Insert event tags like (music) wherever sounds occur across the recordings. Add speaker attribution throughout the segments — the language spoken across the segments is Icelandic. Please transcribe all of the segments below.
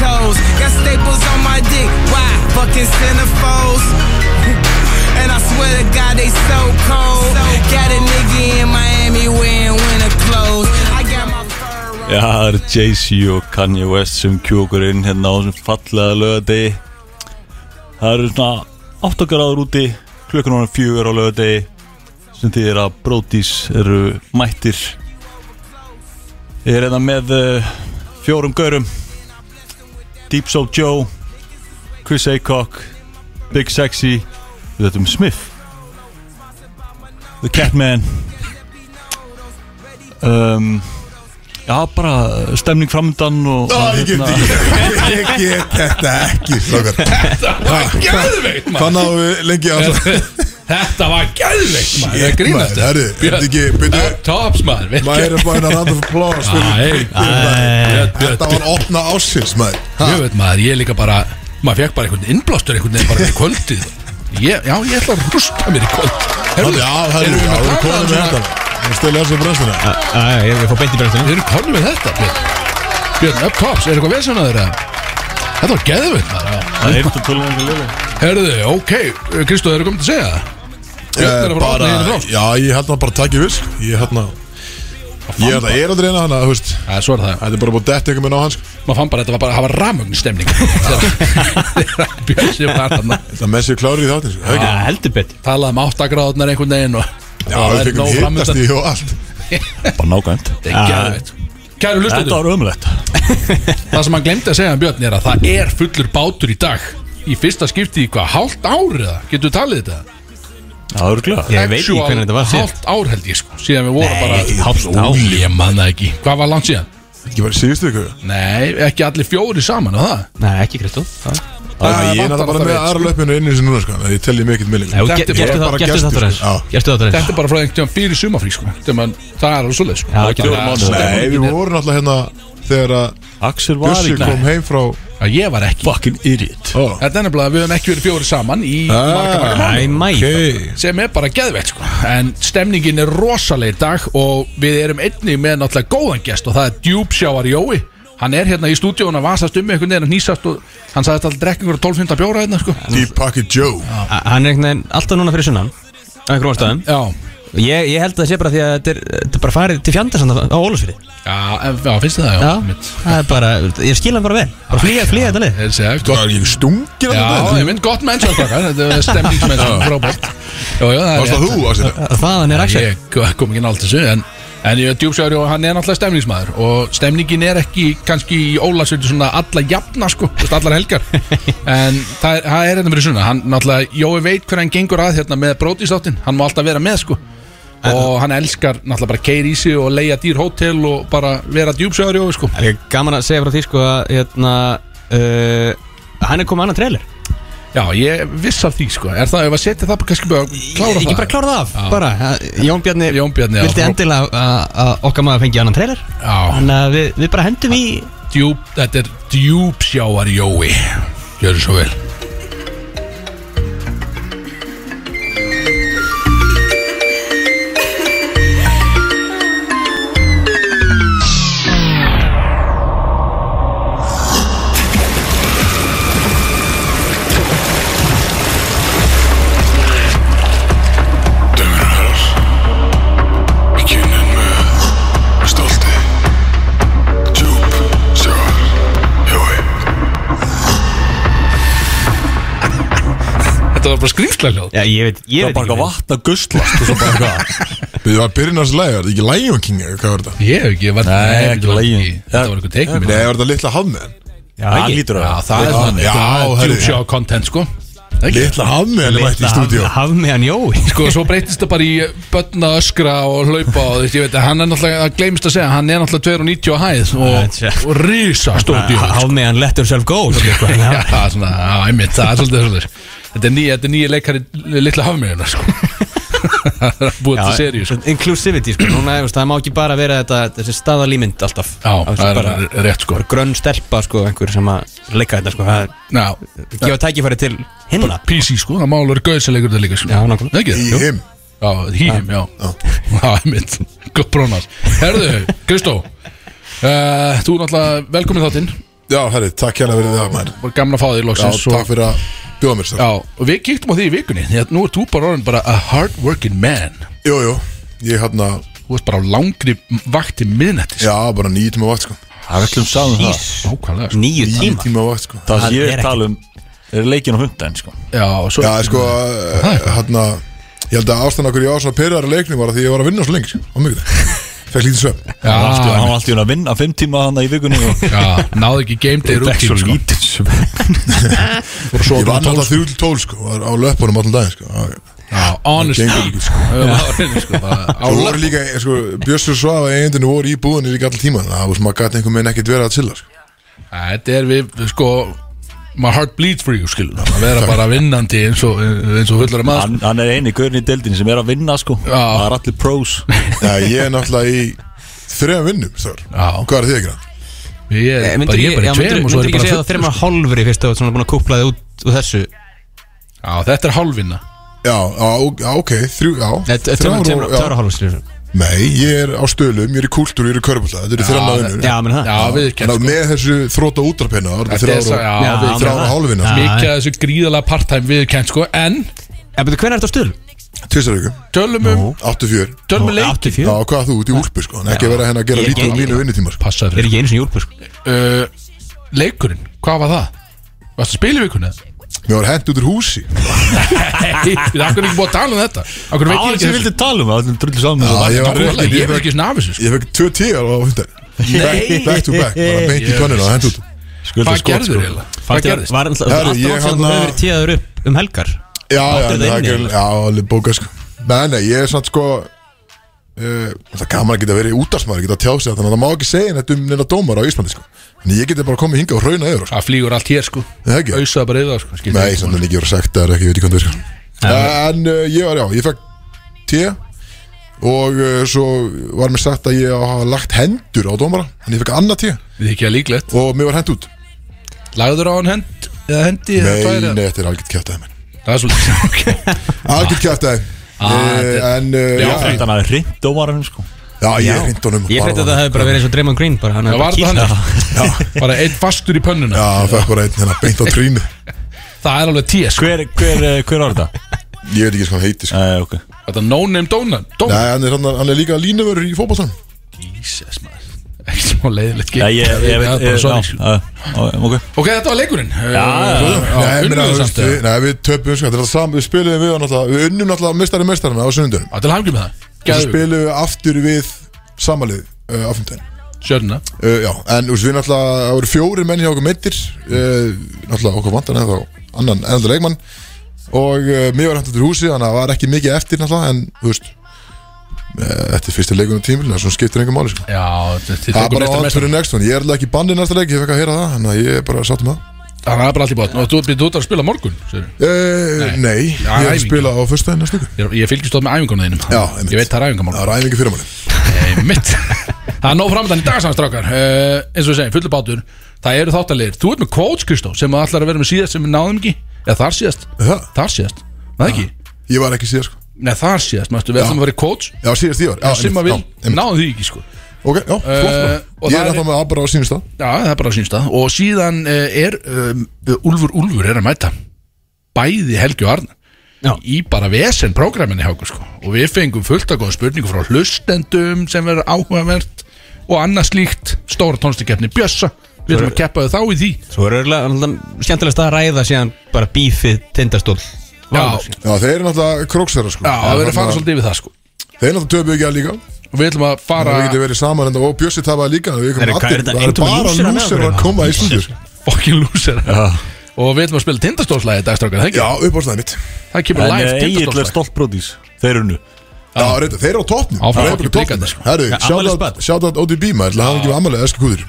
Speaker 1: toes. Got staples on my dick. Why? Fucking centerfolds. (laughs) and I swear to God, they so cold. Got a nigga in Miami wearing winter clothes. I got my fur on.
Speaker 2: Já, það eru Jay-Z og Kanye West sem kjókur inn hérna á þessum fallega lögadegi Það eru svona 8 gráður úti, klukkan var fjögur á lögadegi sem þýðir að brótís eru mættir Ég er hérna með uh, fjórum gaurum Deep Soul Joe, Chris Aycock, Big Sexy Við þetta um Smith The Catman um, Já, bara stemning framöndan og
Speaker 3: Ó,
Speaker 2: og
Speaker 3: ég get
Speaker 2: hérna-
Speaker 3: ekki (laughs) Ég get þetta ekki strókar.
Speaker 4: var geðveikt
Speaker 3: Hvað
Speaker 4: maður
Speaker 3: náðum við lengi að
Speaker 4: Þetta var geðveikt maður Það grínast
Speaker 3: Herru, er þetta ekki byrju,
Speaker 4: Björn, Tops maður við-
Speaker 3: Maður er bara að randa fyrir plóra
Speaker 4: Æ, Björn, Björn,
Speaker 3: Þetta var opna ásins maður Ha,
Speaker 4: Ég veit maður, ég líka bara Maður fekk bara einhvern innblástur einhvern veginn bara í kvöldið ég, Já, ég ætla að rústa mér í kvöld
Speaker 3: herru, Já, herru,
Speaker 4: erum við
Speaker 3: já,
Speaker 4: að
Speaker 3: við erum konum
Speaker 4: tala um
Speaker 3: með
Speaker 4: þetta?
Speaker 3: þetta Stilja þessu brenstina
Speaker 5: Æ, ég fór beint í brennstinu
Speaker 4: Við erum konum með þetta, Björn Björn, up tops, er eitthvað vesen að þeirra? Þetta var geðvitt maður
Speaker 2: Það er þetta tölvöngu liði
Speaker 4: Herðu, ok, Kristó, eru komið að segja það? Björn er að fara að opna hérna þátt
Speaker 3: Já, ég held að bara takja viss Ég held að Ég held að ég er að reyna hana, þú veist
Speaker 4: Já, svo er það
Speaker 3: Þetta er bara búið dett einhver minn á sko. hans
Speaker 4: Maður fann bara að þetta var bara að hafa ramögn stemning (laughs) Þegar Björn sem var þarna
Speaker 3: Það með sér klári í þáttin sko.
Speaker 5: Já, heldur betur
Speaker 4: Talað um áttagráðnar einhvern veginn og
Speaker 3: Já,
Speaker 4: og
Speaker 3: við
Speaker 4: það er
Speaker 3: fengum
Speaker 4: nóg
Speaker 3: hittast
Speaker 4: framundan.
Speaker 3: í og allt
Speaker 2: Bara nákvæmt
Speaker 4: Þetta er geðveikt. Kæru
Speaker 2: Þetta
Speaker 4: hlustendur,
Speaker 2: var ömulegt
Speaker 4: það sem hann glemdi að segja um Björn er að það er fullur bátur í dag Í fyrsta skipti í hvað, hálft áriða, getur talið þetta?
Speaker 2: Það eru glæð
Speaker 5: Ég veit ekki
Speaker 4: Actual
Speaker 5: hvernig þetta var síðan.
Speaker 4: Hálft ár held ég sko, síðan við vorum bara
Speaker 5: hálft
Speaker 4: Jú,
Speaker 5: ár.
Speaker 4: Ég manna ekki, hvað var langt síðan?
Speaker 3: Ekki bara í síðustu ykkur
Speaker 4: Nei, ekki allir fjóri saman á það
Speaker 5: Nei, ekki Kristó
Speaker 3: Ég er
Speaker 4: vantar
Speaker 3: náttúrulega bara
Speaker 4: alltaf
Speaker 3: með
Speaker 4: eitt,
Speaker 3: aðra löpinu inni sem núna sko en Ég tel ég mikill milling
Speaker 5: Nei, og
Speaker 4: Þetta er
Speaker 5: ge-
Speaker 4: bara
Speaker 5: gerstu það-
Speaker 3: bara
Speaker 5: Gerstu
Speaker 3: gestur,
Speaker 5: þáttur
Speaker 3: sko. Já.
Speaker 5: þess Gerstu þáttur
Speaker 4: Þetta
Speaker 5: þess
Speaker 4: er bara frá einhvern tíma fyrir sumafrí sko. Þegar mann- Það er alveg svo leið sko.
Speaker 5: Já, ekki
Speaker 4: Þannig að
Speaker 5: fjórum
Speaker 3: Nei,
Speaker 4: stemningin
Speaker 3: við
Speaker 4: er-
Speaker 3: vorum alltaf hérna Þegar að
Speaker 2: Axel var
Speaker 3: Bjössi
Speaker 2: ekki
Speaker 4: hérna.
Speaker 3: kom heim frá
Speaker 4: Já, Ég var ekki
Speaker 2: Fucking idiot
Speaker 4: Þetta er nefnilega að við höfum ekki verið fjóri saman í
Speaker 3: Ah.
Speaker 4: marga marga
Speaker 5: Æ, mæ
Speaker 3: Ok
Speaker 4: sem er bara geðveitt sko. en stemningin er rosalegir dag og við erum einni með náttúrulega góðan gest og það er djúpsjávar Jói hann er hérna í stúdíónu að vasast um með einhvern veginn að nýsast og hann sagði þetta alltaf drekkingur 12-15 bjóra hérna sko.
Speaker 3: Deep Pocket Joe
Speaker 5: Hann er einhvern veginn alltaf núna fyrir sunnan Af einhverjum ástæðum
Speaker 4: já,
Speaker 5: ég, ég held að það sé bara því að þetta er, þetta er bara farið til fjandasand á Ólusfyrir
Speaker 4: já, en- já, finnst þið það já,
Speaker 5: Já, það er bara, ég skil hann bara vel Bara flýja, flýja þetta lið
Speaker 4: Ég segi, gott-
Speaker 3: Það er ekki stungir
Speaker 4: já, ég mynd gott mennsjón þetta er stemningsmennsjón frábært já, já, það er
Speaker 3: Varst
Speaker 4: rétt.
Speaker 3: það þú að sér
Speaker 5: Þaðan er Axel
Speaker 4: Ég kom ekki nált þessu en, en ég djúpsjári og hann er náttúrulega stemningsmaður og stemningin er ekki kannski í ólagsvöldu svona alla jafna sko, þú veist, allar
Speaker 5: (laughs)
Speaker 4: helgar en það er, það er þetta fyrir svona hann náttúrulega, Jói veit hver hann gengur að hérna með brótisáttin, hann má alltaf vera með sko og hann elskar náttúrulega bara keir í sig og leia dýr hótel og bara vera djúpsjári Jói sko
Speaker 5: Það er líka gaman að segja frá því sko að hérna, uh, Hann er komið annan trailer
Speaker 4: Já, ég viss af því sko, er það ef að setja það kannski bara að klára
Speaker 5: Ég
Speaker 4: það
Speaker 5: ekki bara klára það af bara, að Jón Bjarni
Speaker 4: Jón Bjarni, já.
Speaker 5: Vildi endilega að- að okkar maður fengi annan trailer
Speaker 4: Já,
Speaker 5: Þannig að við, við bara hendum í
Speaker 4: djúp, þetta er djúpsjávar Jói Gjörðu svo vel
Speaker 6: Dömurnar Í kynnin með uh, Stolti Djúp Sjáar Jói
Speaker 4: Þetta var bara skrýmslega hljóð
Speaker 5: Já, ég veit,
Speaker 2: Það var
Speaker 5: ég veit
Speaker 2: bara eitthvað
Speaker 5: hvað-
Speaker 2: vatn að guslast og svo bara eitthvað
Speaker 3: Við varum að byrja næst læg Var þetta ekki Lion King eða hvað var þetta?
Speaker 4: Ég hef ekki, ég var
Speaker 2: Nei,
Speaker 4: þetta
Speaker 2: ekki
Speaker 4: var
Speaker 2: lögin.
Speaker 4: Þetta var eitthvað teiknum
Speaker 3: Nei, var þetta litla hafmiðan?
Speaker 2: Það lítur
Speaker 4: Já,
Speaker 2: að
Speaker 4: það er svona
Speaker 3: Já,
Speaker 4: eitthvað
Speaker 3: herri.
Speaker 4: djúpsjá content sko ekki?
Speaker 3: Litla hafmiðan er mætt í stúdíu
Speaker 5: Haf- Hafmeyjan Jói
Speaker 4: Sko, svo breytist það bara í börna öskra og hlaupa og þetta, ég veit að hann er náttúrulega, það gleymist að segja, hann er náttúrulega 290 á hæð og,
Speaker 5: Þetta er-
Speaker 4: og risa stóti
Speaker 5: Hafmeyjan let yourself go svolítið, sko.
Speaker 4: (laughs) Já, það er svona, já, einmitt, það er svolítið svolítið Þetta er nýja, þetta er nýja leikari litla hafmiðuna, sko (laughs) Það er búið til seríu, sko
Speaker 5: Inclusivity, sko, núna, þú veist, það má ekki bara vera þetta, þessi staðalímynd alltaf
Speaker 4: Já,
Speaker 5: það
Speaker 4: það
Speaker 5: bara
Speaker 4: er rétt, sko
Speaker 5: grönn stelpa, sko, einhver sem að leika þetta, sko, það er
Speaker 4: Já,
Speaker 5: gefa tækifæri til hinna
Speaker 4: PC, sko, það málur gauðsalegur þetta líka, sko
Speaker 5: Já, nákvæmlega.
Speaker 4: Ekki?
Speaker 3: Í
Speaker 4: Jú.
Speaker 3: him
Speaker 4: Já, hím, já Já, mitt, gott brónas Herðu, Kristó uh, Þú er náttúrulega velkomin í þáttinn
Speaker 3: Já, herri, takk hérna fyrir það maður
Speaker 4: Bara gaman að fá því
Speaker 3: Já,
Speaker 4: loksins og-
Speaker 3: takk fyrir að bjóða mér sko. sér
Speaker 4: Já, og við kíktum á því í vikunni Því að nú ert þú bara orðin bara a hard working man
Speaker 3: Jú, jú, ég hérna
Speaker 4: Þú ert bara á langri vakti miðnættis
Speaker 3: Já, bara nýjum tíma vakt sko
Speaker 2: Það er öllum saman um það
Speaker 4: Nákvæmlega sko.
Speaker 5: Nýju
Speaker 3: Nýjum
Speaker 5: tíma
Speaker 3: tíma vakt sko
Speaker 2: Það
Speaker 5: Það
Speaker 2: sem ég
Speaker 5: er
Speaker 2: er
Speaker 5: ekki-
Speaker 2: tala um er leikin á hundan sko.
Speaker 4: Já, og svo
Speaker 3: Já, sko, hérna Ég held að ástæðan okkur ég á svona pyrrar leiknum var að því ég var að vinna svo lengi sko, á mikið (laughs) Fekk lítið svefn
Speaker 4: Já,
Speaker 2: Hann var allt í- hann var allt í hún að vinna fimm tíma hann í vikunni
Speaker 4: (laughs)
Speaker 2: og
Speaker 4: já, náðu ekki game day
Speaker 2: það er
Speaker 4: rútín
Speaker 2: svo
Speaker 4: sko.
Speaker 2: lítið svefn.
Speaker 4: Fór að sofa
Speaker 3: Ég vann
Speaker 4: klukkan
Speaker 3: alltaf
Speaker 4: 12,
Speaker 3: þrjú til tól sko, var á löpunum allan daginn sko Já, já.
Speaker 4: sko. Já, honestly
Speaker 3: Gengur, sko.
Speaker 4: Já, á hreinu, sko, bara á
Speaker 3: Svo
Speaker 4: löpp.
Speaker 3: voru líka, sko, Björsur Svafa eigindinu voru í búðinni líka allan tíma Það var sem að gæti einhvern veginn ekkert verið að chilla (laughs) sko.
Speaker 4: Þetta er við, við, sko My heart bleeds for you, skilur það Að vera bara vinnandi eins og, eins og fullara maður
Speaker 2: hann,
Speaker 4: sko.
Speaker 2: hann er eini gaurin í deildin sem er að vinna sko.
Speaker 4: Já.
Speaker 2: það er allir pros
Speaker 3: Já, ég er náttúrulega í þrejum vinnum, Sör
Speaker 4: Já.
Speaker 3: Hvað er þið ekki?
Speaker 4: Ég er bara, ég er bara í tveim og svo
Speaker 5: Myndir
Speaker 4: er ég
Speaker 5: Eh, ekki segja
Speaker 4: bara sko.
Speaker 5: það þreymar hálfri fyrst að þú ert svona búin að kúpla þig út úr þessu
Speaker 4: Já, þetta er hálfvinna
Speaker 3: Já, á, á, ok, þrjú, já þrjár og- já.
Speaker 5: Tveimar hálfri skrifur
Speaker 3: Nei, ég er á stöðlum, ég er í kúltúr, ég er í körpulta Þetta eru þrjum að vinnur
Speaker 5: Já, sko. menn það
Speaker 4: Já, við erum
Speaker 3: En á með þessu þróta útrapinna Það eru
Speaker 4: Þetta er
Speaker 3: þrjár
Speaker 4: svo,
Speaker 3: og-
Speaker 4: já,
Speaker 5: Já,
Speaker 4: við
Speaker 5: já,
Speaker 3: þrjár og
Speaker 5: já.
Speaker 3: hálfinna
Speaker 5: Já.
Speaker 4: Mikið af þessu gríðalega part-time viðurkennt sko En,
Speaker 5: En betur, hvernig er þetta á stöðlum?
Speaker 3: Tvisar viku,
Speaker 4: tölum um,
Speaker 3: 84
Speaker 4: tölum um leik
Speaker 5: 84
Speaker 3: Já, hvað þú út í úlpu sko En ekki vera henni að gera
Speaker 5: Ég-
Speaker 3: lítið um
Speaker 5: ég-
Speaker 3: mínu vinnutíma sko.
Speaker 4: Passaði
Speaker 5: Er
Speaker 4: fyrir
Speaker 5: ekki einu sinni júlpur sko
Speaker 4: uh, Leikurinn, hvað var það? Varstu að spila í vikunni?
Speaker 3: Mér var hent út úr húsi
Speaker 4: Nei, það er ekki búið að tala um þetta Akkur veit
Speaker 2: það
Speaker 4: ég
Speaker 2: er
Speaker 4: ekki
Speaker 2: sem
Speaker 4: þessu
Speaker 2: vildi tala um það er drullu saman með
Speaker 3: Já,
Speaker 2: það.
Speaker 3: ég var
Speaker 4: Nákvæmlega,
Speaker 3: reikið
Speaker 4: Ég
Speaker 3: Ég
Speaker 4: er
Speaker 3: fekk-
Speaker 4: ekki svona af þessu sko.
Speaker 3: ég fekk tvö tíjar á hundar Back back to back, bara beint í
Speaker 4: Ég-
Speaker 3: tönnina og hent út
Speaker 2: Skulda
Speaker 4: Hvað
Speaker 2: skot,
Speaker 4: gerður
Speaker 2: sko.
Speaker 4: eiginlega? Hvað
Speaker 5: Fannst þér-
Speaker 4: gerðist?
Speaker 5: Var alltaf
Speaker 3: Herru, ég
Speaker 5: alltaf að þú
Speaker 3: hérna-
Speaker 5: hefur tíðaður upp um helgar
Speaker 3: Já, já, en
Speaker 5: Áttu
Speaker 3: það
Speaker 5: þetta
Speaker 3: er
Speaker 5: inni,
Speaker 3: ekki Já, alveg bókað sko Nei, nei, ég er samt sko Uh, það er gaman að geta verið útarsmaður, geta tjáð sig þannig að það má ekki segja þetta um neina dómar á Íslandi sko. en ég geti bara komið hingað og rauna yfir sko.
Speaker 4: Það flýgur allt hér sko
Speaker 3: Það er ekki.
Speaker 4: Ausaði bara yfir það sko skildi
Speaker 3: Nei,
Speaker 4: ekki.
Speaker 3: samt en ekki voru sagt, það er ekki, ég veit ekki hvað það er sko. En uh, ég var, já, ég fekk te og uh, svo var mér sagt að ég á að hafa lagt hendur á dómara en ég fekk annað te
Speaker 4: Þið ekki að líklegt
Speaker 3: og mér var hend út
Speaker 4: Lagður á hann hend Eða hendi eða
Speaker 3: Nei,
Speaker 4: tvær, eða-
Speaker 3: nei, þetta er algjört kjæftæði menn
Speaker 4: Það er
Speaker 3: (laughs)
Speaker 4: svolítið okay.
Speaker 3: Algjört kjæftæði
Speaker 4: Ah. þetta-
Speaker 3: En, uh,
Speaker 2: Já,
Speaker 3: já,
Speaker 2: þetta hann er hreint dómarinn sko.
Speaker 3: já, ég hrind honum
Speaker 5: Ég
Speaker 3: bara
Speaker 5: frétti að það
Speaker 3: þannig.
Speaker 5: hefur bara verið eins og Draymond Green bara
Speaker 4: Það var það hann Bara einn fastur í pönnuna
Speaker 3: Já, það fekk bara einn hérna beint á trínu
Speaker 4: Það er alveg tíð sko
Speaker 2: hver, hver, eh, hver var
Speaker 4: (laughs)
Speaker 2: þetta?
Speaker 3: Ég veit ekki hvað hann heiti sko.
Speaker 2: Uh, okay.
Speaker 4: Þetta er no name donor
Speaker 3: Nei,
Speaker 4: Donor
Speaker 3: hann er, hann, hann er líka línuvörur í fótboltan
Speaker 4: Jesus maður Ekki smá leiðilegt gig.
Speaker 2: Nei, ég, ég,
Speaker 4: Það
Speaker 2: veit-
Speaker 4: er bara
Speaker 2: ég,
Speaker 4: sorry,
Speaker 2: já,
Speaker 4: sko.
Speaker 2: já, ok.
Speaker 4: Ok, þetta var leikurinn Eh, Já,
Speaker 3: Nei,
Speaker 4: Unnum
Speaker 3: meina,
Speaker 4: við
Speaker 3: þú
Speaker 4: samt
Speaker 3: veist,
Speaker 4: eða?
Speaker 3: við- nei, við töpum sko, þetta er það saman- Við spilum við hann alltaf Við unnum alltaf mestari mestarina á sunnundunum
Speaker 4: Já, til hangjum með það
Speaker 3: Og svo
Speaker 4: Gæðu
Speaker 3: spilum við aftur við samalið uh, á fymtæðin
Speaker 4: Sjörna
Speaker 3: uh, Já, en þú veist, við náttúrulega Það voru fjóri menn hjá okkur meittir uh, Náttúrulega okkur vantan eða þá Annan ennaldur leikmann Og uh, mér var hægt eftir húsi Þannig að það var ekki mikið eftir náttúrulega En þú veist uh, Þetta er fyrsta leikunum tímil Það skiptir engum máli sko.
Speaker 4: Já, þetta
Speaker 3: Það er bara
Speaker 4: næsta
Speaker 3: átt
Speaker 4: mestar
Speaker 3: fyrir next one Ég er alltaf ekki bannið næsta leik Ég fekk að heyra það Þannig að ég er bara sátt um það
Speaker 4: Það er bara allt í bátn Og þú byrðið út að spila morgun segirðu.
Speaker 3: Uh,
Speaker 4: Nei.
Speaker 3: nei, ég
Speaker 4: Já,
Speaker 3: er að
Speaker 4: æfingu.
Speaker 3: spila á fyrsta næsta leiku
Speaker 4: Ég- Ég fylgist þótt með æfingunum þínum
Speaker 3: Já, einmitt.
Speaker 4: Ég veit það er
Speaker 3: Það
Speaker 4: æfingamál
Speaker 3: er æfingi fyrirmáli
Speaker 4: Mitt Það er nóg framöndan í dag saman strákar uh, Eins og við segjum, fullur bátur Það eru þáttalegir Þú ert með coach Kristó Sem að allar að vera með síðast sem við náðum ekki Eða þar síðast
Speaker 3: Það?
Speaker 4: Þar síðast Nei ekki
Speaker 3: Ég var ekki síðar sko
Speaker 4: Nei þar síðast Mæstu við ætlum að vera í coach
Speaker 3: Já, síðast ég var Já,
Speaker 4: Sem
Speaker 3: einmitt,
Speaker 4: að vil
Speaker 3: já, einmitt.
Speaker 4: Náðum því ekki sko
Speaker 3: Ok, já, flott bara.
Speaker 4: og
Speaker 3: Ég
Speaker 4: það
Speaker 3: er
Speaker 4: er-
Speaker 3: alltaf með Abra á sínust það
Speaker 4: Já, það er bara að sínst það Og síðan uh, er um, Úlfur Úlfur er að mæta Bæði Helgi og Arna
Speaker 5: Já.
Speaker 4: Í bara vesen prógraminni hjá okkur sko Og við fengum fullt að góða spurningu frá hlustendum Sem verður áhugavert Og annað slíkt Stóra tónstakefni Bjössa Við erum að keppa þau þá í því
Speaker 5: Svo er örgulega skemmtilegast að ræða síðan bara bífið tindastól Valur.
Speaker 4: Já,
Speaker 3: Já, þeir eru náttúrulega króksæra sko
Speaker 4: já það verður að fara
Speaker 3: Þannig
Speaker 4: svolítið yfir það sko
Speaker 3: Þeir eru náttúrulega töpu ekki að líka
Speaker 4: Og við ætlum að
Speaker 3: Það
Speaker 4: fara
Speaker 3: getur verið saman enda og Bjössi tapaði líka Við komum
Speaker 5: Herru, hvað er
Speaker 3: allir
Speaker 5: þetta?
Speaker 3: Það er
Speaker 5: Eintómur
Speaker 3: bara
Speaker 5: lúsera með
Speaker 3: lúsir
Speaker 5: okkur
Speaker 3: að koma í stundur
Speaker 4: Fucking loser Og við ætlum að spila tindastólslæði Í dagstrákan, það
Speaker 3: Já,
Speaker 4: ekki?
Speaker 3: uppástaðið mitt
Speaker 4: Það kemur
Speaker 2: En
Speaker 4: live
Speaker 2: Egil er
Speaker 4: tindastólslæði
Speaker 2: stolt bróðís Þeir unnu
Speaker 3: Já, reynda, þeir eru á toppnum
Speaker 4: Áfram,
Speaker 3: Þeir eru á
Speaker 4: fucking
Speaker 3: toppnum.
Speaker 4: blikandi, sko.
Speaker 3: Herru,
Speaker 5: Já, afmælisbarn.
Speaker 3: shoutout- shoutout ODB maður Það hafði ekki með amalega eski kúður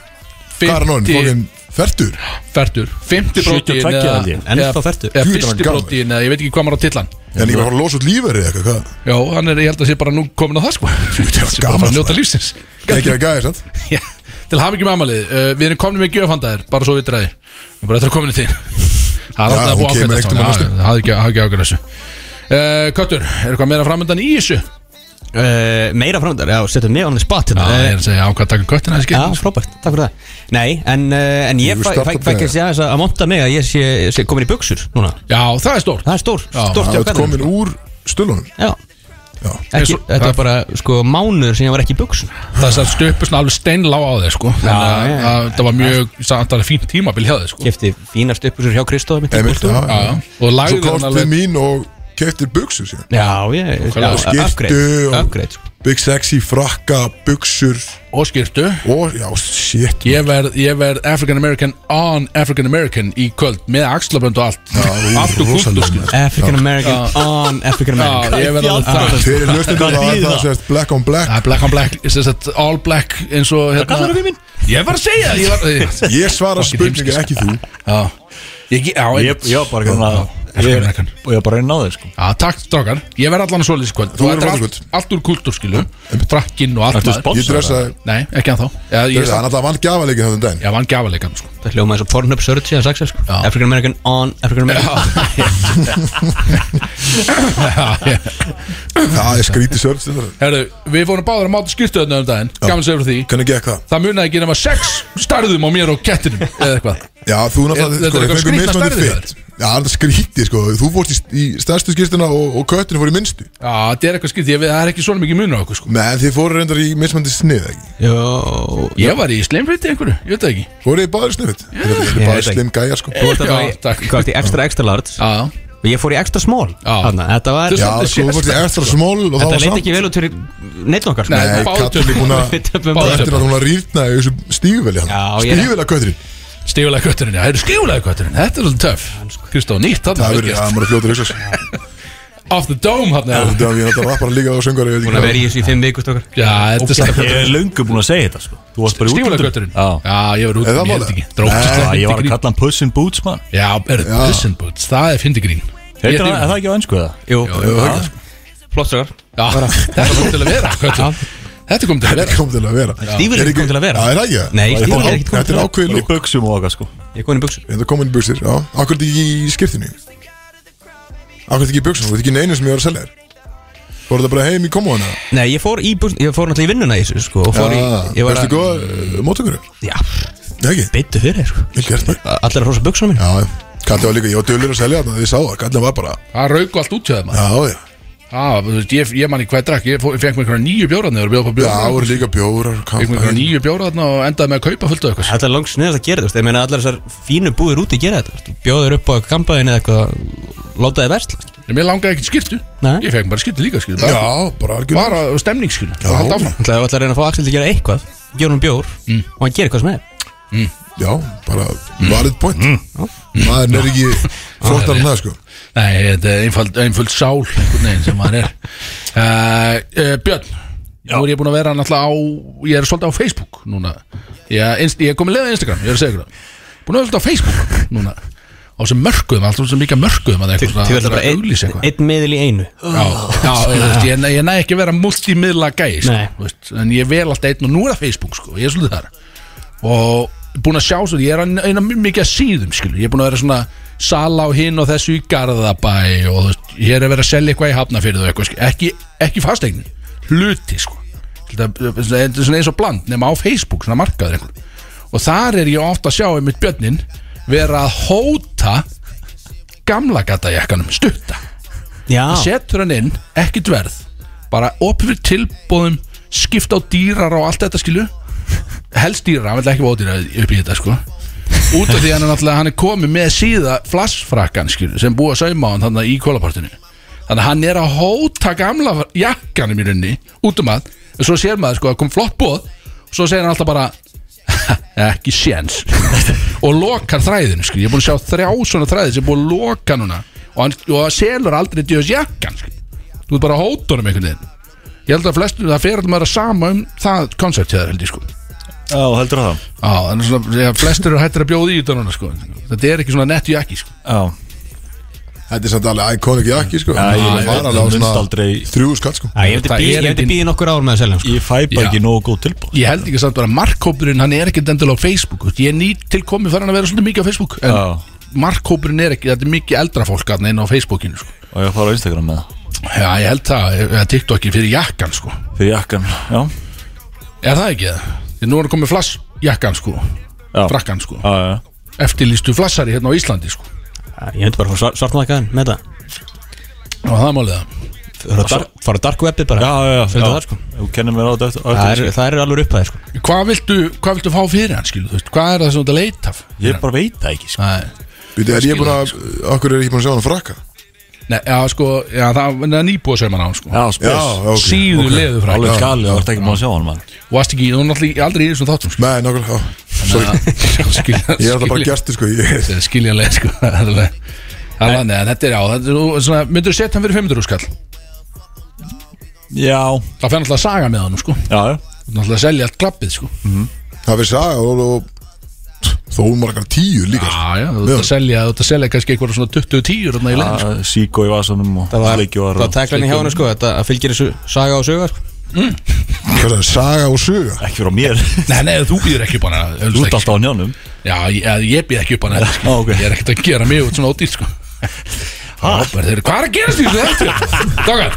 Speaker 3: Hvað er hann orðinn? Fokkin fertur
Speaker 4: Fertur 50 brótiðin
Speaker 2: 72 held ég.
Speaker 5: Ennþá fertur.
Speaker 4: Eða
Speaker 3: Jú,
Speaker 4: fyrsti
Speaker 3: þetta var gaman.
Speaker 4: brótiðin Eða ég veit ekki hvað maður á tillan
Speaker 3: En ég var að fara að losa út lífari eitthvað hvað?
Speaker 4: Já, hann er, ég held að sé bara nú komin á það sko Þetta
Speaker 3: var
Speaker 4: bara að fara
Speaker 3: gaman,
Speaker 4: að njóta
Speaker 3: sko.
Speaker 4: lífsins
Speaker 3: Ekki að gæja, sant?
Speaker 4: Já, Til hafa ekki með amalið uh, Við erum komin með gjöfandaðir, bara svo vitur að þér Við erum bara eftir að komin í þín (laughs) Það er
Speaker 3: Já,
Speaker 4: alltaf að
Speaker 3: hún kemur
Speaker 4: búa ákveðna
Speaker 3: ekkert um að
Speaker 4: svona.
Speaker 3: næstu.
Speaker 4: Eh, Já, Það hafði ekki ákveð þessu uh, Köttur, er eitthvað meira framöndan í þessu?
Speaker 5: uh, meira framöndar, já, setjum mig á hann í spot
Speaker 4: Já,
Speaker 5: hérna.
Speaker 4: ég
Speaker 5: Eh,
Speaker 4: er að segja ákvað að taka köttina þessi
Speaker 5: Já,
Speaker 4: skiptum sko.
Speaker 5: frábært, takk fyrir það Nei, en, uh, en
Speaker 3: Þú
Speaker 5: ég fæ
Speaker 3: startar
Speaker 5: fæ- fæ
Speaker 3: með
Speaker 5: ekki að segja þess að að monta mig að ég sé, sé komin í buksur núna
Speaker 4: Já, það er stórt
Speaker 5: Það er stór,
Speaker 4: Já,
Speaker 5: stórt
Speaker 3: Það
Speaker 5: hjá
Speaker 3: er
Speaker 5: kallinum,
Speaker 3: komin
Speaker 5: sko.
Speaker 3: úr stölunum
Speaker 5: Já,
Speaker 3: Já.
Speaker 5: ekki,
Speaker 4: Eins og-
Speaker 5: þetta var bara sko mánuður sem ég var ekki í buksum
Speaker 4: Það satt stöpu svona alveg steinlá á þeir sko. Þannig að
Speaker 5: já, já.
Speaker 4: að það var mjög samt alveg fínt tímabil hjá þeir sko.
Speaker 5: Kefti fínast uppusur hjá Kristóð mitt í
Speaker 3: Einmitt,
Speaker 5: búltu.
Speaker 3: já,
Speaker 4: Já, já.
Speaker 3: já.
Speaker 4: Og
Speaker 3: Svo
Speaker 4: lagði
Speaker 3: komst
Speaker 4: hann
Speaker 3: til
Speaker 4: alveg
Speaker 3: mín og keftir buksur síðan
Speaker 5: Já, ég, já,
Speaker 4: Og
Speaker 3: skyrtu
Speaker 5: upgrade,
Speaker 3: og-
Speaker 5: upgrade sko.
Speaker 3: Big sexy, frakka, buksur
Speaker 4: og skýrtu
Speaker 3: Og, já, shit
Speaker 4: Ég verð, ég verð African American on African American í kvöld með axlabönd og allt
Speaker 3: Já, þú
Speaker 4: Allt og
Speaker 3: rosalega
Speaker 4: gúttu skýrtu
Speaker 3: maður.
Speaker 5: African American on African American
Speaker 4: Já, ég verð alveg það
Speaker 3: Fyrir hlustundur
Speaker 2: Hvað
Speaker 3: þá er
Speaker 2: þýðir
Speaker 3: það
Speaker 2: það?
Speaker 3: sérst black on black
Speaker 4: Það er black on black, sem sagt, all black eins og hérna
Speaker 2: kallarðu við minn?
Speaker 4: Ég var að segja það, ég var ég-
Speaker 3: Ég svara
Speaker 4: Fucking
Speaker 3: spurningu, ekki
Speaker 4: heimski,
Speaker 3: þú
Speaker 4: Já, ég, já, Sko, hérna-
Speaker 2: Ég
Speaker 4: ég,
Speaker 2: ég var bara ekki að
Speaker 4: African
Speaker 2: Ég
Speaker 4: American.
Speaker 2: ég var bara að reyna á þeir sko
Speaker 4: já takk strákar Ég verð allan að svoleiðis í kvöld
Speaker 3: Þú
Speaker 4: Og
Speaker 3: verður
Speaker 4: þetta er
Speaker 3: alveg
Speaker 4: allt, allt úr kultúr skilu Frakkinn og allt
Speaker 2: Ertu
Speaker 4: maður.
Speaker 3: Ég
Speaker 2: sponsor?
Speaker 3: dressa
Speaker 4: Nei, ekki að þá Já, ég
Speaker 3: Hann
Speaker 4: samt-
Speaker 3: alltaf vann gjafaleikin þannig daginn
Speaker 4: já, hann gjafa leikann sko (laughs)
Speaker 5: Það hljóma eins og Pornhub Surge eða Saxel sko.
Speaker 4: Já.
Speaker 5: African American on African American
Speaker 4: Já, ég-
Speaker 3: Það er skrítið sörn sem það er.
Speaker 4: Herru, við fórum báður að máta skýrtu þarna um daginn Gaman segur því
Speaker 3: Hvernig gekk það?
Speaker 4: Það munaði ekki nema sex starðum á mér og kettinum Eða eitthvað
Speaker 3: Já, þú
Speaker 4: Er-
Speaker 3: náttúrulega
Speaker 4: þetta
Speaker 3: sko,
Speaker 4: er eitthvað
Speaker 3: fengur
Speaker 4: skrýtna
Speaker 3: mismandi
Speaker 4: stærðir
Speaker 3: fit Já, það er skrítið sko Þú fórst í, í stærstu skýrstuna og, og köttinu fór í minnstu
Speaker 4: Já, þetta er eitthvað skýrt, ég veit, það er ekki svona mikið munur á okkur sko
Speaker 3: Nei, en þið fóru reyndar í mismandi snið ekki
Speaker 5: Jó,
Speaker 4: Ég var í sleimfriti einhverju, ég veit það ekki
Speaker 3: Fóru í báður snið Þetta
Speaker 5: Ég
Speaker 3: er
Speaker 5: veit
Speaker 3: bara
Speaker 5: ekki.
Speaker 3: slim gæjar sko
Speaker 5: Þú ert að
Speaker 4: Já,
Speaker 5: fara í-
Speaker 4: takk.
Speaker 5: hvað ertu í extra extra large
Speaker 4: Já, já
Speaker 5: og ég fór í extra small
Speaker 4: Já.
Speaker 5: Þarna, þetta var,
Speaker 4: Þú
Speaker 3: Já,
Speaker 4: svolítið
Speaker 3: sko, þú fórst í
Speaker 4: sérstakt,
Speaker 3: extra small og það
Speaker 5: þetta
Speaker 3: var
Speaker 5: leit
Speaker 3: samt
Speaker 5: ekki vel út fyrir neitt okkar (laughs) sko.
Speaker 4: Nei.
Speaker 3: Nei,
Speaker 4: Báðum
Speaker 3: katturinn er búin að
Speaker 5: Við töpum
Speaker 4: Báðum.
Speaker 5: bara.
Speaker 3: Þetta er að hún var rýrna í hérna. þessu stíguvelja
Speaker 5: Já, ég-
Speaker 3: Stíguvelja kötturinn
Speaker 4: Stífulega kötturinn, já, það eru stífulega kötturinn Þetta er svolítið töff Kristó, nýtt þarna
Speaker 3: Það
Speaker 4: vel
Speaker 3: verður,
Speaker 4: gert.
Speaker 3: það maður er fljótur yksast
Speaker 4: Off the dome hann Já,
Speaker 3: Þetta er að ég náttúrulega rappar líka og söngar
Speaker 5: Búin að vera í þessu í fimm vikust okkar
Speaker 4: þetta er
Speaker 2: Ég
Speaker 4: stífulega
Speaker 2: er löngu búin að segja þetta sko Þú varst bara í
Speaker 4: Stífulega
Speaker 2: útlöndum
Speaker 4: kötturinn
Speaker 2: Já
Speaker 4: Já, ég var út
Speaker 3: Er það
Speaker 4: um, ég held
Speaker 3: málið?
Speaker 4: ekki Drókst
Speaker 3: Nei.
Speaker 2: Já,
Speaker 4: það
Speaker 2: Ég var að
Speaker 4: grín
Speaker 2: kalla hann Puss in Boots man
Speaker 4: Já, er
Speaker 3: Já.
Speaker 4: Puss in Boots, það er fyndi grín Ég
Speaker 2: Heitir hann,
Speaker 4: þykir-
Speaker 2: er það ekki á ennsku eða?
Speaker 5: Jú,
Speaker 2: Já.
Speaker 5: flott stakar
Speaker 4: Já, þetta kom til að vera köttur Þetta kom til að
Speaker 3: Þetta
Speaker 4: vera
Speaker 3: kom til að vera
Speaker 5: Stífurinn kom til að vera.
Speaker 3: Það er ekki það?
Speaker 5: Nei, stífurinn er ekki kominn
Speaker 3: Þetta
Speaker 5: til
Speaker 3: er
Speaker 5: að-
Speaker 3: ákveðið
Speaker 2: Í
Speaker 3: lúk
Speaker 2: buksum og okkar sko
Speaker 5: Ég er komin í buksur
Speaker 3: Þetta komin í buksir, já Akkur þetta ekki í skiptinu Akkur þetta ekki í buksinu Þetta er ekki í neinu sem ég var að selja þér Fór þetta bara heim í komoðana
Speaker 5: Nei, ég fór í buksur, ég fór náttúrulega í vinnuna í þessu sko og fór í,
Speaker 4: Ah,
Speaker 5: ég var
Speaker 3: Verstu góða mótökurinn?
Speaker 5: já,
Speaker 3: eh, Nei ekki,
Speaker 5: beittu fyrir þér, sko
Speaker 3: vil gert mér
Speaker 5: Allir að rosa buksuna mín
Speaker 3: Já, já Kalli var líka, ég var dölur að selja þarna Þið sá það, kallin var bara
Speaker 4: Það rauk allt út hjá þeim maður.
Speaker 3: Já, já
Speaker 4: Já, þú veist, ég, ég manni hvað ég drakk Ég fó- ég fekk mér einhverja nýju bjóraðna Ég var að bjóða upp á
Speaker 3: Já,
Speaker 4: bjóraðna
Speaker 3: voru líka bjórar
Speaker 4: Ég fekk mér einhverja
Speaker 3: kampavín.
Speaker 4: nýju bjóraðna og endaði með að kaupa fullt af eitthvað
Speaker 5: Þetta er langt sniðast að gera þetta, ég meina allar þessar fínu búðir úti gera þetta veistu. Bjóður upp á kampaðin eða eitthvað Láta þið versla
Speaker 4: En Mér langaði ekkert skýrtu
Speaker 5: Nei.
Speaker 4: Ég fekk bara skýrtu líka skýrtu
Speaker 3: Já, bara algjörn
Speaker 4: Bara stemning skýrtu
Speaker 3: Já.
Speaker 4: Og halda áfram
Speaker 5: Það er allar að reyna að fá Axel til að gera eitthvað Gjóður hún bjór
Speaker 4: Mm.
Speaker 5: og hann gerir eitthvað sem er
Speaker 3: Já, bara valid point
Speaker 4: Mm.
Speaker 3: Maður er
Speaker 4: (laughs)
Speaker 3: ekki flottar en það, sko
Speaker 4: Nei, þetta er einfald, einfald sál einhvern veginn sem maður er
Speaker 5: (laughs)
Speaker 4: uh, uh, Björn Nú er ég búin að vera náttúrulega á Ég er svolítið á Facebook núna Ég, inst, ég er komið leið á Instagram, ég er að segja ykkur það Búin að vera svolítið á Facebook núna Á sem mörkuðum, alltaf sem líka mörkuðum að eitthvað
Speaker 5: Þið verður
Speaker 4: svona-
Speaker 5: bara
Speaker 4: að auglýsa
Speaker 5: einn
Speaker 4: eitthvað
Speaker 5: ein miðil í einu
Speaker 4: Já, já ég, veist, ég, ég næ ekki að vera multimiðla gæi sko,
Speaker 5: Nei.
Speaker 4: þú veist, En ég vel alltaf einn og nú er það Facebook sko, Ég er svolítið þar Og búin að sjá svo Ég er að- eina mjög mikið að síðum skilur. Ég er búin að vera svona Sala á hinn og þessu í Garðabæ Og þú veist, ég er að vera að selja eitthvað í Hafnafyrðu og eitthvað, skilur. ekki, ekki fasteign Hluti sko Þetta er svona eins og bland nema á Facebook Svona markaður einhver Og þar er ég ofta að sjá einmitt björnin Vera að hóta Gamla gata jakkanum, stutta
Speaker 5: Já,
Speaker 4: setur hann inn, ekkert verð bara opið fyrir tilbóðum skipta á dýrar og allt þetta skilu helst dýrar, hann vil ekki fá ódýra upp í þetta sko út af því hann er náttúrulega hann er komið með síða flassfrakkan skilu sem búið að sauma á hann þannig í kólapartinu þannig að hann er að hóta gamla jakkanum í rauninni út um að en svo sér maður sko að kom flott bóð og svo segir hann alltaf bara ekki séns (laughs) og lokar þræðinu skil, ég er búin að sjá þrjá svona þræði sem er búin að loka núna og hann, og hann selur aldrei djöðs jakkan skil. þú er bara að hóta honum einhvern veginn ég held að flestum það fer allir maður að sama um það koncept hér held ég sko
Speaker 2: Já, heldur það
Speaker 4: á, þannig svona, þegar flestir eru hættir að bjóða í þetta núna sko þetta er ekki svona nettu jakki sko
Speaker 2: Já
Speaker 3: Þetta er samt alveg iconic jakki, sko
Speaker 2: Já, ég
Speaker 3: Það
Speaker 2: veit,
Speaker 3: var
Speaker 2: það
Speaker 3: alveg á
Speaker 2: munst
Speaker 3: svona
Speaker 2: aldrei-
Speaker 3: Þrjú skatt, sko
Speaker 5: Já, ég hefði
Speaker 4: Það er
Speaker 5: bíð- ég hefði
Speaker 4: engin-
Speaker 5: bíðið nokkur ár með að selja hann sko.
Speaker 2: Ég fæ bara
Speaker 4: Já.
Speaker 2: ekki nógu góð tilbúð
Speaker 4: ég held ekki samt bara að markhópurinn hann er ekki endilega á Facebook þú veist, ég er nýtt til komið farin að vera svolítið mikið á Facebook en
Speaker 2: Já.
Speaker 4: markhópurinn er ekki, þetta er mikið eldra fólk hann inn á Facebookinu sko
Speaker 2: Og ég fara á Instagram með það
Speaker 4: Já, ég held það, eða TikTokin fyrir jakkan sko
Speaker 2: fyrir jakkan, já
Speaker 4: Er það ekki það? Því nú er komið flassjakkan sko
Speaker 2: Já.
Speaker 4: Frakkan sko
Speaker 2: Já, já, já.
Speaker 4: Eftirlýstu flassari hérna á Íslandi sko
Speaker 5: Ég myndi bara að fá svartnakaðan með það
Speaker 4: Og það er málið það
Speaker 5: Fara á dark- Fara á dark webið bara
Speaker 2: já, já, já,
Speaker 5: Fyrir
Speaker 2: já.
Speaker 5: það, sko.
Speaker 2: Þú kennir mér á þetta eftir- á
Speaker 5: Það
Speaker 2: eftir
Speaker 5: er, það er alveg upphæðir sko.
Speaker 4: Hvað viltu, hvað viltu fá fyrir hann skilu, þú veist Hvað er það sem þú ert að leita af?
Speaker 2: Ég bara veit það ekki, sko
Speaker 4: Nei,
Speaker 3: Veitu, er ég búin að,
Speaker 4: sko.
Speaker 3: okkur er ég ekki búin að sjá hann frakka?
Speaker 4: Nei, já sko, já, það er nýbúið sem hann á sko
Speaker 2: Já,
Speaker 3: Já,
Speaker 2: spes
Speaker 3: ok
Speaker 4: Síðu okay. leðu frakkan
Speaker 2: Alveg
Speaker 4: Já.
Speaker 2: galið, það vart ekki maður að sjá hann, mann
Speaker 4: Og varst ekki, þú er náttúrulega aldrei í þessum þáttum sko
Speaker 3: Nei, nákvæmlega, já Sorry,
Speaker 4: Skilja,
Speaker 3: (laughs) ég er alltaf bara gestur, sko ég-
Speaker 4: Þetta er skiljanlega sko (laughs) Það er alveg- það er þannig, en Þetta er já, þetta er nú svona, myndur setja hann fyrir 500 skall
Speaker 2: Já,
Speaker 4: Það fer náttúrulega að saga með hann sko
Speaker 2: já, já
Speaker 4: Náttúrulega að selja allt klappið sko
Speaker 3: Það verið saga og, og þó um margar tíu líka sko.
Speaker 4: Já, já, þú ert að selja, þú ert að selja kannski eitthvað svona 20-10 þarna í leiðin sko.
Speaker 2: Að Síkó í vasanum og
Speaker 5: Það var,
Speaker 2: sleikjóar
Speaker 5: það var
Speaker 2: og-
Speaker 5: tagline í hjá henni sko Þetta að fylgir þessu saga og sögar sko.
Speaker 3: Hvað er það, saga og söga
Speaker 2: Ekki frá mér,
Speaker 4: Nei, nei, þú býður ekki upp hana
Speaker 2: þú
Speaker 4: auðvitað
Speaker 2: ert
Speaker 4: ekki, sko.
Speaker 2: alltaf á njánum
Speaker 4: Já, ég, eða ég býð ekki upp hana heldur, sko.
Speaker 2: Á, ok.
Speaker 4: Ég er ekkert að gera mig út
Speaker 3: (laughs)
Speaker 4: svona ódýr sko. Já, bara, þeir, Hvað er að gerast því þessu eftir? Dokkar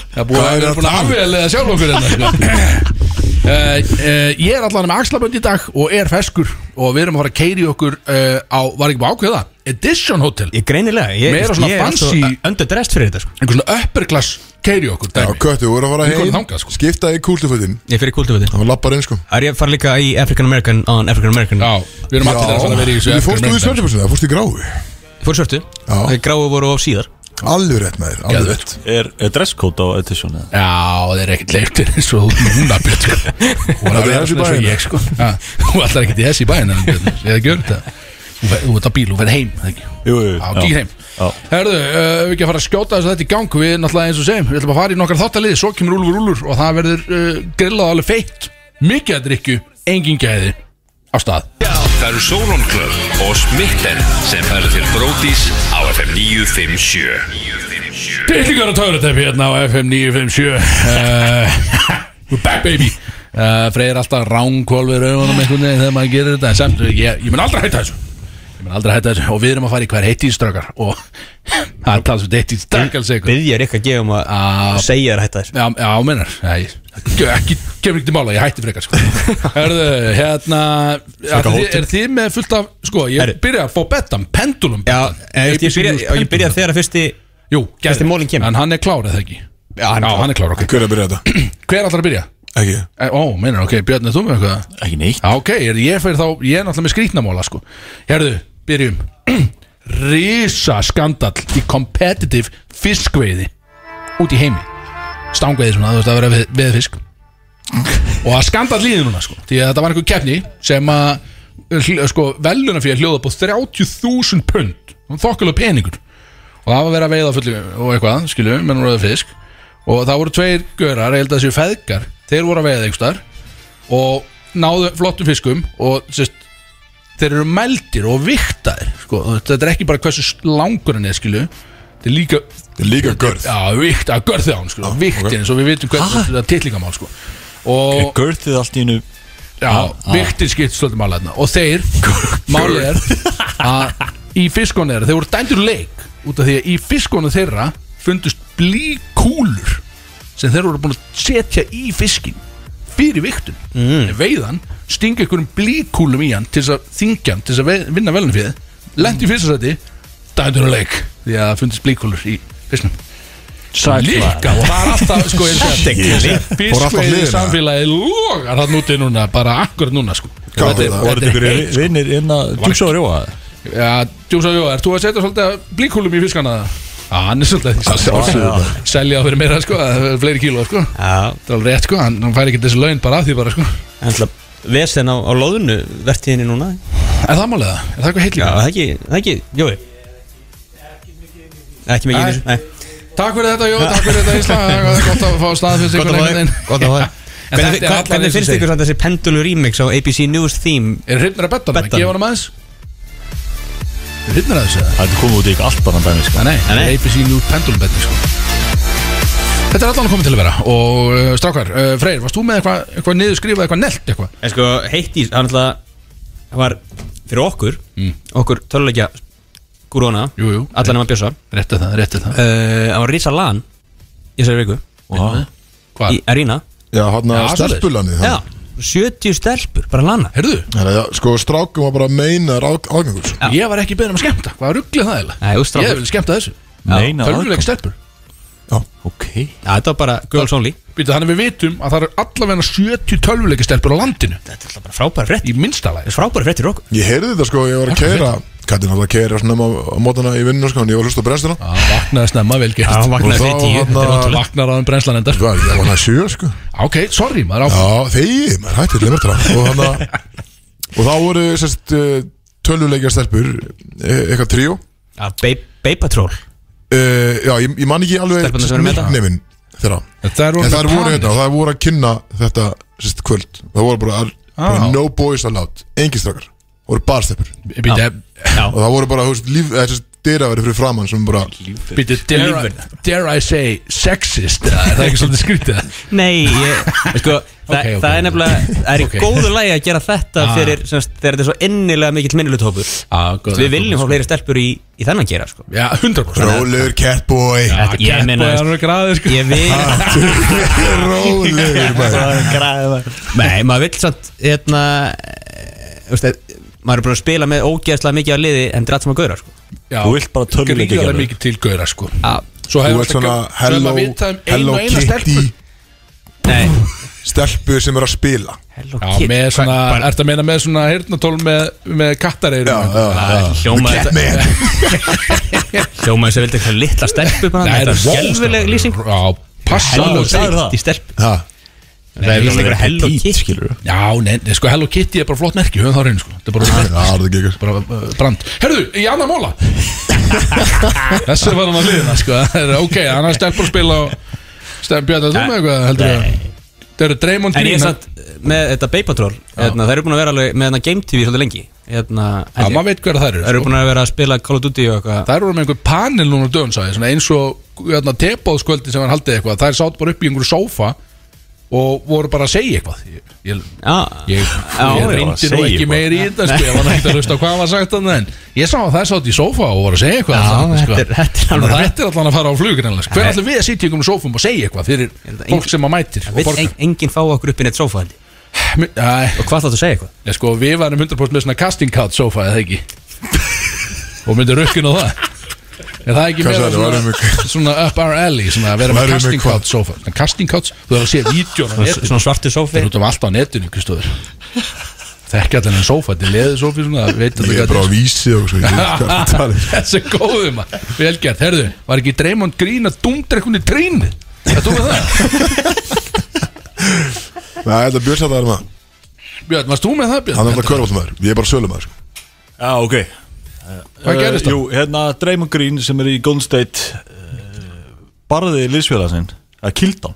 Speaker 4: Það er búið
Speaker 3: Hvað er
Speaker 4: að vera
Speaker 3: að
Speaker 4: búin að
Speaker 3: tala um?
Speaker 4: afveglega sjálf okkur hérna, sko. Uh, uh, ég er allan með axlabönd í dag og er feskur og við erum að fara að keiri okkur uh, á, var ekki búið að ákveða Edition Hotel,
Speaker 5: Ég greinilega Ég,
Speaker 4: Meira svona
Speaker 5: ég er alltaf
Speaker 4: fancy-
Speaker 5: underdressed fyrir þetta sko.
Speaker 4: einhver svona upper class keiri okkur
Speaker 3: Já,
Speaker 4: dæmi.
Speaker 3: köttu, þú voru að fara
Speaker 4: Við komum
Speaker 3: heim
Speaker 4: þangað, sko.
Speaker 3: Skipta í kúltufötin
Speaker 5: Ég fyrir kultuviti
Speaker 3: Það var lappar inn, sko
Speaker 5: Er ég að fara líka í African American on African American
Speaker 4: Já, við erum allir að fara að vera í þessu
Speaker 3: þú
Speaker 4: African
Speaker 3: fórstu úr
Speaker 4: American.
Speaker 3: svörðjafursunni, það fórstu í gráfi
Speaker 5: Fór svörtu Þeir gráu voru á síðar
Speaker 3: Alveg rétt maður, alveg rétt
Speaker 2: Er, er dresscode á edition eða?
Speaker 4: Já, það er ekkert leiftir eins og núna björn sko. Hún er
Speaker 3: Þetta
Speaker 4: að
Speaker 3: er
Speaker 4: vera
Speaker 3: þessi
Speaker 4: svona eins og
Speaker 3: bæinn.
Speaker 4: ég sko Já, Hún ætlar ekkert í þessi bæinn en Björn, Ég hef gjörð þetta Þú fer- þú ert á bíl, hún verð heim það ekki?
Speaker 2: Jú, jú, jú,
Speaker 4: Já, gíð heim
Speaker 2: Já.
Speaker 4: Herðu, uh, við ekki að fara að skjóta þessu þetta í gang Við náttúrulega eins og segjum, við ætlum að fara í nokkar þáttalið Svo kemur Úlfur Úlfur og það verður uh, grillað alveg feitt Mikið að drikju, engin gæði Á stað
Speaker 7: Það eru Sólon Club og Smitten sem færðu til Brótis á FM 957
Speaker 4: Dillingar og törutepi hérna á FM 957 uh, We're back baby uh, Freyr er alltaf ránkólfið raugunum einhvern veginn þegar maður gerir þetta en samt, ég, ég mun aldrei hætta þessu Ég mun aldrei hætta þessu og við erum að fara í hver heittíðströkar og (laughs) um það er talað svo heittíðströkar Já,
Speaker 5: Byðja Rikka G um að
Speaker 4: Já.
Speaker 5: segja þér hætta þér
Speaker 4: já, menar Nei, ekki, ekki, kemur ekki til mála, ég hætti frekar sko. Herðu, hérna er, er þið með fullt af, sko, ég
Speaker 5: Herri.
Speaker 4: byrja að fá betam, pendulum
Speaker 5: Já, eh, ég, ég, byrja, á ég byrja þegar að fyrsti
Speaker 4: Jú,
Speaker 5: Fyrsti
Speaker 4: gerðu.
Speaker 5: mólinn kemur.
Speaker 4: En hann er klár eða ekki? Já,
Speaker 5: hann er klár.
Speaker 4: hann er klár, ok
Speaker 3: Hver er að byrja þetta?
Speaker 4: Hver ætlar að byrja?
Speaker 3: Ekki
Speaker 4: Eh, Ó, meinar, ok, Björn, er þú með eitthvað?
Speaker 2: Ekki neitt
Speaker 4: Já, ok, er, ég fyrir þá, ég er náttúrulega með skrýtnamóla, sko Herðu, byrjum (clears throat) Risa skandall í competitive fiskveiði Út í heimi Stangveiði svona, þú veist, að vera veð, veðfisk Og að skandall líði núna, sko Því að þetta var einhver keppni sem að hl- Sko, veluna fyrir hljóða búið 30.000 pund Þokkulega peningur og það var verið að veiða fullu og eitthvað, skilju, menn voru að veiða fisk og það voru tveir görar, ég held að séu feðgar þeir voru að veiða einhverstaðar og náðu flottum fiskum og sérst, þeir eru meldir og viktaðir, sko, þetta er ekki bara hversu langur hann er, skilju þetta er líka,
Speaker 3: Líka görð
Speaker 4: já, vikt, að görð þjá hann, skilju, viktin eins og sko. við vitum hvernig þetta er tillingamál, sko
Speaker 2: Er
Speaker 4: og,
Speaker 2: görðið allt í hennu
Speaker 4: já, viktin skipt svolítið mála þarna og (laughs) þeir, málið er að í fiskonu þeirra, þeir voru dændur úr leik út af því að í fiskonu þeirra fundust blíkúlur sem þeir voru búin að setja í fiskin fyrir viktun mm. veiðan, stinga einhverjum blíkúlum í hann til þess að þingja hann til þess að veið- vinna velnum fyrir lent í fyrstasæti, dændur úr leik því að það fundust blíkúlur í fisknum Líka, og það er alltaf sko, eins (laughs) og að
Speaker 3: Fór alltaf
Speaker 4: fiskveið
Speaker 3: hliðina.
Speaker 4: samfélagi logar hann úti núna, bara akkurat núna sko.
Speaker 3: Hvað var það?
Speaker 2: Voru þetta ykkur vinnir inn að Djúksa og rjóa
Speaker 4: Já, Jósa Jó, ert þú að setja svolítið af blíkúlum í fiskana það? Já, hann er svolítið að
Speaker 3: sjálfsögðu
Speaker 4: því sko. Selja það fyrir meira, sko, það er fleiri kíló, sko Það
Speaker 5: Já,
Speaker 4: er alveg rétt, sko, hann, hann fær ekki þessi laun bara af því bara, sko Er
Speaker 5: en alltaf Vesen á, á loðinu vertíðinni núna
Speaker 4: það málið það? Er það eitthvað heitlíka?
Speaker 5: Já, það ekki, það ekki, Jói Ekki mikið í þessu, nei
Speaker 4: Takk fyrir þetta, Jó, takk fyrir þetta,
Speaker 5: (laughs)
Speaker 4: Ísla Það er gott að fá staðfyrst
Speaker 5: Gott að fá þig, gott að fá þig
Speaker 4: (laughs) En
Speaker 5: Hvernig,
Speaker 4: þetta er
Speaker 5: hva-
Speaker 4: allan
Speaker 5: hvernig
Speaker 4: eins og
Speaker 5: finnst ykkur
Speaker 4: segir.
Speaker 5: samt þessi pendulur remix á ABC News theme
Speaker 4: Er hrypnir að betta hann?
Speaker 5: Beddanum.
Speaker 4: Gefa hann aðeins? Er hrypnir að þessu? eða?
Speaker 2: Það kom út í ykkur allt annan dæmi sko.
Speaker 4: Nei, nei,
Speaker 5: Nei, nei.
Speaker 4: ABC New Pendulum betti, sko Þetta er allan að koma til að vera Og uh, strákar, uh, Freyr, varst þú með eitthvað eitthva niður skrifað, eitthvað nelt eitthvað?
Speaker 5: En sko, heitt ís, hann alltaf var fyrir okkur, okkur töluleikja Gúróna,
Speaker 4: Mm. Jú, jú.
Speaker 5: allan nema Bjössa
Speaker 4: Réttu það, réttu það
Speaker 5: uh, á Risa Lan í þessari viku
Speaker 2: Vá.
Speaker 4: Hvað?
Speaker 5: í Arena
Speaker 3: Já, hérna hann að
Speaker 4: Já,
Speaker 3: stelpulani
Speaker 5: Já, 70 stelpur, bara lana
Speaker 4: Herðu,
Speaker 3: Þannig að sko strákum var bara meina ágangur sko.
Speaker 5: Já.
Speaker 4: ég var ekki beðin um að skemmta Hvað rugglið það eiginlega?
Speaker 5: Nei, þú strákur.
Speaker 4: Ég vil skemmta þessu
Speaker 2: Meina
Speaker 4: Tölvuleik
Speaker 2: aðgang
Speaker 4: stelpur
Speaker 2: Ok
Speaker 5: Já, þetta var bara girls only
Speaker 4: Býtu, þannig við vitum að það eru allavega 70 tölvuleika stelpur á landinu
Speaker 5: Þetta er alltaf bara frábæri frétt
Speaker 4: Í minnstalæg
Speaker 5: Þetta er frábæri frétt fyrir okkur
Speaker 3: Ég heyrði þetta sko, ég var að keira Kattin alltaf keira svona um á mótana í vinnu sko En ég var að hlusta á brennsluna
Speaker 4: Vaknaði snemma vel gert
Speaker 3: vaknaði fyrir tíu, þetta er
Speaker 4: Vaknaði Vaknar á enn brennslan endar
Speaker 3: Hvað, ég var að sjö sko
Speaker 4: Ok, sorry, maður áfram
Speaker 3: Já, þegi, maður hættir lemmertra Og hann að Og þá voru sérst tölvuleikja stelpur e- Eitthvað tríó
Speaker 5: Já, Bay- Bay Patrol
Speaker 3: e, Já, ég, ég man ekki alveg
Speaker 5: Stelpurnar sem eru með þetta?
Speaker 3: nicknameinn þeirra
Speaker 4: Það
Speaker 3: En það voru hérna, það voru að kynna þetta sérst kvöld Það voru bara, bara no boys allowed Engin strákar, voru barstelpur
Speaker 4: eh,
Speaker 3: Og það voru bara, þú veist, líf, eða sérst dyraveri fyrir framann sem bara
Speaker 4: Býtu, dare, I- dare I say sexist eða er Það er ekki svolítið skrítið
Speaker 5: (laughs) Nei, ég, sko, það,
Speaker 4: ok.
Speaker 5: það er nefnilega Það er í
Speaker 4: Ok.
Speaker 5: góðu lægi að gera þetta
Speaker 4: Ah.
Speaker 5: fyrir semst, Þegar þetta er svo innilega mikill minnilutópur
Speaker 4: ah,
Speaker 5: Við viljum fá fleiri stelpur í, í þennan gera sko.
Speaker 4: Já, 100%
Speaker 3: Rólegur catboy
Speaker 5: Þetta- Ég meina,
Speaker 4: Það er græðið sko
Speaker 5: ég vil
Speaker 3: (laughs)
Speaker 5: (laughs)
Speaker 3: Rólegur maður
Speaker 5: Nei, maður vill samt hérna, eh, þú veist, eh, maður er búin að spila með ógeðslega mikið af liði en drætt sem að gauðra sko.
Speaker 4: Já,
Speaker 2: Þú vilt bara tölvuleiki
Speaker 4: gríðarlega
Speaker 2: gera.
Speaker 4: mikið til gauðra sko
Speaker 5: Svo-
Speaker 4: Svo
Speaker 3: Þú
Speaker 4: hefur
Speaker 3: ert svona hello,
Speaker 4: um
Speaker 3: hello kitty
Speaker 5: Nei,
Speaker 3: stelpu sem er að spila
Speaker 5: hello
Speaker 4: Já,
Speaker 5: kid
Speaker 4: með svona, ertu að meina með svona heyrnatól með, með kattareyrum
Speaker 5: Hljómaði þetta Hljómaði þess að vildi eitthvað litla stelpu bara Þetta er skelfileg lýsing
Speaker 4: Já, passa
Speaker 5: Hello
Speaker 4: alveg.
Speaker 2: sagði það.
Speaker 5: Kitty stelpu
Speaker 3: Ha,
Speaker 5: Það er líka eitthvað Hello Kitty
Speaker 4: Já, nei, nei, sko Hello Kitty er bara flott merki Höfum það á hreinu sko Þetta er bara,
Speaker 3: Það er það gekkur
Speaker 4: bara uh, brand Herðu, í annar móla Þessi var hann að liðina sko Það er Ok, hann er stelpur að spila Stefn Björn, þú með eitthvað heldur ég Það eru Draymond
Speaker 5: En
Speaker 4: Green
Speaker 5: ég er satt með þetta Bay Patrol hérna, Það eru búin að vera alveg með hérna Game TV svolítið lengi hérna,
Speaker 4: Já,
Speaker 5: held ég.
Speaker 4: maður veit hver það
Speaker 5: Það eru búin að vera að spila Call of Duty og eitthvað
Speaker 4: Það eru með einhver panel núna á dögum sagði, svona eins og hérna, tepáðskvöldi sem hann haldið eitthvað Það er sátt bara upp í einhverju sófa og voru bara að segja eitthvað Ég, ég,
Speaker 5: Já.
Speaker 4: ég,
Speaker 5: já,
Speaker 4: ég
Speaker 2: bara að
Speaker 4: reyndi nú
Speaker 2: segja
Speaker 4: ekki
Speaker 2: eitthvað.
Speaker 4: meir í þetta sko, ég var nægt að hlusta á hvað hann var sagt þarna, en ég sá að það er sátt í sófa og voru að segja eitthvað
Speaker 5: Já,
Speaker 4: þarna, sko.
Speaker 5: þetta er- þetta er alveg
Speaker 4: Þannig að
Speaker 5: rétt.
Speaker 4: þetta er allan að fara á flug greinlega, sko. Hver allir við að sitja í einhverjum sófum og segja eitthvað fyrir
Speaker 5: held að engin-
Speaker 4: fólk sem að mætir og
Speaker 5: Vill
Speaker 4: borgar?
Speaker 5: en- enginn fá okkur upp í neitt sófa held ég.
Speaker 4: Æ,
Speaker 5: Og hvað þáttu að segja eitthvað?
Speaker 4: Nei, sko, við varum 100% með svona casting couch sofa, eða ekki Og myndum rukkin á það Er það ekki
Speaker 3: Hvað
Speaker 4: meira
Speaker 3: sagði, varum
Speaker 4: svona,
Speaker 3: við-
Speaker 4: svona up our alley Svona að vera með
Speaker 3: Varum við
Speaker 4: casting
Speaker 3: hvað?
Speaker 4: couch sofa svona, Casting couch, þú verður að sé vídjón á netinu
Speaker 5: Svona svartu
Speaker 4: Það
Speaker 5: sófi
Speaker 4: er út af allt á netinu, Kristóður Þekki allir en sofa, þetta er leðið sofi svona það veit allir
Speaker 3: Ég er
Speaker 4: hvað
Speaker 3: bara á vísi og svo ég veit hvað það talir
Speaker 4: (laughs) Þessi er góðu maður, velgjart, herðu Var ekki Draymond Green að dúmdra eitthvað í trínu? Það þú með það?
Speaker 3: (laughs) Nei, þetta björns að það er maður
Speaker 4: Björn, varst þú með það,
Speaker 3: Hann er
Speaker 4: Björn?
Speaker 3: alltaf körfaldumæður, ég er bara sölumæður sko.
Speaker 2: Já, ok
Speaker 3: Eh,
Speaker 4: Hvað
Speaker 2: það?
Speaker 4: gerist það?
Speaker 2: Jú, hérna Draymond Green sem er í Golden State uh, barði liðsfélagsinn að kildan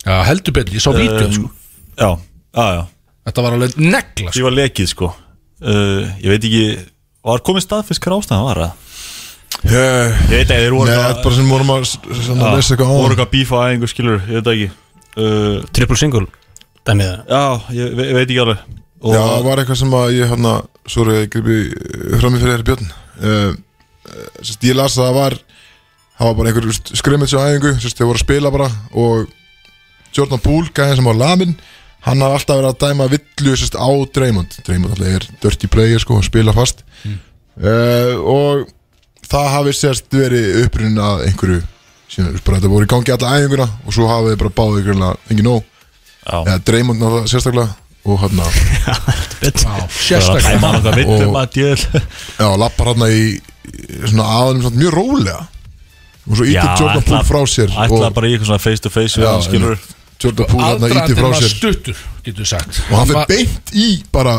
Speaker 4: Já, heldur betur, ég sá vídjón, sko
Speaker 2: Ehm, Já, já, já
Speaker 4: Þetta var alveg negla,
Speaker 2: Því var lekið sko uh, Ég veit ekki Var komið staðfisk hver ástæðan var það?
Speaker 3: Eh,
Speaker 2: Ég veit ekki, þeir
Speaker 3: Nei,
Speaker 2: voru Ah,
Speaker 3: þetta er bara sem vorum að sem að lesa eitthvað á
Speaker 2: voru eitthvað bífa að einhver skilur Ég veit ekki uh,
Speaker 5: Triple single Dæmið það
Speaker 2: Já, ég ve veit ekki alveg Og,
Speaker 3: Já, það var eitthvað sem að ég hann að Sori, ég gripi fram í fyrir þér björn uh, sérst, Ég las að það var Það var bara einhver skrimmits á æfingu sérst, Þeir voru að spila bara Og Jordan Poole, gæðin sem var lamin Hann hafði alltaf verið að dæma villu sérst, á Draymond Draymond alltaf er dirty player sko, hann spila fast uh, Og það hafi sérst verið upprunnin að einhverju síðan, bara, Þetta voru í gangi alla æfinguna Og svo hafið þeir bara báðið ykkurlega engin nóg
Speaker 2: Já.
Speaker 3: Eða Draymond náttúrulega sérstaklega Og hérna- hann að
Speaker 2: Það var að
Speaker 4: sérstaklega
Speaker 2: tæma hann eitthvað
Speaker 3: Og-
Speaker 2: vittum að djöðl
Speaker 3: Já, lappar hann í í svona aðanum svona mjög rólega og svo
Speaker 2: Já,
Speaker 3: ítir Jordan Poole frá sér
Speaker 2: Ætla
Speaker 3: og
Speaker 2: bara í eitthvað svona face to face við
Speaker 3: Já,
Speaker 2: hann, skilur
Speaker 3: Jordan Poole hann ítir
Speaker 4: Aðdraðandinn
Speaker 3: frá
Speaker 4: var
Speaker 3: sér
Speaker 4: stuttur, getur við sagt
Speaker 3: og hann fyrir beint í bara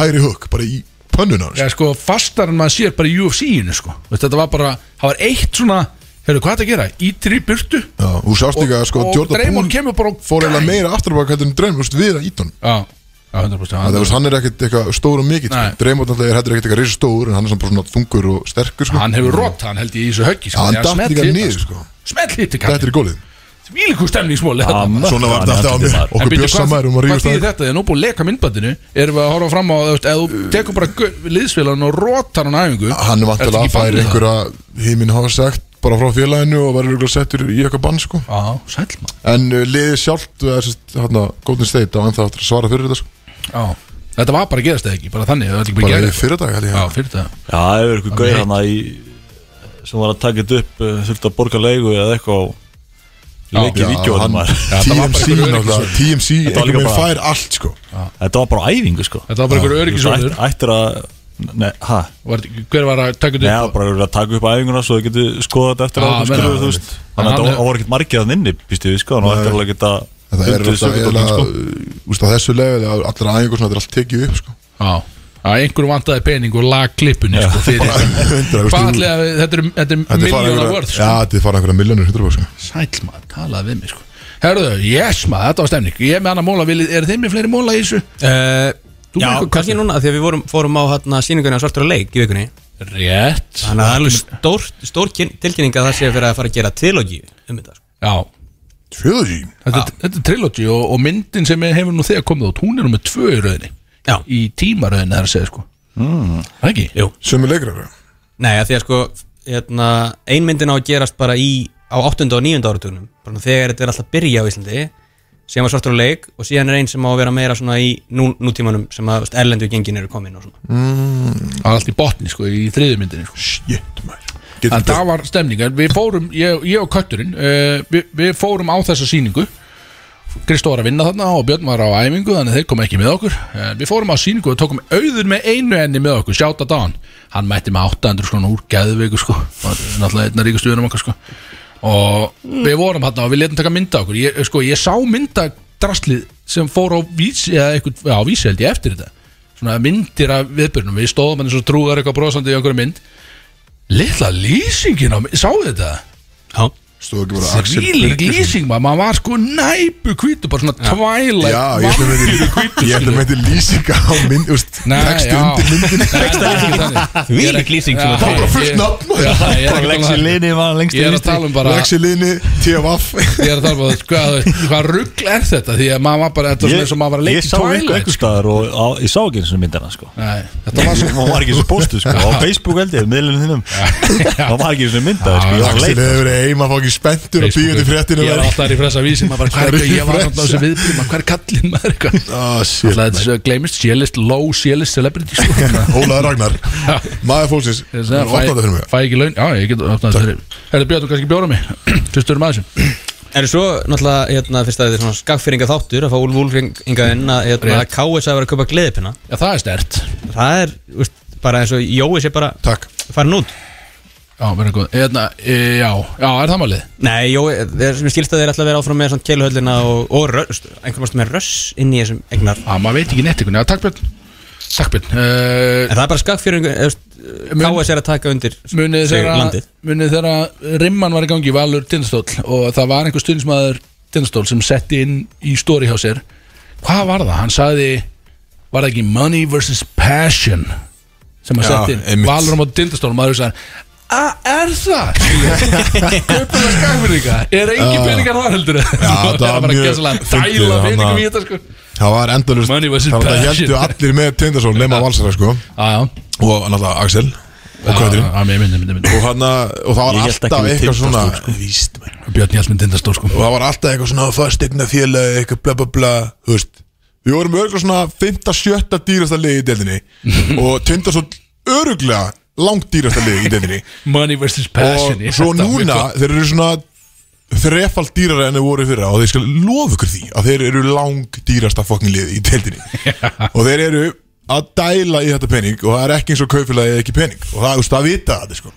Speaker 3: hægri hug, bara í pönnuna
Speaker 4: Já,
Speaker 3: ja.
Speaker 4: sko, fastar en maður sér bara í UFC-inu, sko Veist, Þetta var bara, það var eitt svona Hefur hvað er að gera? Ítir í burtu
Speaker 3: Já, og sást líka að sko
Speaker 4: og
Speaker 3: Jordan
Speaker 4: Draymond
Speaker 3: Poole
Speaker 4: kemur bara og-
Speaker 3: fór eiginlega meira afturbaka hættur en Draymond, þú veist, við að ít hann
Speaker 4: Já, já, 100%
Speaker 3: Það
Speaker 4: hann,
Speaker 3: er, hann er ekkert eitthvað stór og mikill sko.
Speaker 4: Nei.
Speaker 3: Draymond náttúrulega er hættur ekkert eitthvað risa stór en hann er samt bara svona þungur og sterkur sko.
Speaker 4: hann hérna, hefur rótt, hann held ég í þessu höggi
Speaker 3: Já, hann datt líka niður, sko.
Speaker 4: Smell hittir
Speaker 3: Þetta
Speaker 4: kallið
Speaker 3: er í gólið
Speaker 4: Þvílíku stemningsmóli
Speaker 2: Amma.
Speaker 3: Svona var þetta alltaf á
Speaker 2: En
Speaker 3: mér
Speaker 4: En
Speaker 3: Okkur
Speaker 4: byrju,
Speaker 3: björs
Speaker 4: hvað
Speaker 3: samar um að
Speaker 4: hvað
Speaker 3: ríðast
Speaker 4: þýðir
Speaker 3: að
Speaker 4: þetta? Þegar nú búið að leka myndbandinu Erum við að horfa fram á þú veist, Ef þú tekur bara liðsfélagun og rótar hann á æfingu
Speaker 3: Hann er
Speaker 4: ertu
Speaker 3: vantilega
Speaker 4: ekki
Speaker 3: að færi
Speaker 4: bannið það?
Speaker 3: einhverja Himinn hafa sagt bara frá félaginu og verður ykkur settur í eitthvað bann sko
Speaker 4: Á, sæll maður
Speaker 3: En uh, liðið sjálft uh, er sérst, hérna, Golden State á ennþá eftir að svara fyrir þetta sko.
Speaker 4: Já Þetta var bara að gerast eða ekki Bara þannig Það var ekki bara
Speaker 3: Bara
Speaker 4: að
Speaker 3: í
Speaker 4: gera
Speaker 3: fyrir dag held ég
Speaker 4: Já, fyrir þetta
Speaker 2: Já, það hefur ykkur gauð
Speaker 4: heitt.
Speaker 2: hana í sem var að taka þetta upp eh, þurfti að borga leigu eða eitthvað og leik í
Speaker 3: Já,
Speaker 2: vídjóðum
Speaker 3: hann-
Speaker 2: maður
Speaker 4: þetta var bara
Speaker 3: TMC
Speaker 4: einhver
Speaker 3: náttúrulega,
Speaker 4: öryggisvörður.
Speaker 3: TMC
Speaker 2: Þetta var líka
Speaker 3: einhvern veginn
Speaker 2: bara-
Speaker 3: fær allt sko
Speaker 2: Þetta var bara á æfingu sko
Speaker 4: Þetta var bara einhver
Speaker 2: Já,
Speaker 4: öryggisvörður.
Speaker 2: ætt- Ættir að Nei, hæ?
Speaker 4: Var- Hver var að taka
Speaker 2: Nei,
Speaker 4: þetta
Speaker 2: það var
Speaker 4: upp?
Speaker 2: bara einhver að taka upp æfinguna svo þau getur skoðað þetta eftir
Speaker 4: Já,
Speaker 2: að þú
Speaker 4: meina,
Speaker 2: skilur
Speaker 4: já,
Speaker 2: þú veist
Speaker 4: einmitt.
Speaker 2: Þannig að
Speaker 4: Hann er-
Speaker 2: það voru ekkert margir að nynni, býstu við sko Þannig að
Speaker 3: Nei.
Speaker 2: þetta er alveg geta
Speaker 3: Þetta er
Speaker 2: fundið
Speaker 3: alltaf
Speaker 2: sökudólinn,
Speaker 3: eiginlega,
Speaker 2: sko.
Speaker 3: uh, úst, á þessu level allra aðingur svona, þetta er allt tekið upp sko.
Speaker 4: Já Að einhver vantaði pening og lag klippun sko,
Speaker 3: (laughs)
Speaker 4: fyrir-
Speaker 3: Hundra,
Speaker 4: Hvað
Speaker 3: úst, þú-
Speaker 4: allega Þetta er, sko. þetta er
Speaker 3: Þetta er fara
Speaker 4: miljóna
Speaker 3: einhverja
Speaker 4: vörð
Speaker 3: Já, þetta er fara einhverja miljónur hundra sko.
Speaker 4: Sæll maður, talaði við mig sko Herðu, yes maður, þetta var stemning Ég er með annar móla, viljið- eru þið með fleiri móla í þessu?
Speaker 5: Eh,
Speaker 4: Þú
Speaker 5: Já,
Speaker 4: með eitthvað
Speaker 5: kannski
Speaker 4: kostum?
Speaker 5: núna Því að við vorum, fórum á hérna, sýningunni á svartur að leik í vikunni
Speaker 4: Rétt
Speaker 5: Þannig að það er alveg stór, stór kyn- tilkynning að það sé fyrir að fara að gera trilogíu um þetta sko.
Speaker 4: Já,
Speaker 3: Tjóði
Speaker 4: þetta, þetta er trilogy og, og myndin sem er- hefur nú þegar komið út Hún er nú með tvö í rauðinni
Speaker 5: Já,
Speaker 4: Í tímarauðinni það er að segja sko mm. Ekki?
Speaker 5: jú
Speaker 3: Sumi leikrar
Speaker 5: Nei, að því að sko hérna, einmyndin á að gerast bara í á 8. og 9. áratugnum bara þegar þetta er alltaf að byrja á Íslandi síðan var svartur á leik og síðan er einn sem á að vera meira svona í nú, nútímanum sem að þú veist, erlendu gengin eru komin og svona
Speaker 4: Það er allt í botni sko, í þriðju myndinni sko.
Speaker 3: Shit, maður
Speaker 4: En
Speaker 3: Getur
Speaker 4: það var stemningar Við fórum, ég, ég og Kötturinn uh, við, við fórum á þessa sýningu Kristó var að vinna þarna og Björn var á æfingu Þannig að þeir kom ekki með okkur uh, Við fórum á sýningu og tókum auður með einu enni með okkur Sjáta Dan Hann mætti með 800 sko úr geðveiku sko Það er Náttúrulega einna ríkastu vinum okkar sko Og við vorum hann og við letum taka mynda okkur ég, Sko ég sá myndadraslið sem fór á vísi eða eitthvað á vísi held ég eftir þetta Svona myndir af viðbyrnum Við stóðum hann eins og trúðar eitthvað brosandi í einhverju mynd Litla lýsingin á mig, sáðu þetta?
Speaker 5: Já,
Speaker 3: Stóð ekki bara Axel
Speaker 4: Svílík
Speaker 3: Birgisson.
Speaker 4: lýsing maður, maður var sko næpu hvítu, bara svona tvælæg
Speaker 3: Já, ég ætlum eitthvað Ég ætlum eitthvað lýsinga á mynd úst, Textu undir
Speaker 4: (laughs)
Speaker 3: myndinni
Speaker 5: þvílík lýsing sem að
Speaker 3: Það var bara fullt nafn
Speaker 2: Lexi Lini var lengst
Speaker 4: um Ég er að tala um bara
Speaker 3: Lexi Lini, TFF
Speaker 4: (laughs) Ég er að tala um bara, sko, að þú veist, hvað rugg er þetta? Því að maður var bara, þetta var svona eins og maður var að
Speaker 2: Ég
Speaker 4: leika í
Speaker 2: sá ykkur
Speaker 4: tvælæg
Speaker 3: sko.
Speaker 2: einhver staðar og á, ég sá ekki eins og myndina sko
Speaker 4: Nei,
Speaker 3: (laughs)
Speaker 4: þetta var
Speaker 2: Hún var ekki eins og postu sko Á Facebook held ég, miðlunum þínum Það var ekki eins og mynda sko Ég var að
Speaker 3: Axel
Speaker 2: leita
Speaker 3: hefur verið heima fókin spenntur og býður til fréttinu
Speaker 4: Ég er alltaf þar í fressa vísin maður bara, hvað er ekki, ég var náttúrulega á þessu viðbyrjum maður, hvað er kallinn maður eitthvað
Speaker 3: Ah, shit,
Speaker 4: Alltaf þetta er gleymist, sjælist, low sjælist celebrity sko Þannig að-
Speaker 3: (laughs) Ólaður
Speaker 4: (laughs)
Speaker 3: Ragnar Maður fólksins
Speaker 4: Ég segi,
Speaker 3: Opnaðu þetta fyrir mig
Speaker 4: Fæ ekki laun, já ég get opnað þetta fyrir Herri Björn, þú kannski bjóra mig (clears throat) Fyrst erum aðeins
Speaker 5: En svo náttúrulega, hérna, fyrst að þetta er svona skagfyrringa þáttur að fá Úlf Úlf hingað inn að hérna,
Speaker 4: Rétt.
Speaker 5: KS að vera að kaupa gleðipina
Speaker 4: Já það er stert
Speaker 5: Það er, þú veist, bara eins og Jói sé bara
Speaker 3: Takk
Speaker 5: farin út
Speaker 4: Já, verður góð Eðna, e, já, já, er það málið?
Speaker 5: Nei, jó, þeir sem skilst að þeir ætla að vera áfram með svona keiluhöllina og, og röst, einhvern veginn með röss inn í þessum egnar
Speaker 4: Já, maður veit ekki neitt einhvern veginn Já, takk Björn Takk Björn
Speaker 5: En
Speaker 4: uh,
Speaker 5: það er bara skakfjörðing KS er að taka undir
Speaker 4: Munið
Speaker 5: segir
Speaker 4: þeirra
Speaker 5: landið
Speaker 4: Munið þeirra Rimman var í gangi Valur Tindastóll Og það var einhver stundismæður Tindastóll Sem setti inn í story hjá sér Hvað var það? Hann sagði Var það ekki money versus passion Sem hann
Speaker 3: Já,
Speaker 4: setti inn
Speaker 3: einmitt.
Speaker 4: Valur á móti Tindastóll og Maður sagði A, er það? Kaupin að skakfyrringa Er engin peningar þar heldur (laughs) Já,
Speaker 3: það var mjög fyndið,
Speaker 4: Dæla
Speaker 3: hann
Speaker 4: peningum í
Speaker 3: að-
Speaker 4: þetta sko
Speaker 3: Það var endalust
Speaker 4: Money was in
Speaker 3: Það var
Speaker 4: passion.
Speaker 3: heldur allir með Tindarsson
Speaker 4: (laughs)
Speaker 3: Nefna valsara sko
Speaker 4: Já, já
Speaker 3: Og náttúrulega Axel
Speaker 4: Ah.
Speaker 3: Og Kötturinn
Speaker 4: Já, mér myndi, myndi, myndi
Speaker 3: og, hana, og það var
Speaker 2: Ég hélt ekki
Speaker 3: alltaf
Speaker 2: við
Speaker 3: eitthvað svona
Speaker 4: sko.
Speaker 2: Tindastól,
Speaker 3: víst, maður.
Speaker 4: Björn Jálsmynd Tindastól sko
Speaker 3: og það var alltaf eitthvað svona fastegna fjöla eitthvað bla bla bla þú veist. við vorum örgulega svona 5-7 dýrasta lið í delinni
Speaker 4: (laughs)
Speaker 3: og tindar svo örgulega langt dýrasta lið í delinni
Speaker 4: Money versus passion
Speaker 3: og svo núna þeir eru svona þrefald dýrara enn þeir voru í fyrra og þeir skal lofa ykkur því að þeir eru lang dýrasta fokkin lið í
Speaker 4: (laughs)
Speaker 3: deildinni og þeir eru að dæla í þetta pening og það er ekki eins og kaupfélagi eða ekki pening og það er úst að vita þetta sko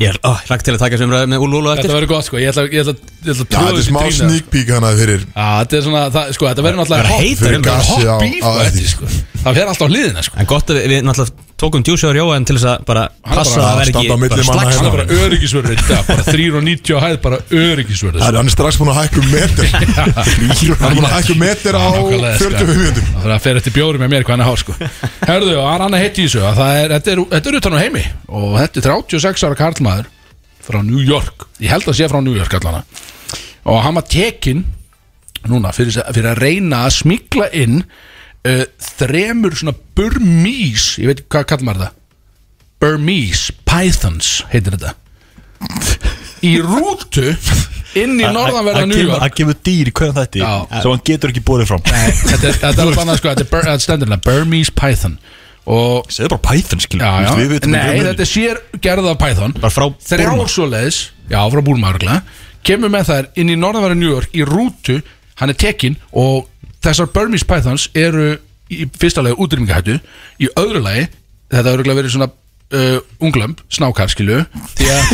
Speaker 5: Ég er ó, hlagt til að taka sem ræðum með Úlu Úlu
Speaker 4: Þetta
Speaker 5: eftir
Speaker 4: verður gott sko Ég ætla, ég ætla, ég
Speaker 3: Já,
Speaker 4: ætla að trúa
Speaker 3: þetta er
Speaker 4: þessu
Speaker 3: smá
Speaker 4: gríni, sko.
Speaker 3: sneak peek hana fyrir
Speaker 4: Já, þetta er svona það, Sko, þetta verður náttúrulega
Speaker 5: Það er
Speaker 4: hot-
Speaker 5: heitar um
Speaker 4: Það er
Speaker 3: það.
Speaker 4: hot
Speaker 3: Já,
Speaker 4: beef
Speaker 3: á
Speaker 4: á
Speaker 3: eftir.
Speaker 4: þetta sko Það fer alltaf á hliðina sko
Speaker 5: En gott að við, við náttúrulega tókum djúsjóður Jóa en til þess að bara
Speaker 4: er
Speaker 5: passa
Speaker 4: bara
Speaker 5: að það
Speaker 3: að
Speaker 5: verði
Speaker 3: standa á
Speaker 5: ekki
Speaker 3: milli
Speaker 5: bara
Speaker 3: manna
Speaker 5: slags
Speaker 4: Það
Speaker 3: hérna.
Speaker 4: er bara öryggisverður í dag Bara 390 og hæð Bara öryggisverður
Speaker 3: Það er hann er strax búin að hækka um
Speaker 4: (laughs)
Speaker 3: meter Hann er búin að hækka um meter á
Speaker 4: sko.
Speaker 3: 45 mjöndum
Speaker 4: Það er að fer eftir bjóri með mér hvað hann er hár sko Herðu, og hann annað heitt í þessu að það er, þetta, er, þetta er utan á heimi Og þetta er 36 ára karlmaður Frá New York Ég held að sé frá New York allana og hann var tekinn núna fyrir, fyrir að reyna að smikla inn uh, þremur svona Burmese, ég veit ekki hvað kallar maður það Burmese, Pythons heitir þetta í rútu inn í norðanverða New York
Speaker 2: Það gefur dýr í hverjum þetta
Speaker 4: Já.
Speaker 2: sem hann getur ekki borðið fram
Speaker 4: Nei, þetta er- þetta er alveg annað sko, þetta er Bur- þetta stendur hérna, Burmese Python og
Speaker 2: Segðu bara Python skilur
Speaker 4: já, já,
Speaker 2: Þú veist, Við vitum um
Speaker 4: nei, þetta er sér gerð af Python
Speaker 2: Bara frá Búrma.
Speaker 4: þrjár svoleiðis, já, frá Búlma örugglega. kemur með þær inn í norðanverðu New York í rútu, hann er tekin og þessar Burmese Pythons eru í fyrsta lagi útrýmingahættu í öðru lagi, þetta er örgulega verið svona Uh, unglömb, snákar skilu því að,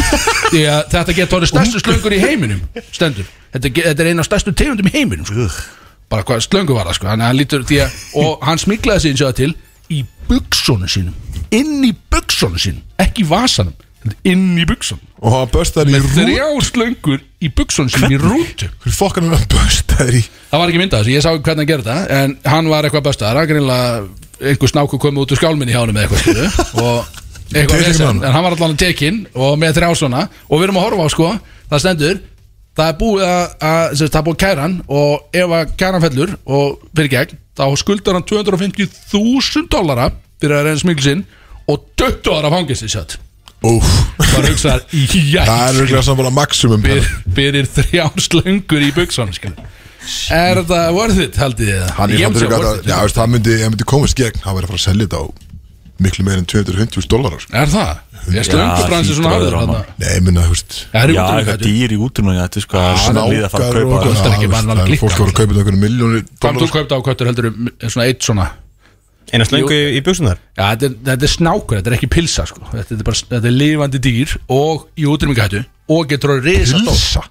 Speaker 4: því að þetta getur orðið stærstu slöngur í heiminum stendur þetta, ge- þetta er eina af stærstu tegundum í heiminum sko. bara hvað slöngu var það sko þannig að hann lítur því að og hann smiklaði sig eins og það til í buksónu sínum inn í buksónu sínum ekki í vasanum heldur inn í buksónu
Speaker 3: Og hann börstar í rú
Speaker 4: þrjár slöngur í buksónu sínum í rútu
Speaker 3: Hvernig fokkan er hann börstar í
Speaker 4: það var ekki myndað þessu, ég sá ekki hvernig hann gerði það en hann var eitthvað bestaðar, hann greinlega einhver snáku komið út úr skálminni hjá hann með eitthvað
Speaker 3: (laughs)
Speaker 4: skilu og eitthvað
Speaker 3: Tekinn
Speaker 4: vesen.
Speaker 3: hann.
Speaker 4: en hann var allan tekinn og með þrjá svona og við erum að horfa á sko, það stendur það er búið að, að sem sagt, það er búið kæran og ef að kæran fellur og fyrir gegn, þá skuldar hann 250.000 dollara fyrir að reyna smikl sinn og 20 ára fangist í sjött
Speaker 3: Úf
Speaker 4: bara hugsaðar, jætt
Speaker 3: Það er auðvitað saman bara maximum
Speaker 4: byr, byrjir þrjár slöngur í buksan Er það worth it, haldið þið?
Speaker 3: Hann er
Speaker 4: Ég
Speaker 3: samt
Speaker 4: myndi
Speaker 3: auðvitað
Speaker 4: segja
Speaker 3: að
Speaker 4: worth it.
Speaker 3: Já, veist, það myndi, ég myndi komast gegn Hann væri að fara að selja þetta á miklu meir en 250.000 dólarar sko.
Speaker 4: Er það? Ég slöngur bransið
Speaker 2: hlýtur
Speaker 4: svona
Speaker 2: að
Speaker 4: harður
Speaker 2: vera
Speaker 4: þarna.
Speaker 2: hann.
Speaker 3: Nei, ég minna, þú veist
Speaker 4: Það er sko.
Speaker 2: Já,
Speaker 4: út
Speaker 2: eitthvað dýr í útrunum Þetta er sko að svona líða þarf að
Speaker 3: Nákar
Speaker 2: kaupa
Speaker 3: og
Speaker 4: það er ekki bara annað
Speaker 3: Fólk
Speaker 4: klikka.
Speaker 3: voru að kaupa þetta einhverjum miljónir
Speaker 4: Hvað þú
Speaker 3: dólarar
Speaker 4: kaupta á köttur heldur um svona eitt svona
Speaker 5: Einar slöngu í, í buksunar
Speaker 4: Já, þetta er, þetta er snákur, þetta er ekki pilsa sko. þetta, er bara, þetta er lifandi dýr og í útrýmingahættu og getur að reysa
Speaker 3: Pilsa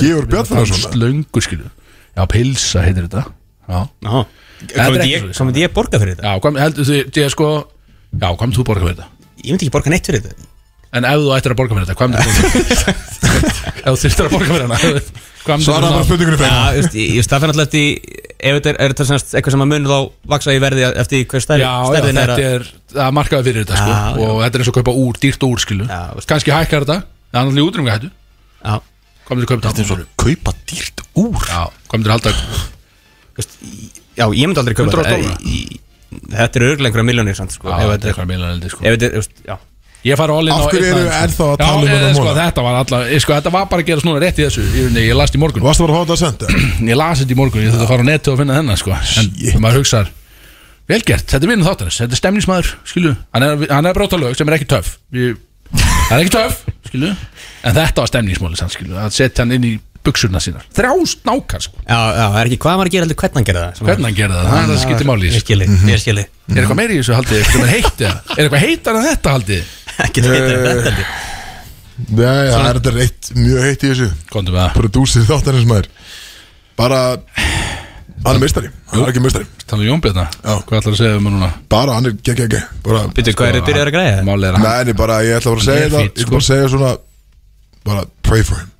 Speaker 3: Georg Bjarnason.
Speaker 4: Slöngur skilu Já, pilsa heitir þetta Já,
Speaker 5: Ná,
Speaker 4: er
Speaker 5: hvað myndi
Speaker 4: ekki
Speaker 5: ég,
Speaker 4: svoleiðis.
Speaker 5: hvað myndi ég borga fyrir þetta?
Speaker 4: já hvað heldur þið, þið er sko Já, hvað myndir þú borga fyrir þetta?
Speaker 5: Ég myndi ekki borga neitt fyrir þetta
Speaker 4: En ef þú ættir að borga fyrir þetta, hvað myndir þú borga fyrir (laughs) þetta? Ef þú þyrftir að borga fyrir hana hvað myndir
Speaker 3: Svaraði bara spurningunni fyrir
Speaker 5: Já, just, ég, just, það fyrir alltaf eftir Ef þetta er, er þetta semst eitthvað sem að munur þá vaksa í verði eftir hver stærri
Speaker 4: Já, já,
Speaker 5: stærðin er
Speaker 4: þetta
Speaker 5: að
Speaker 4: er, það er markaði fyrir þetta sko,
Speaker 5: Já, já.
Speaker 4: og þetta er eins og kaupa úr, dýrt úr skilu
Speaker 5: Já, veist.
Speaker 4: kannski hækkar þetta, það er náttúrulega útrýmga hættu
Speaker 5: Já,
Speaker 4: hvað myndir kaupa
Speaker 2: Þetta er
Speaker 4: þetta?
Speaker 2: svona kaupa dýrt úr
Speaker 4: Já, hvað myndir halda
Speaker 5: just, já, ég myndi aldrei köpa
Speaker 4: 100
Speaker 5: þetta
Speaker 4: dollara?
Speaker 5: Ég- ég- Þetta er örglega einhverja miljónir samt, sko,
Speaker 4: Já, þetta
Speaker 5: ef þetta
Speaker 4: er
Speaker 5: er
Speaker 4: eitthvað meilaneldi sko.
Speaker 5: Ef þetta er, just, já
Speaker 4: Ég fara all in
Speaker 3: Af
Speaker 4: á
Speaker 3: hverju
Speaker 4: einn
Speaker 3: eru
Speaker 4: aðeins,
Speaker 3: ennþá að
Speaker 4: Já,
Speaker 3: tala um
Speaker 4: eh,
Speaker 3: þennan
Speaker 4: sko,
Speaker 3: mála?
Speaker 4: Þetta var alltaf, sko, þetta var bara að gera svona rétt í þessu Ég, ég las þetta í morgun
Speaker 3: Varstu bara að hafa þetta að senda?
Speaker 4: Ég las þetta í morgun, ég þurfti að fara á netu og finna þennan sko. En maður hugsar Velgert, þetta er vinnum þáttanins, þetta er stemningsmaður Skilu, hann er, hann er að bróta lög sem er ekki töff Ég- Það er ekki töff Skilu, en þetta var stemningsmáli sann, Skilu, að setja hann inn í buksurna sínar Þrjá snákar, sko,
Speaker 5: Já, já, það er ekki hvað maður að gera heldur hvernig hann gera það
Speaker 4: hvernig hann gerði það Það, það skiptir máli í
Speaker 5: Ég
Speaker 4: þessu.
Speaker 5: skilji, ég skilji
Speaker 4: Er eitthvað meiri í þessu haldið, eitthvað sem er heitt eða? Er eitthvað heitar en þetta haldið
Speaker 5: Ekki þetta heitir en þetta heldur
Speaker 3: Nei, það er þetta reitt, mjög heitt í þessu
Speaker 4: Kondum við það,
Speaker 3: Prodúsir þáttarins maður Bara Hann er meistari, hann er ekki meistari
Speaker 4: tala um Jónbjörna
Speaker 3: Já.
Speaker 4: Hvað ætlar að segja um hann núna?
Speaker 3: Bara, hann er gegg, gegg, gegg Bara,
Speaker 5: Býtu, hvað er þið byrjar að græja það?
Speaker 4: Málið er að
Speaker 3: neini, bara, ég ætla bara að
Speaker 4: Hann
Speaker 3: segja
Speaker 4: er
Speaker 3: þetta
Speaker 4: fínn,
Speaker 3: Ég ætla bara
Speaker 4: sko.
Speaker 3: að segja svona Bara, pray for him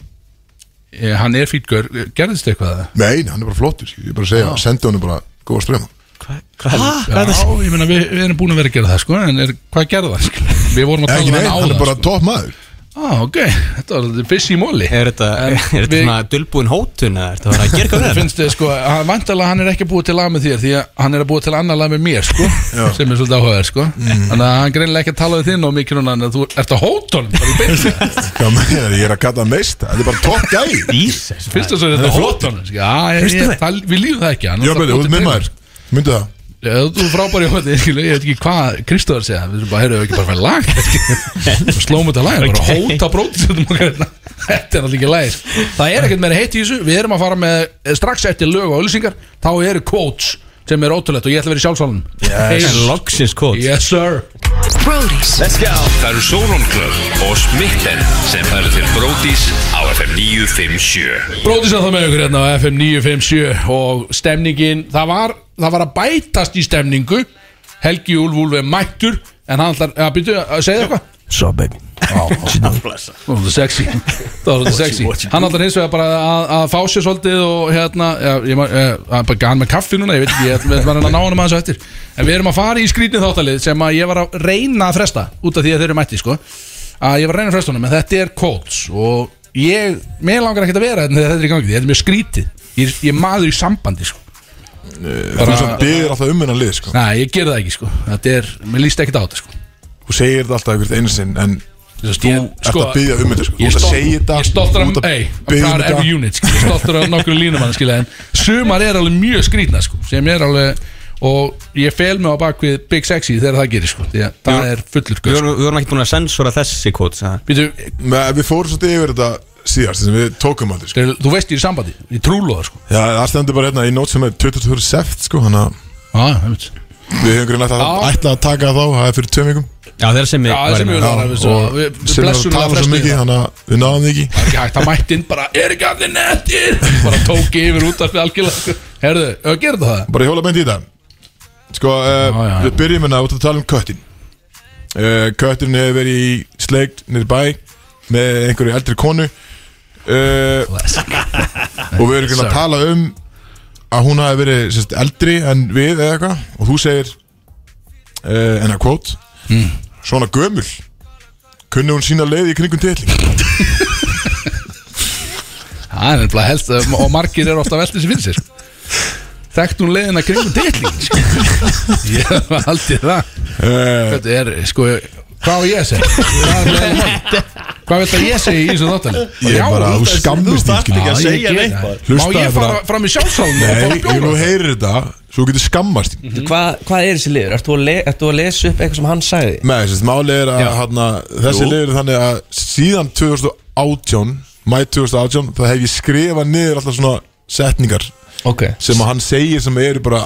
Speaker 4: Eh, hann er fýtgur, gerðist eitthvað það?
Speaker 3: Nei, nei, hann er bara flottur Ég er bara að segja, sendi honum bara Góða ströma
Speaker 4: Já, ég meina við, við erum búin að vera að gera það sko, en er, hvað gerði það? Sko? Við vorum að tala
Speaker 3: Ekki nei,
Speaker 4: um hann
Speaker 3: hann er
Speaker 4: áðan
Speaker 3: bara
Speaker 4: sko.
Speaker 3: topp maður
Speaker 4: Á, ok, þetta var þetta fyrst í móli
Speaker 5: Er þetta,
Speaker 4: En
Speaker 5: er þetta
Speaker 4: við-
Speaker 5: svona dulbúin hótun eða er þetta bara að gera hvað
Speaker 4: Það
Speaker 5: það?
Speaker 4: finnst þið sko, hann, vantalega hann er ekki búið til lag með þér Því að hann er að búið til annar lag með mér sko Sem er svolítið áhugaður sko
Speaker 3: Mm.
Speaker 4: Þannig að hann greinlega ekki að tala við þinn og mikið núna En þú ert að hóta honum bara í byrja
Speaker 3: (laughs) Hvað meina, ég er að kalla hann meist Þetta er bara topp
Speaker 4: (laughs)
Speaker 3: gæði
Speaker 5: Jesus
Speaker 4: Fyrst að svo er þetta hóta honum sko. Já, ég,
Speaker 5: Veistu
Speaker 4: ég,
Speaker 5: það?
Speaker 4: það, við lífum það ekki hann
Speaker 3: Já,
Speaker 4: er
Speaker 3: betur,
Speaker 4: alltaf
Speaker 3: þú ert
Speaker 4: búið
Speaker 3: með
Speaker 4: til
Speaker 3: maður Myndu það
Speaker 4: Já, þú er frábær í hóti, ég veit ekki hvað Kristóður segja, við erum bara, heyrðu, ekki bara fæði lag Við slóum þetta lag, það er bara að
Speaker 5: Ok.
Speaker 4: hóta brótisöndum okkar hérna. Þetta er alltaf ekki lægis Það er ekkert meira heitt í þessu, við erum að fara með eh, strax eftir lög og öllusingar þá eru quotes sem er ótrúlegt og ég ætla að vera í sjálfsálun Yes,
Speaker 5: Loksins kót
Speaker 4: yes sir
Speaker 8: Brody's
Speaker 7: Það eru Sóron Club og Smitten sem færðu til Brótis á FM 957
Speaker 4: Bróðis að það með ykkur hérna á FM 957 og stemningin, það var, það var að bætast í stemningu Helgi Úlf Úlf er mættur en hann ætlar, að byrja að segja eitthvað So baby Það var þetta sexy Það var þetta sexy Hann ætlar hins vegar bara að, að fá sér svolítið og hérna, já, ég, man- eh, hann bara hann með kaffi núna, ég veit ekki, ég ætla að reyna að ná hann maður svo eftir En við erum að fara í skrýtnið þáttalið sem að ég var að reyna að fresta út af því að þeir eru mætti, sko að ég var að reyna að fresta honum, en þetta er Colts og ég, mér langar ekkert að vera þetta þetta er í gangi, þetta er mjög skrítið ég, er- ég er maður í sambandi sko.
Speaker 3: Þú sem byggir alltaf um hennan lið sko.
Speaker 4: Nei, ég ger það ekki sko. þetta er, mér líst ekkert á þetta sko.
Speaker 3: Þú segir þetta alltaf einhvern einu sinn En
Speaker 4: Þú veist,
Speaker 3: þú
Speaker 4: ég-
Speaker 3: ert að byggja um þetta sko. Þú
Speaker 4: Ég er
Speaker 3: ert að
Speaker 4: stolt-
Speaker 3: segja þetta
Speaker 4: ég er stoltur
Speaker 3: þú
Speaker 4: af
Speaker 3: ert að
Speaker 4: ey,
Speaker 3: biðja um
Speaker 4: proud
Speaker 3: þetta.
Speaker 4: every unit, skilja, stoltur af nokkru línumann skilja, en sumar er alveg mjög skrýtna sko, sem er alveg og ég fel mig á bak við Big Sexy þegar það gerir sko, því að það
Speaker 5: Jú.
Speaker 4: er fullur
Speaker 5: Við
Speaker 4: sko.
Speaker 5: vorum, við vorum ekki búin að sensora þessi kvot sagði hann.
Speaker 4: Býtu,
Speaker 3: Nei, Við fórum svolítið yfir þetta síðast sem Við tókum aldrei sko.
Speaker 4: skil, þú veist ég er í sambandi ég trúlóða sko
Speaker 3: Já, það stendur bara hérna í nót sem er 24 seft sko, Þannig að
Speaker 4: ah, einmitt.
Speaker 3: við höfum grunn að
Speaker 4: Já.
Speaker 3: ætla að taka þá Það er fyrir tveim vikum
Speaker 5: Já, þeirra sem
Speaker 4: Já, það sem ég vil
Speaker 3: Já,
Speaker 4: ára við svo
Speaker 3: og
Speaker 4: við- við
Speaker 3: sem er að
Speaker 4: blessunum að
Speaker 3: tala svo
Speaker 4: fresta
Speaker 3: mikið
Speaker 4: því.
Speaker 3: Þannig að við náðum því ekki
Speaker 4: Það er ekki hægt, það mætti inn bara er ekki allir nettir bara tók yfir út af því algjörlega sko. herðu, ef að gera það
Speaker 3: Bara ég hóla beint í þetta Sko, uh,
Speaker 4: Já, já.
Speaker 3: við byrjum hérna út að tala um köttin uh, Köttin hefur verið í sleikt niður í bæ Með einhverju eldri konu uh, Og (laughs) við erum ekki að tala um Að hún hafi verið sérst, eldri en við eða eitthvað Og þú segir uh, En að kvót Hmm. Svona gömul Kunni hún sína leið í kringum titling
Speaker 4: Það er nefnilega helst að- og margir eru ofta veltið sem finnst sér sko. Þekkt hún leiðina kringum deilingin sko.
Speaker 3: (laughs)
Speaker 4: Ég hef haldið það
Speaker 3: uh,
Speaker 4: Þetta er sko Hvað á ég að segja? Hvað er leiðin mín? Hvað vilt að ég segja í þessu þáttan?
Speaker 3: Ég er bara, þú skammist þín, skilur.
Speaker 2: ekki að segja neitt, maður.
Speaker 4: Má
Speaker 3: Hlustaðu
Speaker 4: ég fara
Speaker 3: bara-
Speaker 4: fram í sjálfsálum
Speaker 3: Nei, ég nú heyrir þetta Svo þú getur skammast þín
Speaker 8: Hvað hvað er þessi liður? Ertu að, le, ertu að lesa upp eitthvað sem hann sagði?
Speaker 3: Nei, þessi máli er að hana, þessi liður er þannig að síðan 2018, mæ 2018 þá hef ég skrifað niður alltaf svona setningar
Speaker 8: Ok
Speaker 3: sem að hann segir sem eru bara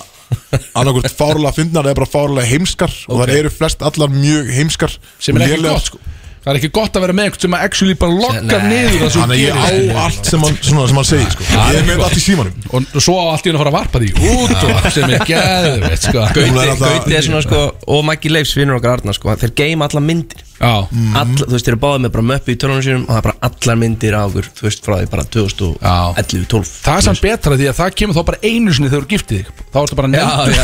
Speaker 3: annarkvort fárlega fyndnar eða bara fárlega heimskar og það eru flest allar mjög heimskar
Speaker 4: Sem er
Speaker 3: og
Speaker 4: ekki
Speaker 3: lélegar.
Speaker 4: gott sko Það er ekki gott að vera með eitthvað sem að actually bara lokkar
Speaker 8: Nei.
Speaker 4: niður það sem
Speaker 3: Þannig að
Speaker 4: þú gerir
Speaker 3: ég á allt sem hann, svona, sem hann segir sko. Ég er með þetta allt í símanum
Speaker 4: Og svo á allt í hún að fara að varpa því út og sem er geðveitt sko
Speaker 3: Hún er alltaf-
Speaker 8: Gauti er svona sko Og Maggi Leifs vinnur okkar Arnar sko Þeir geima alla myndir
Speaker 4: Já,
Speaker 8: All, Þú veist, þeir eru báðið með bara möppi í tölunum sínum Og það er bara allar myndir á okkur Þú veist, frá því bara 2011-12
Speaker 4: Það er samt betra því að það kemur þá bara einu sinni þegar þú giftið þig Þá ertu bara nefndur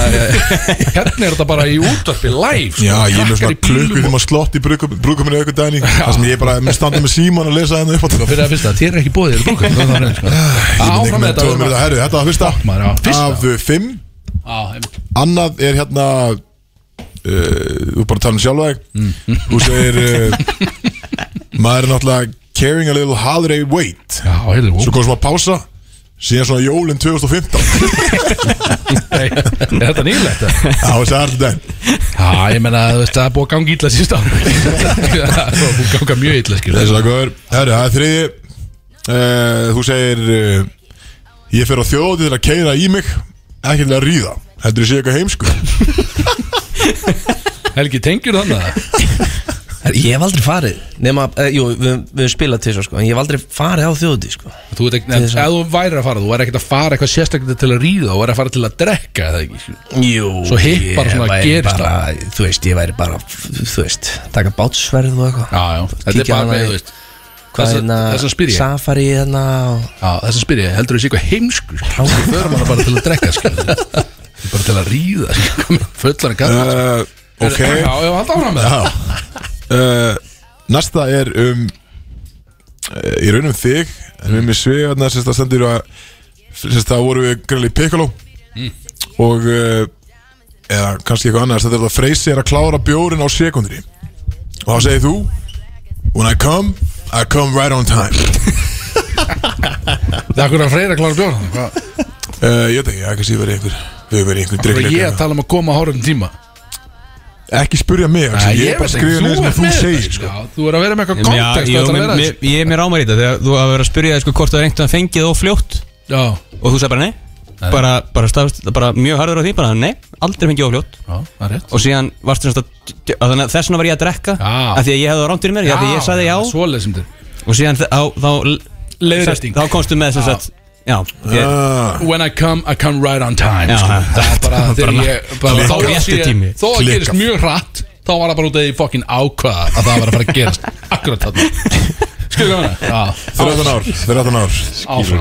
Speaker 4: Hérna er þetta bara í útvarpi live sko.
Speaker 3: Já, ég er með
Speaker 4: Krakkar
Speaker 3: svona
Speaker 4: í bílum
Speaker 3: klukku
Speaker 4: og-
Speaker 3: þegar maður slott í brúkuminu aukur dæning þar sem ég bara er með standa með síman og lesa henni upp á
Speaker 4: Sko, Fyrir að fyrsta, þér er ekki bóðið þér brúkum Það er sko.
Speaker 3: Ég myndi
Speaker 4: áfram með
Speaker 3: ekki með
Speaker 4: þetta
Speaker 3: þetta
Speaker 4: við erum að-
Speaker 3: herru, Þetta var fyrsta,
Speaker 4: maður, já. Fyrsta.
Speaker 3: af uh, fimm
Speaker 4: Já, einmitt.
Speaker 3: Annað er hérna uh, Þú bara tala um sjálfa þig (laughs) Þú segir uh, Maður er náttúrulega Carrying a little holiday weight
Speaker 4: Já, heyrðu, ó,
Speaker 3: Svo kom svona pása Síðan svona jólin (laughs) 2015
Speaker 4: nei, Er þetta nýlegt? eða?
Speaker 3: Það var sér allir daginn
Speaker 4: Já, ég meina, þú veist, það er búið að ganga ítla síst ára (laughs) Það er búið að ganga mjög ítla skil
Speaker 3: Þess að góður Herru, það er þriði uh, Þú segir uh, Ég fer á þjóði til að keira í mig Ekki til að ríða Heldur þú sé eitthvað (laughs) heimsku
Speaker 4: Helgi, tengjur þannig að
Speaker 8: Herra, Ég hef aldrei farið nema, eh, Jú, við við höfum spilað til svo sko En ég hef aldrei farið á þjóðuti sko
Speaker 4: Þú veit ekki, en ef þú væri að fara, þú væri ekkert að fara eitthvað sérstaklega til að ríða, þú væri að fara til að drekka eða ekki, skilur.
Speaker 8: Jú
Speaker 4: Svo hitt bara
Speaker 8: ég
Speaker 4: svona
Speaker 8: væri
Speaker 4: gerist
Speaker 8: bara, Þú veist, ég væri bara, þú veist Taka bátsverð og eitthvað
Speaker 4: Já, já, þetta er
Speaker 8: Kíkja
Speaker 4: bara
Speaker 8: þarna
Speaker 4: með,
Speaker 8: í-
Speaker 4: þú veist
Speaker 8: Hvað
Speaker 4: þessa-
Speaker 8: hérna,
Speaker 4: þessa spyr ég.
Speaker 8: Safari hérna og-
Speaker 4: Já, þess að spyrja, heldur þú sé eitthvað heimsku Hláðu förum hana bara til að drekka skilur við. Bara til að ríða Fullan að gata
Speaker 3: uh, Ok
Speaker 4: Já, ég var alltaf áfram með það
Speaker 3: (laughs) Já uh, Næsta er um uh, Í raunum þig En um við með svegarna Sérst að stendur að Sérst að voru við greinlega í Piccolo Mm. Og uh, Eða kannski eitthvað annað Þetta er að Freysi er að klára bjórin á sekundri Og þá segir þú When I come, I come right on time
Speaker 4: Það er hvernig að freyra klára bjóra Hvað
Speaker 3: uh, Ég veit ekki, það kannski verið einhver Við verið einhver
Speaker 4: hvað er ég að
Speaker 3: drikkleika
Speaker 4: tala um að koma á horfum tíma
Speaker 3: Ekki spurja mig, Axel, ég er bara að skrifa niður sem að þú segir sko.
Speaker 4: Já, þú er að vera með eitthvað kontekst
Speaker 5: Já, jú,
Speaker 4: Þú ætlar að
Speaker 5: mér-
Speaker 4: vera
Speaker 5: mér-
Speaker 4: þessu.
Speaker 5: ég er mér ámæri þetta þegar þú að vera að spyrja þig, sko, hvort það er einhvern veginn fengið og fljótt
Speaker 4: Já,
Speaker 5: og þú sagði bara nei, Bara, bara, stafst, bara mjög harður á því bara nei, aldrei fengið og fljótt
Speaker 4: já, það er rétt
Speaker 5: og síðan varstu sem sagt að- að þannig að þess vegna var ég að drekka
Speaker 4: Já.
Speaker 5: af því að ég hefði það rámt fyrir mér, já, af því að ég sagði já
Speaker 4: Svo lesum þér
Speaker 5: og síðan þá, þá,
Speaker 4: Leiðrétting.
Speaker 5: þá komstu með sem sagt já, ég,
Speaker 3: Ah,
Speaker 4: When I come, I come right on time
Speaker 5: Já.
Speaker 4: sko. Það er bara þegar
Speaker 5: Bara-
Speaker 4: ég bara-
Speaker 5: Klikkað.
Speaker 4: Þá
Speaker 5: Rétti
Speaker 4: sé ég-
Speaker 5: tími.
Speaker 4: Þó að
Speaker 3: Klikkað.
Speaker 4: gerist mjög hratt Þá var það bara út af því fokkin ákvaða Að það var að fara að gerast Akkurat þarna Skilja
Speaker 5: (laughs)
Speaker 4: hana Já
Speaker 3: 13 ár 13 ár
Speaker 4: Áfram, já.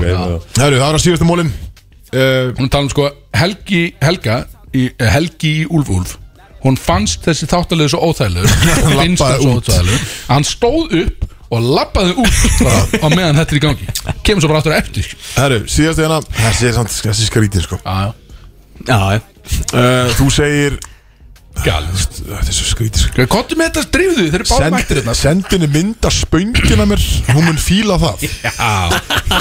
Speaker 3: Herru, það er að síðasta mólin uh,
Speaker 4: hún er að tala um sko Helgi Helga í, eh, Helgi í Úlf Úlf (laughs) hún fannst þessi þáttalegu svo óþægilegur finnst hann svo
Speaker 3: út.
Speaker 4: óþægilegur að hann stóð upp og labbaði út bara á meðan þetta er í gangi kemur svo bara aftur á eftir sko.
Speaker 3: Herru, síðast eina Þessi er samt þessi er skrítið sko
Speaker 4: Já,
Speaker 5: Já, já
Speaker 3: uh, Þú segir
Speaker 4: galið
Speaker 3: Þetta er svo skrítið sko
Speaker 4: Kottu með þetta drifðu, þeir eru báðum mættir
Speaker 3: Send,
Speaker 4: hérna
Speaker 3: Sendinni mynd að spöngina mér Hún mun fíla það
Speaker 4: (laughs) Já,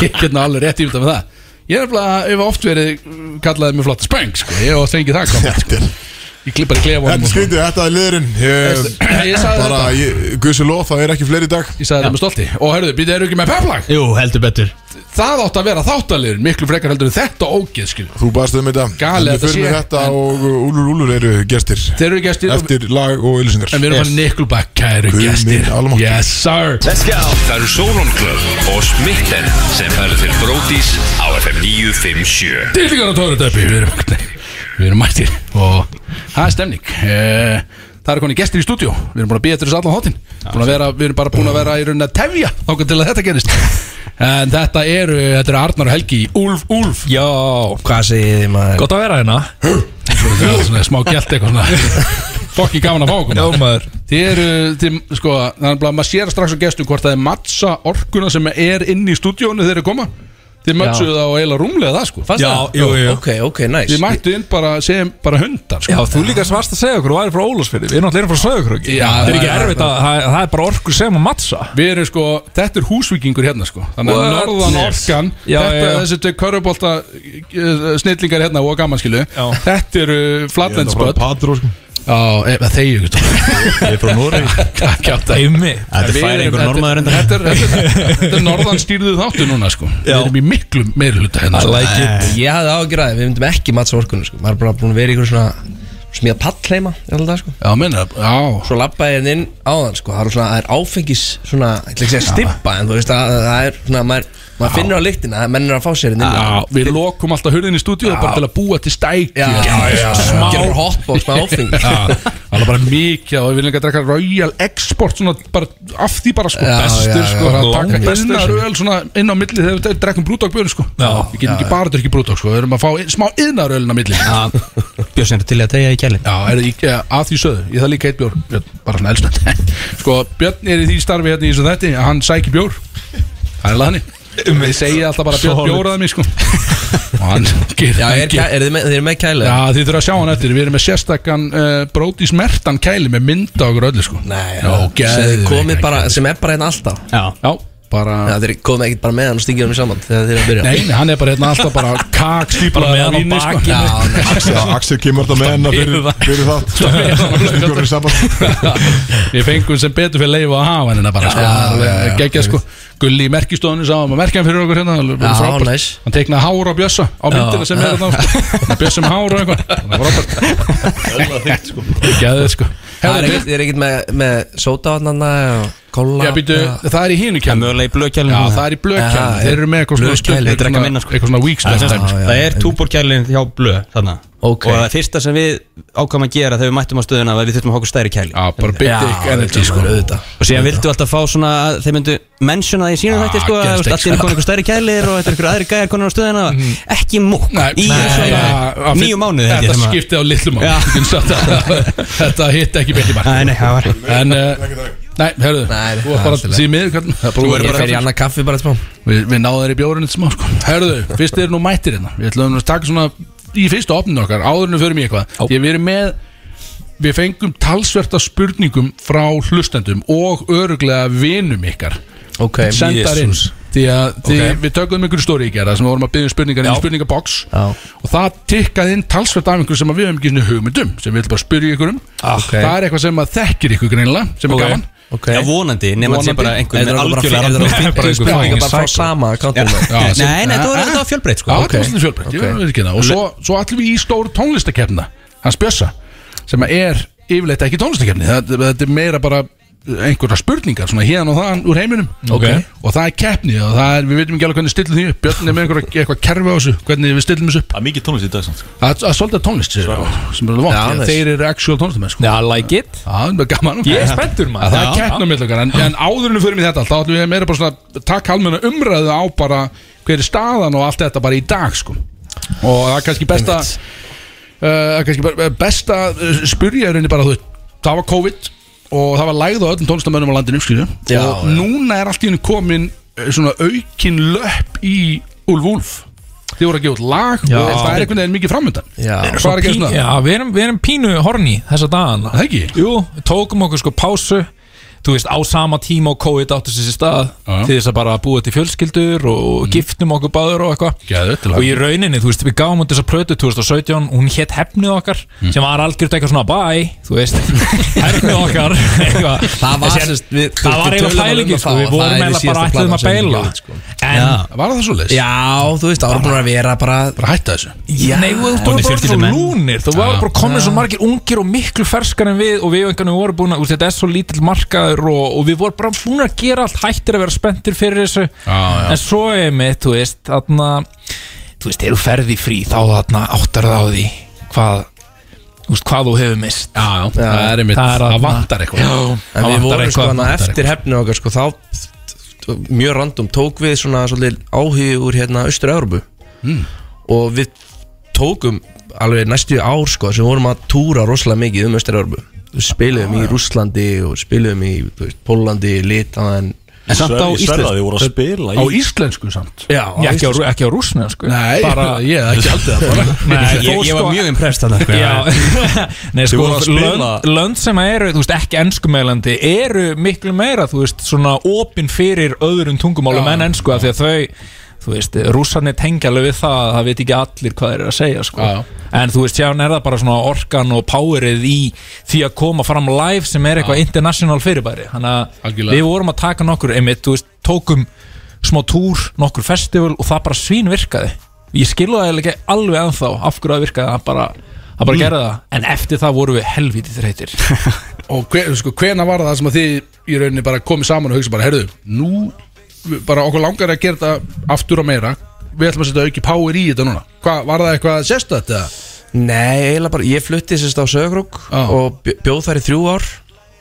Speaker 4: (laughs) ég getna alveg rétt yfir þetta með það Ég er nefnilega, ef oft verið kallaði mig flotta spöng, sko, ég hef fengið það komið,
Speaker 3: Þetta er
Speaker 4: sko. ég klippar í klefa
Speaker 3: Þetta er
Speaker 4: honum og-
Speaker 3: skrítið, þetta er liðurinn Ég,
Speaker 4: Ég sagði
Speaker 3: bara,
Speaker 4: þetta,
Speaker 3: ég, Guðsi lof, það er ekki fleiri í dag
Speaker 4: ég sagði þetta með stolti og hörðu, býtið eru ekki með peplag
Speaker 9: Jú, heldur betur
Speaker 4: það átt að vera þáttalegur, miklu frekar heldur en þetta ógeð, skil
Speaker 3: Þú baðst um þetta
Speaker 4: Galið
Speaker 3: Við
Speaker 4: þetta
Speaker 3: förum
Speaker 4: sé-
Speaker 3: með þetta
Speaker 4: en-
Speaker 3: og Úlur Úlur eru gestir
Speaker 4: þeir eru gestir, og-
Speaker 3: Eftir lag og ylisingar
Speaker 4: en við erum yes. fannig Nickelback, kæru
Speaker 3: Guð
Speaker 4: gestir
Speaker 3: minn almáttugur.
Speaker 4: yes sir
Speaker 7: Það eru Sauron Club og Smitten sem færðu til Brodís á FM 957
Speaker 4: Dillingar og Tóratöpi Við erum (laughs) Við erum mættir Og það er stemning Eh, Það eru koni gestir í stúdíó Við erum búin að býja eftir þessu allan hótin Búin að vera Við erum bara búin að vera í rauninni að tefja Þáka til að þetta gerist
Speaker 3: (laughs)
Speaker 4: En þetta eru Þetta eru Arnar og Helgi í Úlf, Úlf
Speaker 8: Já, hvað segið þið maður?
Speaker 9: Gott að vera hérna
Speaker 4: Já, svona smá gælt eitthvað svona Fokki gaman að fá okkur maður.
Speaker 9: maður
Speaker 4: Þið eru, þið, sko, þannig að maður sér strax á gestum hvort það er mattsa orkuna sem er inn í stúdíónu þegar þeir koma Þið mötsuðu það á eiginlega rúmlega það, sko
Speaker 8: Fannst
Speaker 9: Já,
Speaker 8: það?
Speaker 9: jú, jú.
Speaker 8: Ok, ok, næs
Speaker 4: Þið mættu inn bara, segjum, bara hundar, sko
Speaker 9: Já, þú líka sem varst að segja okkur og væri frá Ólafsfjörði Við erum allir frá Söðukröki
Speaker 4: Já,
Speaker 9: Það er ekki
Speaker 4: já,
Speaker 9: erfitt að það það er bara orku sem að mattsa
Speaker 4: Við erum sko, þetta er húsvíkingur hérna sko Þannig að
Speaker 9: What?
Speaker 4: norðan
Speaker 9: Yes.
Speaker 4: orkan
Speaker 9: Já,
Speaker 4: Þetta
Speaker 9: já.
Speaker 4: er þessi tvei körfubólta Snillingar hérna og gamanskilu Þetta eru flatlandsböld
Speaker 3: Patró sko
Speaker 4: Já, e, þegju ekki (laughs)
Speaker 2: Ég er frá Noreg
Speaker 4: Takk átt að
Speaker 9: Eimi
Speaker 5: Þetta
Speaker 4: Við
Speaker 5: færi
Speaker 4: erum-
Speaker 5: einhver normaður enda
Speaker 4: Þetta er, þetta er, þetta er norðan stýrðu þáttu núna sko Við
Speaker 9: Já.
Speaker 4: erum í miklu meiri hluta hérna sko.
Speaker 9: like it
Speaker 8: Ég hafði ágjur að við myndum ekki mattsa orkunum sko. maður er bara búin að vera í ykkur svona smíða pall heima í allan dag, sko.
Speaker 4: Já, minna, já
Speaker 7: Ah.
Speaker 8: svo lappa ég hérna inn áðan sko. það, er svona, það er áfengis svona, ég ætla ekki að segja stippa en þú veist að það er svona maður, maður finnur á lyktina að menn er að fá sér hérna inn
Speaker 4: Já, við lokum alltaf hurðin í stúdíu bara til að búa til stæki
Speaker 8: Já, já, já,
Speaker 4: smá
Speaker 8: Gjörðu hotbox með áfengi.
Speaker 4: Já, Það er bara mikið og við viljum ekki að drekka Royal Export svona bara af því bara sko
Speaker 8: Já,
Speaker 4: bestur
Speaker 8: já, já.
Speaker 4: sko að taka
Speaker 8: Langbestur.
Speaker 4: bestur öl svona inn á milli þegar við drekkum brúdók björn sko já, Við getum ekki bara drekki brúdók sko, við erum að fá ein- smá yðnarölin á milli Já,
Speaker 5: Björn hérna til að tegja í kæli
Speaker 4: er, ég, að því söðu, ég það líka eitt bjór björn, bara svona elsnönd (laughs) Sko, Björn er í því starfi hérna í þessu þetti að hann sækir bjór Það er laðni
Speaker 8: Um
Speaker 4: Ég segi alltaf bara Björn
Speaker 9: Solid.
Speaker 4: bjóraði
Speaker 8: (laughs)
Speaker 4: mig sko Og hann gerir
Speaker 8: já, er, kæ- er þið með, þið eru með kæli
Speaker 4: Já, þið þurfa að sjá hann eftir Við erum með sérstakann uh, Brótis Mertan kæli með mynda okkur öllu sko
Speaker 8: Nei,
Speaker 4: Nó,
Speaker 8: sem,
Speaker 4: geðveik.
Speaker 8: komið bara, sem er bara hérna alltaf
Speaker 5: Já
Speaker 4: Já, bara
Speaker 8: Já, þeir komið ekkert bara með hann og stingir hann saman þegar þeir eru að byrja
Speaker 4: Nei, nei, hann er bara hérna alltaf
Speaker 8: (laughs)
Speaker 4: bara kak
Speaker 9: Bara með hann á
Speaker 4: sko.
Speaker 9: bakinu.
Speaker 3: Axel, Axel kemur þetta með hennar fyrir, fyrir það Yngur er samband
Speaker 4: Ég fengum sem betur fyrir leifu að hafa hann hérna bara sko.
Speaker 8: já, já,
Speaker 4: Gekkja sko Gulli í merkistofunni sá hann að merkja hann fyrir okkur hérna alveg
Speaker 8: Já,
Speaker 4: frábært.
Speaker 8: næs.
Speaker 4: Hann teknaði hára á bjössa á myndina sem er hérna sko. Bjössa með hára og eitthvað Það var frábært Gæðið sko
Speaker 8: Það er
Speaker 4: Herðu,
Speaker 8: ekkert- þið eru ekkert með, með sótavatnanna og kóla
Speaker 4: Já, býtu, það er í hínu
Speaker 5: Það er
Speaker 4: kæmi
Speaker 5: mögulega í blöðkælinu
Speaker 4: Já, það er í blökkjæl
Speaker 8: Já,
Speaker 4: Þeir eru með eitthvað svona
Speaker 8: blöðkæli,
Speaker 4: stutt-
Speaker 8: þetta
Speaker 5: er ekki að minna, sko.
Speaker 4: Eitthvað svona weak stuff
Speaker 8: já, já.
Speaker 5: Það er túborkælin hjá blöð þarna
Speaker 8: Ok.
Speaker 5: Og það fyrsta sem við ákvæm að gera þegar við mættum á stöðuna var að við þurftum að hafa okkur stærri kæli
Speaker 4: Já, bara big dick energy sko
Speaker 5: Og síðan vildu alltaf fá svona að þeir myndu mentiona það í sínum hætti sko að allt er konið einhver stærri kælir og þetta er einhver aðri gæjar konið á stöðuna Ekki múk í svona nýju mánuði held ég,
Speaker 4: Þetta
Speaker 5: sem að-
Speaker 4: skipti á litlu
Speaker 5: Já.
Speaker 4: mánuð Þetta hitt ekki betur mark
Speaker 5: Nei, nei, það var
Speaker 4: En, eh, nei, herðu
Speaker 8: Nei,
Speaker 4: Þú er
Speaker 8: það
Speaker 4: bara
Speaker 8: er
Speaker 4: því miður kallinn. Það er bara-
Speaker 8: Þú er bara fyrir annað kaffi bara smá
Speaker 4: Við við náðum þér í bjórinu smá sko Herðu, fyrst er nú mættir hérna Við ætlum að taka svona í fyrsta opninu okkar Áður en við förum í eitthvað Því að við erum með Við fengum talsverta spurningum frá hlustendum Og öruglega vinum ykkar
Speaker 8: Ok,
Speaker 4: sendar inn því að því við tökum um einhverju stóri í gera sem við vorum að byggja um spurningar inn í spurningabox
Speaker 8: Já.
Speaker 4: og það tikkaði inn talsvert af einhverju sem að við hefum ekki svona hugmyndum sem við ætlum bara að spyrja ykkur um
Speaker 8: Ah, Ok.
Speaker 4: það er eitthvað sem að þekkir ykkur greinilega sem er gaman
Speaker 8: ok
Speaker 5: Já, vonandi, nema að sé bara
Speaker 4: Vonandi.
Speaker 5: einhver með
Speaker 8: Þetta er bara
Speaker 5: algjörlega
Speaker 8: fyrir- þetta er
Speaker 5: random-
Speaker 8: bara
Speaker 5: Bara einhver-
Speaker 8: spurningar bara frá
Speaker 9: fucking
Speaker 8: sama kantinum
Speaker 4: Já, sem-
Speaker 5: Nei, nei, þetta var-
Speaker 4: Ah,
Speaker 5: þetta var fjölbreytt, sko.
Speaker 4: Já,
Speaker 5: Ok.
Speaker 4: þetta var svolítið fjölbreytt, ég veit ekki það Og svo, svo allir við í stór tónlistakefna Hans Bjössa, sem er yfirleitt ekki tónlistakefni Þetta, þetta er meira bara einhverja spurningar Svona hérna og þaðan úr heiminum
Speaker 9: Ok.
Speaker 4: Og það er keppni og það er, við veitum ekki alveg hvernig stillum því upp Björn er með einhverja, eitthvað kerfi á þessu Hvernig við stillum þessu upp
Speaker 2: Það er mikið tónlist í dag samt sko.
Speaker 4: Það það er svolítið tónlist sér, sem er alveg
Speaker 8: Já,
Speaker 4: vant
Speaker 8: nice.
Speaker 4: Þeir eru actual tónlistamenn sko.
Speaker 9: Já, like it
Speaker 4: Já, það er gaman
Speaker 9: Ég er spenntur, maður.
Speaker 4: Að Það er
Speaker 9: Já.
Speaker 4: keppnum mitt okkar En, en áðurinu fyrir mig þetta allt Þá ætlum við meira bara svona Takk halmenna umræðu á bara Hver er staðan og allt þetta bara í dag sko Og það er kannski besta uh, eh, Það er kannski bara- besta uh, Spyrja í rauninni bara þú veit Það var COVID og það var lægð á öllum tónlistamönnum á landinu skilju
Speaker 8: Já,
Speaker 4: og
Speaker 8: já.
Speaker 4: núna er allt í henni komin eh, svona aukin löpp í Úlf Úlf þið voru að gefa út lag
Speaker 9: Já.
Speaker 4: og það er einhvern veginn mikið framöndan
Speaker 8: Já.
Speaker 4: Hvað er að gera svona?
Speaker 9: Já, við erum, við erum pínu horni þessa dagana
Speaker 4: Það ekki?
Speaker 9: Jú, við tókum okkur sko pásu Þú veist, á sama tíma og COVID áttu sér sér stað
Speaker 4: Já. Mhm.
Speaker 9: Til þess að bara búa til fjölskyldur Og giftum okkur báður og eitthvað
Speaker 4: Geðveikt lag.
Speaker 9: Og í rauninni, þú veist, við gáum út þessa plötu 2017, hún hétt hefnið okkar
Speaker 4: Mhm.
Speaker 9: Sem var algjört eitthvað svona, bye,
Speaker 4: (laughs)
Speaker 9: þú veist Hefnið okkar eitthvað.
Speaker 8: Það var
Speaker 9: En síðan-
Speaker 8: sem sagt, við-
Speaker 9: Það var
Speaker 8: við
Speaker 9: eiginlega
Speaker 8: tölum alveg um
Speaker 9: pælingi,
Speaker 8: það
Speaker 9: sko
Speaker 8: og
Speaker 9: Við
Speaker 8: það
Speaker 9: vorum
Speaker 8: yrði
Speaker 9: eiginlega
Speaker 8: síðasta
Speaker 9: bara ætluðum
Speaker 8: platan
Speaker 9: að
Speaker 8: sem við
Speaker 9: beila
Speaker 8: gefum út, sko.
Speaker 9: En
Speaker 4: Var það svo leiðis?
Speaker 8: Já, þú veist, það var búin að vera bara
Speaker 4: Bara hætta þessu
Speaker 8: Já,
Speaker 9: Nei, þú voru bara orðin svo
Speaker 5: fjölskyldumenn.
Speaker 9: lúnir Þú voru bara komin svo margir ungir og miklu ferskar en við og við einhvern veginn voru búin að úst, þetta er svo lítill markaður og, og við voru bara búin að gera allt hættir að vera spenntir fyrir þessu
Speaker 4: Já, já.
Speaker 9: en svo er mitt, þú veist þarna, þú veist, þegar þú ferði frí þá þarna áttar það á því hvað, þú veist, hvað þú hefur mist
Speaker 4: Já, já, það er einmitt,
Speaker 9: Það er
Speaker 4: það
Speaker 9: þarna-
Speaker 4: vantar eitthvað
Speaker 9: Já,
Speaker 8: En
Speaker 9: það
Speaker 8: við
Speaker 9: vantar
Speaker 8: vorum sko
Speaker 9: eitthvað,
Speaker 8: hann
Speaker 9: vantar
Speaker 8: eftir hefni okkar sko þá mjög random tók við svona svolítið áhugi úr hérna Östur-Európu
Speaker 9: Hmm.
Speaker 8: og við tókum alveg næstu ár sko sem vorum að túra rosalega mikið um Östur-Európu við spiluðum í Rússlandi og spiluðum í þú veist, Pólandi, Litáen
Speaker 4: En samt á
Speaker 2: Ég sverða
Speaker 4: íslensku
Speaker 2: þið voru að spila
Speaker 4: Á
Speaker 2: í
Speaker 4: íslensku samt
Speaker 8: Já,
Speaker 9: Ég, ekki, á, rú- ekki á rúsna
Speaker 4: (laughs)
Speaker 9: sko.
Speaker 4: Nei,
Speaker 9: bara,
Speaker 4: ég hef ekki haldið það bara
Speaker 9: Nei,
Speaker 5: Ég,
Speaker 9: þó
Speaker 5: ég var
Speaker 9: sko-
Speaker 5: mjög impressed þarna
Speaker 9: Já, (laughs) nei sko,
Speaker 2: voru að spila-
Speaker 9: lönd, lönd sem eru, þú veist, ekki ennskumælandi eru miklu meira, þú veist, svona opin fyrir öðrum tungumálum en ennsku af því að þau, þú veist, rússarnir tengja alveg við það, að það veit ekki allir hvað þeir eru að segja, sko,
Speaker 4: Já.
Speaker 9: en þú veist, sjáin er það bara svona orkan og powerið í því að koma fram live sem er eitthvað international fyrirbæri, hann að
Speaker 4: Algjörlega.
Speaker 9: við vorum að taka nokkur, einmitt, þú veist, tókum smá túr, nokkur festival og það bara svín virkaði ég skilða það eiginlega ekki alveg ennþá af hverju það virkaði, það bara, það bara
Speaker 5: Mm.
Speaker 9: gerði það en eftir það vorum við helvítið þreytir
Speaker 5: (laughs)
Speaker 4: Og hver, sko, hvena var það sem að þið í rauninni bara komið saman og hugsa bara Herðu, nú, við- bara okkur langar að gera þetta aftur og meira Við ætlum að setja auki power í þetta núna Hva, Var það eitthvað sérstætt eða?
Speaker 8: Nei, eiginlega bara, ég flutti sérst á Sögrók
Speaker 4: Já.
Speaker 8: og bj- bjóð þær í þrjú ár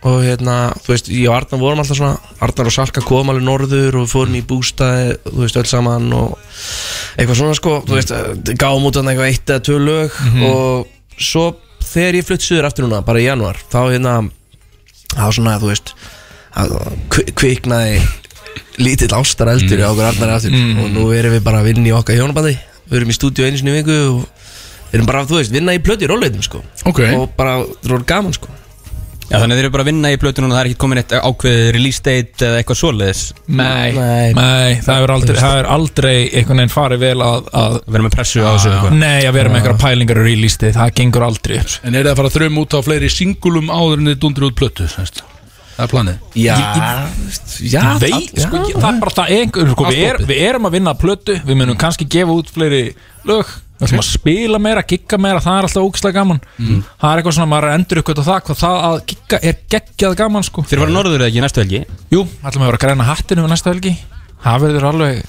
Speaker 8: og hérna, þú veist, ég og Arnar vorum alltaf svona, Arnar og Salka kom alveg norður og við fórum í bústaði, þú veist, öll saman og eitthvað svona sko, þú veist, eh, gáum út hann eitthvað eitt eða tvö lög og svo þegar ég flutt suður aftur núna, bara í januar, þá hérna, það var svona, þú veist, að- kvi- kviknaði lítill ástar eldur í okkur Arnar aftur og nú erum við bara að vinna í okkar hjónabandi, við erum í stúdíu einu sinni í viku og erum bara, þú veist, vinna í plöti í róleitum sko
Speaker 4: Ok.
Speaker 8: og bara, það er gaman sko
Speaker 5: Já, þannig að þeir eru bara að vinna í plötunum og það er ekki komin eitt ákveðið release date eða eitthvað svoleiðis
Speaker 9: nei,
Speaker 8: Nei.
Speaker 9: það er aldrei, það er aldrei einhvern veginn farið vel að, að Ah.
Speaker 5: að vera með pressu á þessu Ah. eitthvað
Speaker 9: nei, að vera með einhverja pælingar og rýlisti, það gengur aldrei upp sko.
Speaker 4: En er það að fara að þrjum út á fleiri singulum áður en þið dundur út plötu semst? Það er planið
Speaker 8: Já, þú veist, já,
Speaker 9: Vei,
Speaker 8: all- já,
Speaker 9: sko, ég, það er bara það einhver, sko, við, er, við erum að vinna að plötu við munum kannski gefa út fleiri lög við ætlum að spila meira, gigga meira það er alltaf ógislega gaman það er eitthvað svona, maður er að endur ykkur á það hvað það að gigga er geggjað gaman sko.
Speaker 5: Þeir eru bara norður eða ekki næstu helgi
Speaker 9: Jú, ætlum að vera að græna hattinu við næsta helgi það verður alveg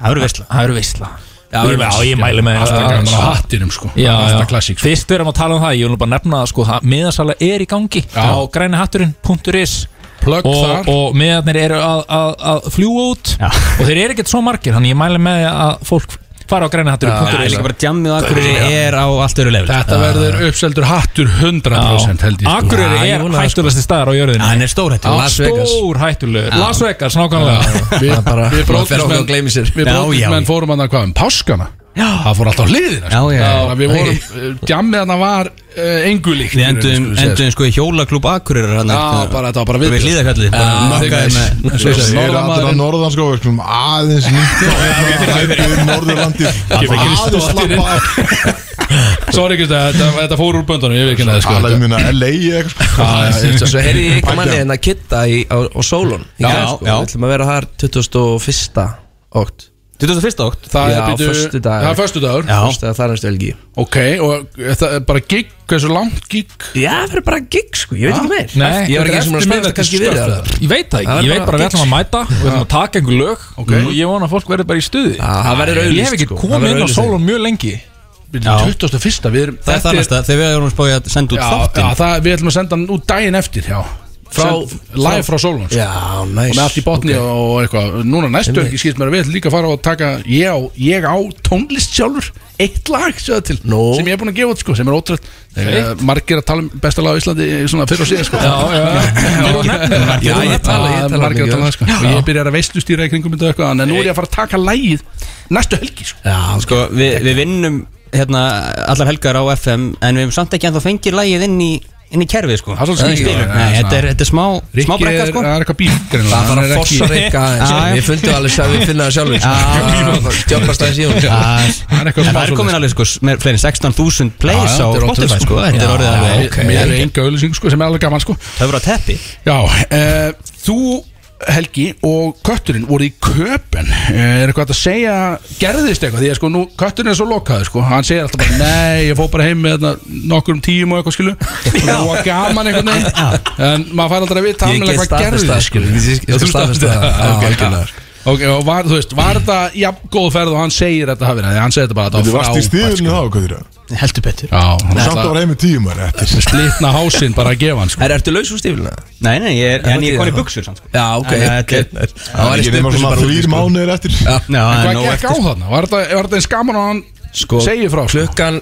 Speaker 5: Það eru veistla
Speaker 9: það verður veistla
Speaker 4: Já,
Speaker 9: Ég- já, ég mæli með
Speaker 4: Alltaf
Speaker 9: það.
Speaker 4: gaman á hattinum sko
Speaker 9: Já, já.
Speaker 4: Alltaf klassík sko.
Speaker 9: Fyrst við erum að tala um það, ég vil nú bara nefna það sko, það miðasala er í gangi
Speaker 4: Já.
Speaker 9: á grænihatturinn.is
Speaker 4: Plugg
Speaker 9: og,
Speaker 4: þar.
Speaker 9: og miðarnir eru að, að, að fljúa út
Speaker 5: Já.
Speaker 9: og þeir eru ekkert svo margir, þannig ég mæli með að fólk
Speaker 5: Það
Speaker 9: fara á
Speaker 5: er
Speaker 9: grænihatturinn.is
Speaker 5: líka bara jammið og akkur er á allt öru level
Speaker 3: Ah.
Speaker 4: Þetta verður uppseldur hattur 100% held ég sko.
Speaker 5: Ah.
Speaker 9: Akureyri
Speaker 8: Já, ég
Speaker 9: er
Speaker 8: vona það, sko.
Speaker 9: hættulegasti staðar á jörðinu
Speaker 5: Hann er stórhættur
Speaker 8: Las Vegas.
Speaker 9: Stór hættulegur, Las Vegas, nákvæmlega
Speaker 4: Við,
Speaker 8: Það bara-
Speaker 4: við
Speaker 8: maður fer okkar og gleymir sér.
Speaker 4: bróðismenn Við
Speaker 5: Já, já.
Speaker 4: bróðismenn fórum hann að hvað um páskana já. Það fór alltaf á hliðina sko.
Speaker 5: Já, já, já.
Speaker 4: Þannig að Við vorum, jammið hann var uh, engulíkt
Speaker 5: Við endum, endum sko í hjólaklúb Akureyrar hann
Speaker 4: Já, bara þetta var bara
Speaker 5: Við
Speaker 4: viðbjóð.
Speaker 5: hlýðakallið Bara mökkaði með
Speaker 3: Þeir eru allir að norðan sko, við skulum aðeins nýtt um Norðurlandi aðeins slappa af
Speaker 4: Sorry Krista, þetta, þetta fór úr böndunum Ég veit ekki neða sko
Speaker 3: Alla um minna LA eitthvað sko.
Speaker 8: Svo heyrði ég eitthvað manni en að kitta í, á, á Solon í
Speaker 5: Já,
Speaker 8: gær, sko.
Speaker 5: já.
Speaker 8: Við ætlum að vera þar 21. ótt
Speaker 5: 21. ótt
Speaker 4: Það
Speaker 8: Já,
Speaker 4: er býtu-
Speaker 8: föstudagur.
Speaker 4: Það er föstudagur
Speaker 5: Já.
Speaker 8: Þegar það er næstu helgi
Speaker 4: Ok, og eh, það er bara gig, hversu langt gig
Speaker 8: Já, það er bara gig sko, ég veit ekki meir
Speaker 9: Nei,
Speaker 8: Ég var
Speaker 9: þetta
Speaker 8: ekki sem að
Speaker 9: eftir
Speaker 8: spennast
Speaker 9: miðnætti
Speaker 8: kannski við sko.
Speaker 9: stökk
Speaker 8: það
Speaker 9: þetta. Ég veit það
Speaker 8: Það
Speaker 9: ekki,
Speaker 8: er
Speaker 9: ég veit
Speaker 8: bara
Speaker 9: bara að við ætlum að
Speaker 8: gigs.
Speaker 9: mæta Við ætlum að taka einhver lög og ég vona að fólk verður bara í stuði
Speaker 8: Já, það
Speaker 9: Ég
Speaker 8: verður auglýst,
Speaker 9: hef ekki
Speaker 8: sko. Það
Speaker 9: komið
Speaker 8: verður
Speaker 9: inn á
Speaker 8: auglýst.
Speaker 9: sólum mjög lengi
Speaker 4: 21. við erum
Speaker 5: Það er það
Speaker 4: þetta
Speaker 5: næsta Þegar við erum spáðið að senda út
Speaker 4: Já, já
Speaker 5: þáttinn
Speaker 4: það, við ætlum að senda hann út daginn eftir já. frá, live frá Solons
Speaker 8: Já,
Speaker 4: og
Speaker 8: næs
Speaker 4: með allt í botni og eitthvað núna næstu ekki skýrst mér að við ætlum líka að fara og taka ég á, ég á tónlist sjálfur eitt lag sjöða til
Speaker 8: Nú.
Speaker 4: sem ég er búin að gefa út sko, sem er ótrúð margir að tala um besta lag á Íslandi svona fyrir og síðan sko. já, já,
Speaker 8: Já, ég tala- ég tala
Speaker 4: margir
Speaker 8: mikið
Speaker 4: að
Speaker 8: um
Speaker 4: tala um það
Speaker 8: það,
Speaker 4: sko. og ég byrjar að veistustýra í kringum þetta og eitthvað en nú er ég að fara að taka lagið næstu helgi sko.
Speaker 8: Já,
Speaker 5: Sko, við, við vinnum hérna allar helgar á FM en við hefum samt ekki ennþá fengið lægið inn í, inn í kerfið sko
Speaker 4: Það er svolítið skrítið.
Speaker 5: Nei,
Speaker 4: Já,
Speaker 5: þetta er, þetta er smá, smá
Speaker 4: Rikki
Speaker 5: brekka
Speaker 4: er,
Speaker 5: sko
Speaker 4: það er eitthvað bíl
Speaker 8: Það er bara að fossa reyka aðeins
Speaker 5: Já, já.
Speaker 8: Við fundum alveg að við finna það sjálfur sko. Það Djöfnast aðeins í hún
Speaker 5: Það
Speaker 4: Það er eitthvað smá
Speaker 5: En það er
Speaker 4: svoleiðis.
Speaker 5: komin alveg sko, með fleiri en 16.000 plays
Speaker 4: Já, já,
Speaker 5: á
Speaker 4: þetta er ótrúlegt,
Speaker 5: Spotify sko, þetta er orðið
Speaker 4: Já,
Speaker 5: alveg
Speaker 4: ok, Mér er enga auðlýsing sko, sem er alveg gaman sko
Speaker 5: töfra á teppi
Speaker 4: Já, uh, þú Helgi og kötturinn voru í köpen Eh, er eitthvað hægt að segja gerðist eitthvað, því að sko nú kötturinn er svo lokaður sko, hann segir alltaf bara nei, ég fóð bara heim með þarna nokkur um tíum og eitthvað
Speaker 8: (laughs)
Speaker 4: skilu og það var gaman eitthvað nei en maður fær aldrei að vita
Speaker 8: Ég
Speaker 4: alveg
Speaker 8: get
Speaker 4: hvað
Speaker 8: staðfest
Speaker 4: gerðist
Speaker 8: það sko Ég ég
Speaker 4: Þú
Speaker 8: skal staðfest það
Speaker 4: staðfest
Speaker 8: Já,
Speaker 4: ok,
Speaker 8: algjörlega
Speaker 4: já. Ok, og var, þú veist, var þetta jafn góð ferð og hann segir þetta hafi verið, því hann segir þetta bara að
Speaker 3: Þú
Speaker 4: þetta
Speaker 3: varst sko. í
Speaker 4: frábært,
Speaker 3: stíðinu þá, hvað þér
Speaker 5: Heldur betur
Speaker 4: Já, hann
Speaker 3: Samt að
Speaker 4: ætlaði
Speaker 3: var heim í tíu maður eftir
Speaker 4: að slitna hásinn bara að gefa hann sko.
Speaker 8: Er, ertu laus úr stíflina?
Speaker 5: Nei, nei, ég er, en ég er konið buksur samt sko
Speaker 8: Já, ok
Speaker 5: Þannig að þetta er-
Speaker 8: ok. Það
Speaker 3: Það
Speaker 8: var
Speaker 3: er
Speaker 8: í
Speaker 3: ekki nema
Speaker 8: stöppu sem
Speaker 3: svona
Speaker 8: bara
Speaker 3: þrýr mánuðir eftir
Speaker 5: Já, en
Speaker 4: Hvað
Speaker 5: nóg
Speaker 4: gekk á
Speaker 5: eftir.
Speaker 4: þarna? Var þetta, var þetta eins gaman og hann
Speaker 8: Sko,
Speaker 4: segir frá? Sko?
Speaker 8: klukkan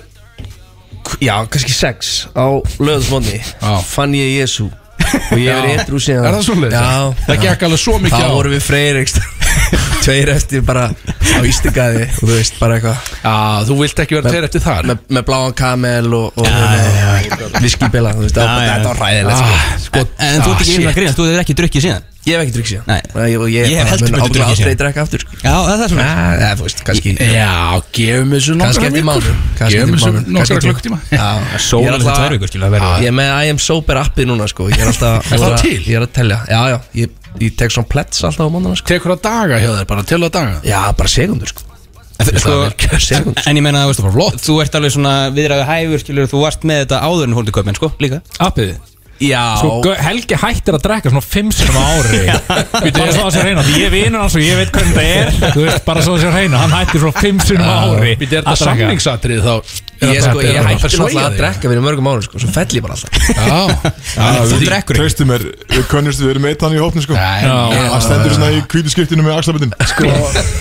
Speaker 8: Já, kannski sex á löðsmónni
Speaker 4: Já.
Speaker 8: Fann ég Jésu Og ég er
Speaker 4: Já.
Speaker 8: eitthrú síðan
Speaker 4: Er það svoleiðis?
Speaker 8: Já
Speaker 4: Það gekk alveg svo mikið
Speaker 8: Þá
Speaker 4: á.
Speaker 8: vorum við freyrir (laughs) Tveir eftir bara á Ístingaði Og þú veist, bara eitthvað
Speaker 4: Já, þú vilt ekki vera
Speaker 8: Me-
Speaker 4: tveir eftir þar
Speaker 8: Með, með bláan kamel og, og, og viskibila Þú veist,
Speaker 5: Já,
Speaker 8: það var bara-
Speaker 5: já.
Speaker 8: þetta var ræðilegt sko.
Speaker 4: ah, sko,
Speaker 5: En, en þú ert ekki yfir að grínast, þú hefur ekki drukkið síðan
Speaker 8: Ég hef ekki drukk síðan
Speaker 5: Nei.
Speaker 8: ég, og ég,
Speaker 5: Ég hef
Speaker 8: bara
Speaker 5: heldur
Speaker 8: mun
Speaker 5: betur drukkið
Speaker 8: ábyggilega aldrei
Speaker 5: síðan.
Speaker 8: drekka aftur sko.
Speaker 5: Já, það er svona
Speaker 8: Ah, eða, þú veist, kannski
Speaker 4: Já, gefum þessu
Speaker 8: Kannski
Speaker 4: nokkra
Speaker 8: eftir mánuð, kannski
Speaker 4: Gefum
Speaker 8: eftir
Speaker 4: þessu
Speaker 8: mánuð, kannski
Speaker 4: nokkra
Speaker 8: eftir-
Speaker 4: klukkutíma
Speaker 8: Já, ég er
Speaker 5: Sólan þessi
Speaker 8: alltaf-
Speaker 5: tvær vikur skilja að verða
Speaker 8: Ég er með I am sober appið núna sko Ég er alltaf
Speaker 4: Er það
Speaker 8: ég að-
Speaker 4: til?
Speaker 8: Ég er að telja, já já Ég, ég tek svona plets alltaf á mánuðan sko
Speaker 4: Tekur að daga hjá þér, bara til að daga
Speaker 8: Já, bara segundur sko
Speaker 5: En
Speaker 8: Það er
Speaker 5: sko,
Speaker 8: kjör segundur
Speaker 5: En ég meina, þú veist, bara flott Þú ert alveg svona viðræðu hæfur, skilur Þú varst með þetta áður en hóldi köpinn, sko, líka
Speaker 9: Appið
Speaker 8: Já,
Speaker 9: Sko, Gau- Helgi hættir að drekka svona fimm sinum ári Býtu, ég er svo að sér reyna Því ég vinur hans og ég veit hvernig það er Þú veist, bara svo að sér reyna Hann hættir svona fimm sinum ári
Speaker 4: Býttu, er þetta
Speaker 9: drekka.
Speaker 4: samningsatrið þá?
Speaker 8: Ég, sko, ég hætti náttúrulega að
Speaker 4: drekka
Speaker 8: drekka fyrir mörgum mánuð sko Svo fell ég bara alltaf
Speaker 4: Já,
Speaker 3: Þú
Speaker 5: drekkur ekki.
Speaker 3: Traustu mér, við könnustu við erum eitt hann í hópni sko
Speaker 4: já
Speaker 3: Það stendur svona í hvítu skiptinu með axlabindin Sko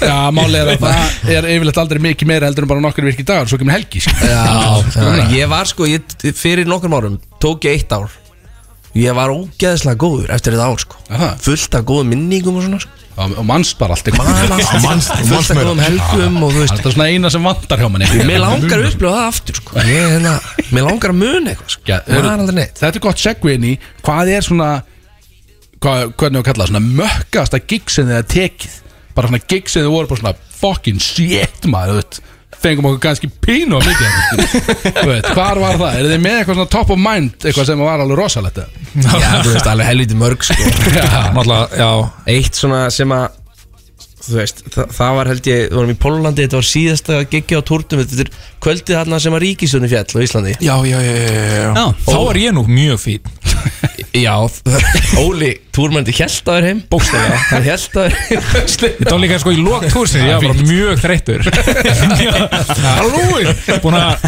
Speaker 4: Já, málið
Speaker 8: (laughs)
Speaker 4: er að það er yfirleitt aldrei mikið meira heldur en bara nokkur virkið dagar, svo kemur helgi sko.
Speaker 8: Já,
Speaker 4: núna.
Speaker 8: já, ég var sko, ég, fyrir nokkrum árum tók ég eitt ár Ég var ógeðslega góður eftir þetta ár sko
Speaker 4: Aha.
Speaker 8: Fullt af góðum minningum og svona sko
Speaker 4: og mannst bara allt eitthvað.
Speaker 8: Manast,
Speaker 3: manst-
Speaker 8: fullt
Speaker 3: manst
Speaker 8: af
Speaker 3: meira.
Speaker 8: góðum helgum og þú
Speaker 4: Það
Speaker 8: veist
Speaker 4: er þetta svona eina sem vantar hjá manni
Speaker 8: Mér langar að upplifa það aftur sko Ég, hérna, Mér langar að muna eitthvað sko
Speaker 4: Já,
Speaker 8: Það er aldrei neitt
Speaker 4: Þetta er gott segvin í hvað er svona hvað, hvernig við kalla það, svona mökkasta gig sem þið er tekið bara svona gig sem þið voru bara svona fucking shit maður, þú veit fengum okkur ganski pínu á mikið hérna, skilur. Þú veit, hvar var það, er þið með eitthvað svona top of mind eitthvað sem var alveg rosalegt eða?
Speaker 8: Já, þú veist, alveg helviti
Speaker 4: (laughs)
Speaker 8: mörg sko
Speaker 9: Náttúrulega, já
Speaker 8: Eitt svona sem að Þú veist, það, það var held ég, við vorum í Pólandi Þetta var síðasta giggi á tórnum Þetta er kvöldið þarna sem að ríkisjónu fjall á Íslandi
Speaker 9: Já, já, já, já, já.
Speaker 5: Já,
Speaker 9: Þá er ég nú mjög fín
Speaker 8: Já, Óli, túrmændi held að þér heim Bókstæðlega Hann held að (laughs) þér heim
Speaker 9: Þetta var líka sko í loktúrsin Ég var bara mjög þreyttur Hallóin Búin að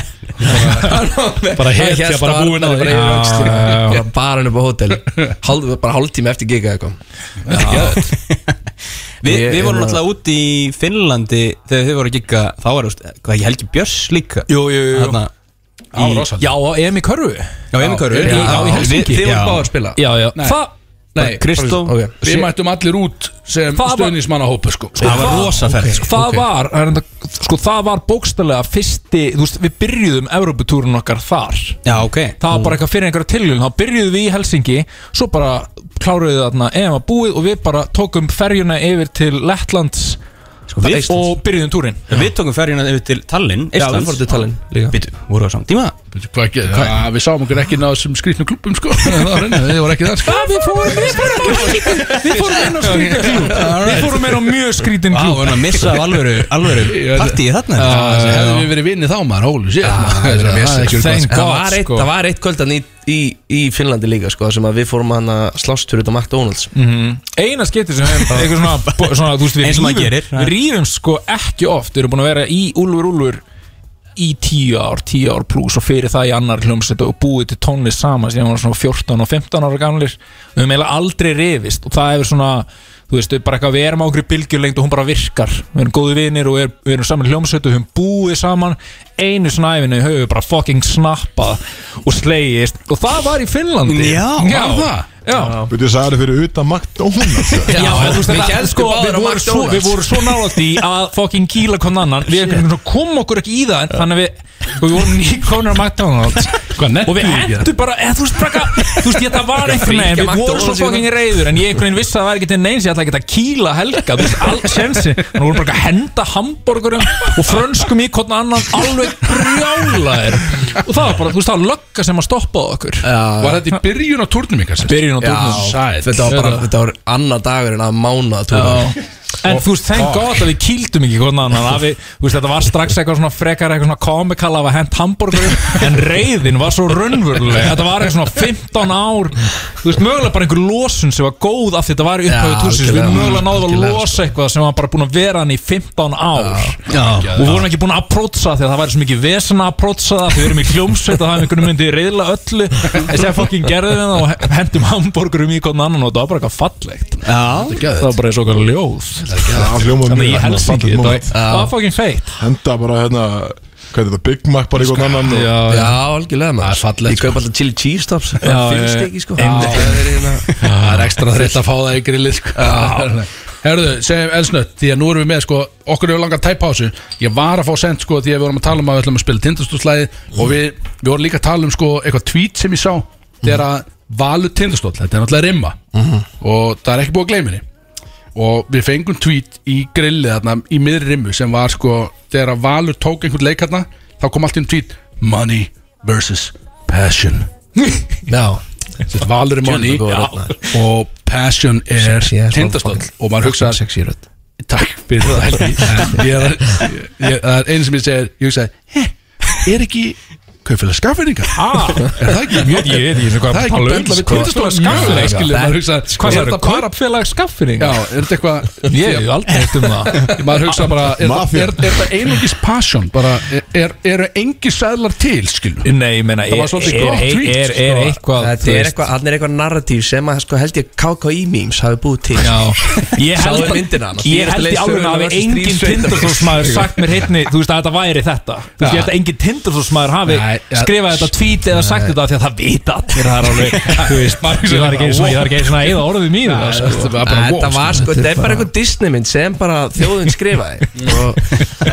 Speaker 8: Bara
Speaker 9: hetja, bara búin að-
Speaker 8: að
Speaker 9: Já, já, já.
Speaker 8: Bara bara hann upp á hótel Hálf, Bara hálftíma eftir giga eitthvað
Speaker 5: Vi,
Speaker 8: Ég-
Speaker 5: Við
Speaker 8: ég
Speaker 5: vorum
Speaker 8: meina-
Speaker 5: náttúrulega úti í Finnlandi Þegar þið voru að gigga Þá var þú veist, hvað ekki Helgi Björns líka
Speaker 9: Jú, jú, jú, jú
Speaker 5: Þarna,
Speaker 4: Á, rosalegt.
Speaker 9: Já, á EM í körfu Já,
Speaker 5: Já, Emil Körfu
Speaker 4: já, já, í
Speaker 5: Við- þið
Speaker 9: Helsinki.
Speaker 8: Þið
Speaker 5: voru
Speaker 8: voru
Speaker 5: báðir-
Speaker 8: báður að spila
Speaker 9: já, já Það
Speaker 5: Nei, Kristó
Speaker 8: Ok.
Speaker 4: Við mættum allir út sem
Speaker 9: Það var-
Speaker 4: stöðnismannahópa sko.
Speaker 5: Það var rosa ferð sko.
Speaker 9: Það var, það er enda- sko það var bókstælega fyrsti, þú veist, við byrjuðum Evróputúrun okkar þar
Speaker 5: Já, ok
Speaker 9: Það var bara eitthvað fyrir einhverja tilhjulun Þá byrjuðum við í Helsingi Svo bara kláruðu við þarna EM að búið Og við bara tókum ferjuna yfir til Lettlands
Speaker 5: Sko, við-
Speaker 9: Og byrjuðum túrin
Speaker 5: Við tókum ferjuna yfir til Tallinn,
Speaker 8: Já, við
Speaker 5: Íslands
Speaker 8: fórum til Tallinn líka
Speaker 5: Býtu, voru það samt tíma?
Speaker 4: Hvað ekki, ja, við sáum okkur ekki náðu sem skrýtnum klubum sko. (laughs) Það var reyna, þið voru ekki það sko.
Speaker 9: Við fórum
Speaker 5: (laughs)
Speaker 9: Við fórum inn á skrítin klúb Við fórum inn á mjög skrítin
Speaker 5: Vá,
Speaker 9: klúb
Speaker 5: við erum að missa af alvöru, (laughs) alvöru partíi þarna
Speaker 4: Það hefði við verið vinnið þá maður, hólu sér Það er ekki verið
Speaker 9: Thank
Speaker 8: En það var,
Speaker 9: God
Speaker 8: eitt,
Speaker 9: sko
Speaker 8: það var eitt kvöldan í, í, í Finnlandi líka sko, sem að við fórum hann að slástur út á McDonalds
Speaker 9: Eina skipti sem við Eitthvað svona, (laughs) bo- svona þú veist, við
Speaker 5: Eins og maður
Speaker 9: rífum-
Speaker 5: gerir, ja.
Speaker 9: Við rýfum sko ekki oft Við erum búin að vera í Úlfur Úlfur í tíu ár, tíu ár pluss og fyrir það í annar hljómsveit og búið til tónlist saman síðan við varum svona 14 og 15 ára gamlir við höfum eiginlega aldrei rifist og það hefur svona, þú veist, bara eitthvað við erum á okkur bylgjulengd og hún bara virkar við erum góði vinir og við erum, við erum saman í hljómsveit og við höfum búið saman einu snæfinu höfum við bara fucking snappað og slegist og það var í Finnlandi
Speaker 5: Já,
Speaker 9: var það? Já,
Speaker 3: Þú sagði það fyrir utan McDonalds
Speaker 9: Já,
Speaker 8: Já,
Speaker 9: þú veist
Speaker 8: við
Speaker 9: þetta,
Speaker 8: héldum
Speaker 9: sko,
Speaker 8: báðir
Speaker 9: við
Speaker 8: á
Speaker 9: vorum svo,
Speaker 8: McDonald's.
Speaker 9: við vorum svo nálægt í að fokkin kýla konn annan Við einhvern veginn komum okkur ekki í það en þannig að við, sko, við vorum nýkonur á McDonalds Og við hendur bara, eða, þú veist, braka, þú veist, ég, það var einhvern veginn Við vorum svo
Speaker 8: McDonald's í
Speaker 9: fokkin reyður en ég einhvern veginn vissi að það var ekki til neins Ég ætla ekki að kýla helga, þú veist, all sensi Þannig vorum bara að henda hambúrgurum og frönskum í konn annan alveg brjálaðir Og það var bara, þú veist, það var lögga sem að stoppa okkur
Speaker 4: Var þetta í byrjun á turnum ykkar? sem sagt?
Speaker 9: Byrjun á dúrnum
Speaker 4: Sæt.
Speaker 8: Þetta var bara, þetta var annar dagur en að mána (laughs)
Speaker 9: Já. En þú veist, thank god að við kýldum ekki hvernig annan að við, þú veist, þetta var strax eitthvað svona frekar eitthvað svona komikal af að hent
Speaker 8: (laughs)
Speaker 9: hambúrgur en reyðin var svo raunvöruleg þetta var eitthvað svona 15 ár þú veist, mögulega bara einhver losun sem var góð af því þetta var í upphauðu
Speaker 8: Já,
Speaker 9: túsins við
Speaker 8: algjörlega,
Speaker 9: mögulega náðum að
Speaker 8: algjörlega,
Speaker 9: losa eitthvað sem var bara búin að vera hann í 15 ár
Speaker 4: Já.
Speaker 9: og við vorum ekki búin að approacha því að það væri svo mikið vesen að approacha það því við erum í hljómsveit og það er einhvern veginn myndi reyðla öllu en sem fokkin gerðum við það og hendum hambúrgurum í hvernig annan og það var bara eitthvað fallegt það var bara eins og eitthvað ljóð
Speaker 3: Það hljóma
Speaker 9: Þannig ég
Speaker 3: mjög
Speaker 9: helst ekki
Speaker 3: fallet moment.
Speaker 9: Það var fucking feitt
Speaker 3: Henda bara hérna Hvað er þetta, Big Mac bara í hvern annan og-
Speaker 8: Já, algjörlega maður
Speaker 4: Það er fallegt, sko.
Speaker 8: Ég kaup alltaf chili cheese tops Það
Speaker 9: já,
Speaker 8: finnst
Speaker 9: já.
Speaker 8: ekki sko
Speaker 4: Einmitt.
Speaker 8: Það er hérna
Speaker 4: (laughs) Það er ekstra þreytt að fá það í grillið sko. (laughs) Herðu, segjum elsnött Því að nú erum við með, sko, okkur hefur langar að tæpa á þessu Ég var að fá sent, sko, því að við vorum að tala um að við ætlum að spila tindastólslæði Og við, við vorum líka að tala um, sko, eitthvað tweet sem ég sá Þegar að valu tindastól Þetta er náttúrulega rimma
Speaker 8: Mhm.
Speaker 4: Og það er ekki búið að gleyma henni Og við fengum tweet í grillið þarna Í miðri rimmu sem var, sko, þegar að valur tók einhvern leik þarna Þá kom allt í um tweet Money versus passion
Speaker 8: (laughs) Já
Speaker 4: Sett Valur er money
Speaker 8: Djöfull er góð
Speaker 4: Já.
Speaker 8: rödd,
Speaker 4: og passion er
Speaker 8: Sexy ass
Speaker 4: tindastóll
Speaker 8: motherfucker.
Speaker 4: og maður hugsa
Speaker 8: Sexy rödd
Speaker 4: takk fyrir það Helgi
Speaker 8: (laughs)
Speaker 4: En ég er, ég, það er einu sem ég segir ég hugsa he, er ekki kaupfélag skaffinninga ah, er það ekki mjög
Speaker 9: Ég veit ekki hvað
Speaker 4: það er ekki bendla við tindastóla skaffinninga skilur maður hugsa
Speaker 9: Hvað
Speaker 4: er sko,
Speaker 9: er þetta?
Speaker 4: þetta bara
Speaker 9: Korpfélag skaffinning?
Speaker 4: já er þetta eitthvað
Speaker 9: Ég hef aldrei hægt um
Speaker 4: (laughs)
Speaker 9: það
Speaker 4: maður hugsa bara er,
Speaker 3: Mafía.
Speaker 4: er, er það einungis passion bara er, er, eru engi sæðlar til skilur
Speaker 9: Nei, ég meina
Speaker 4: Það var
Speaker 9: er-
Speaker 4: svolítið
Speaker 9: er-
Speaker 4: gott
Speaker 9: er-
Speaker 4: tweet,
Speaker 9: er-
Speaker 4: sko.
Speaker 9: Er eitthvað
Speaker 8: Þetta
Speaker 9: þú
Speaker 8: er
Speaker 9: veist,
Speaker 8: eitthvað, hann er eitthvað narratív sem að sko held ég KKI memes hafi búið til
Speaker 9: Já, ég
Speaker 8: Sáðu
Speaker 9: held að-
Speaker 8: myndina hana?
Speaker 9: Ég held í
Speaker 8: Dýrasta
Speaker 9: alveg að
Speaker 8: leiðsöguna
Speaker 9: hafi
Speaker 8: versus
Speaker 9: engin
Speaker 8: stríðsveitar.
Speaker 9: tindastólsmaður sagt mér hittni Þú veist að þetta væri þetta Þú veist ég held að engin tindastólsmaður hafi
Speaker 4: Nei, ja,
Speaker 9: skrifað þetta tweet eða sagt þetta af Því að það vita allir það er alveg (laughs) Þú veist, ég var ekki einu sinni- ég var ekki einu svona eða orðið sko. mínu
Speaker 4: þetta var bara
Speaker 8: Þetta
Speaker 4: wow,
Speaker 8: var sko, þetta er bara eitthvað Disney mynd sem bara þjóðin skrifaði og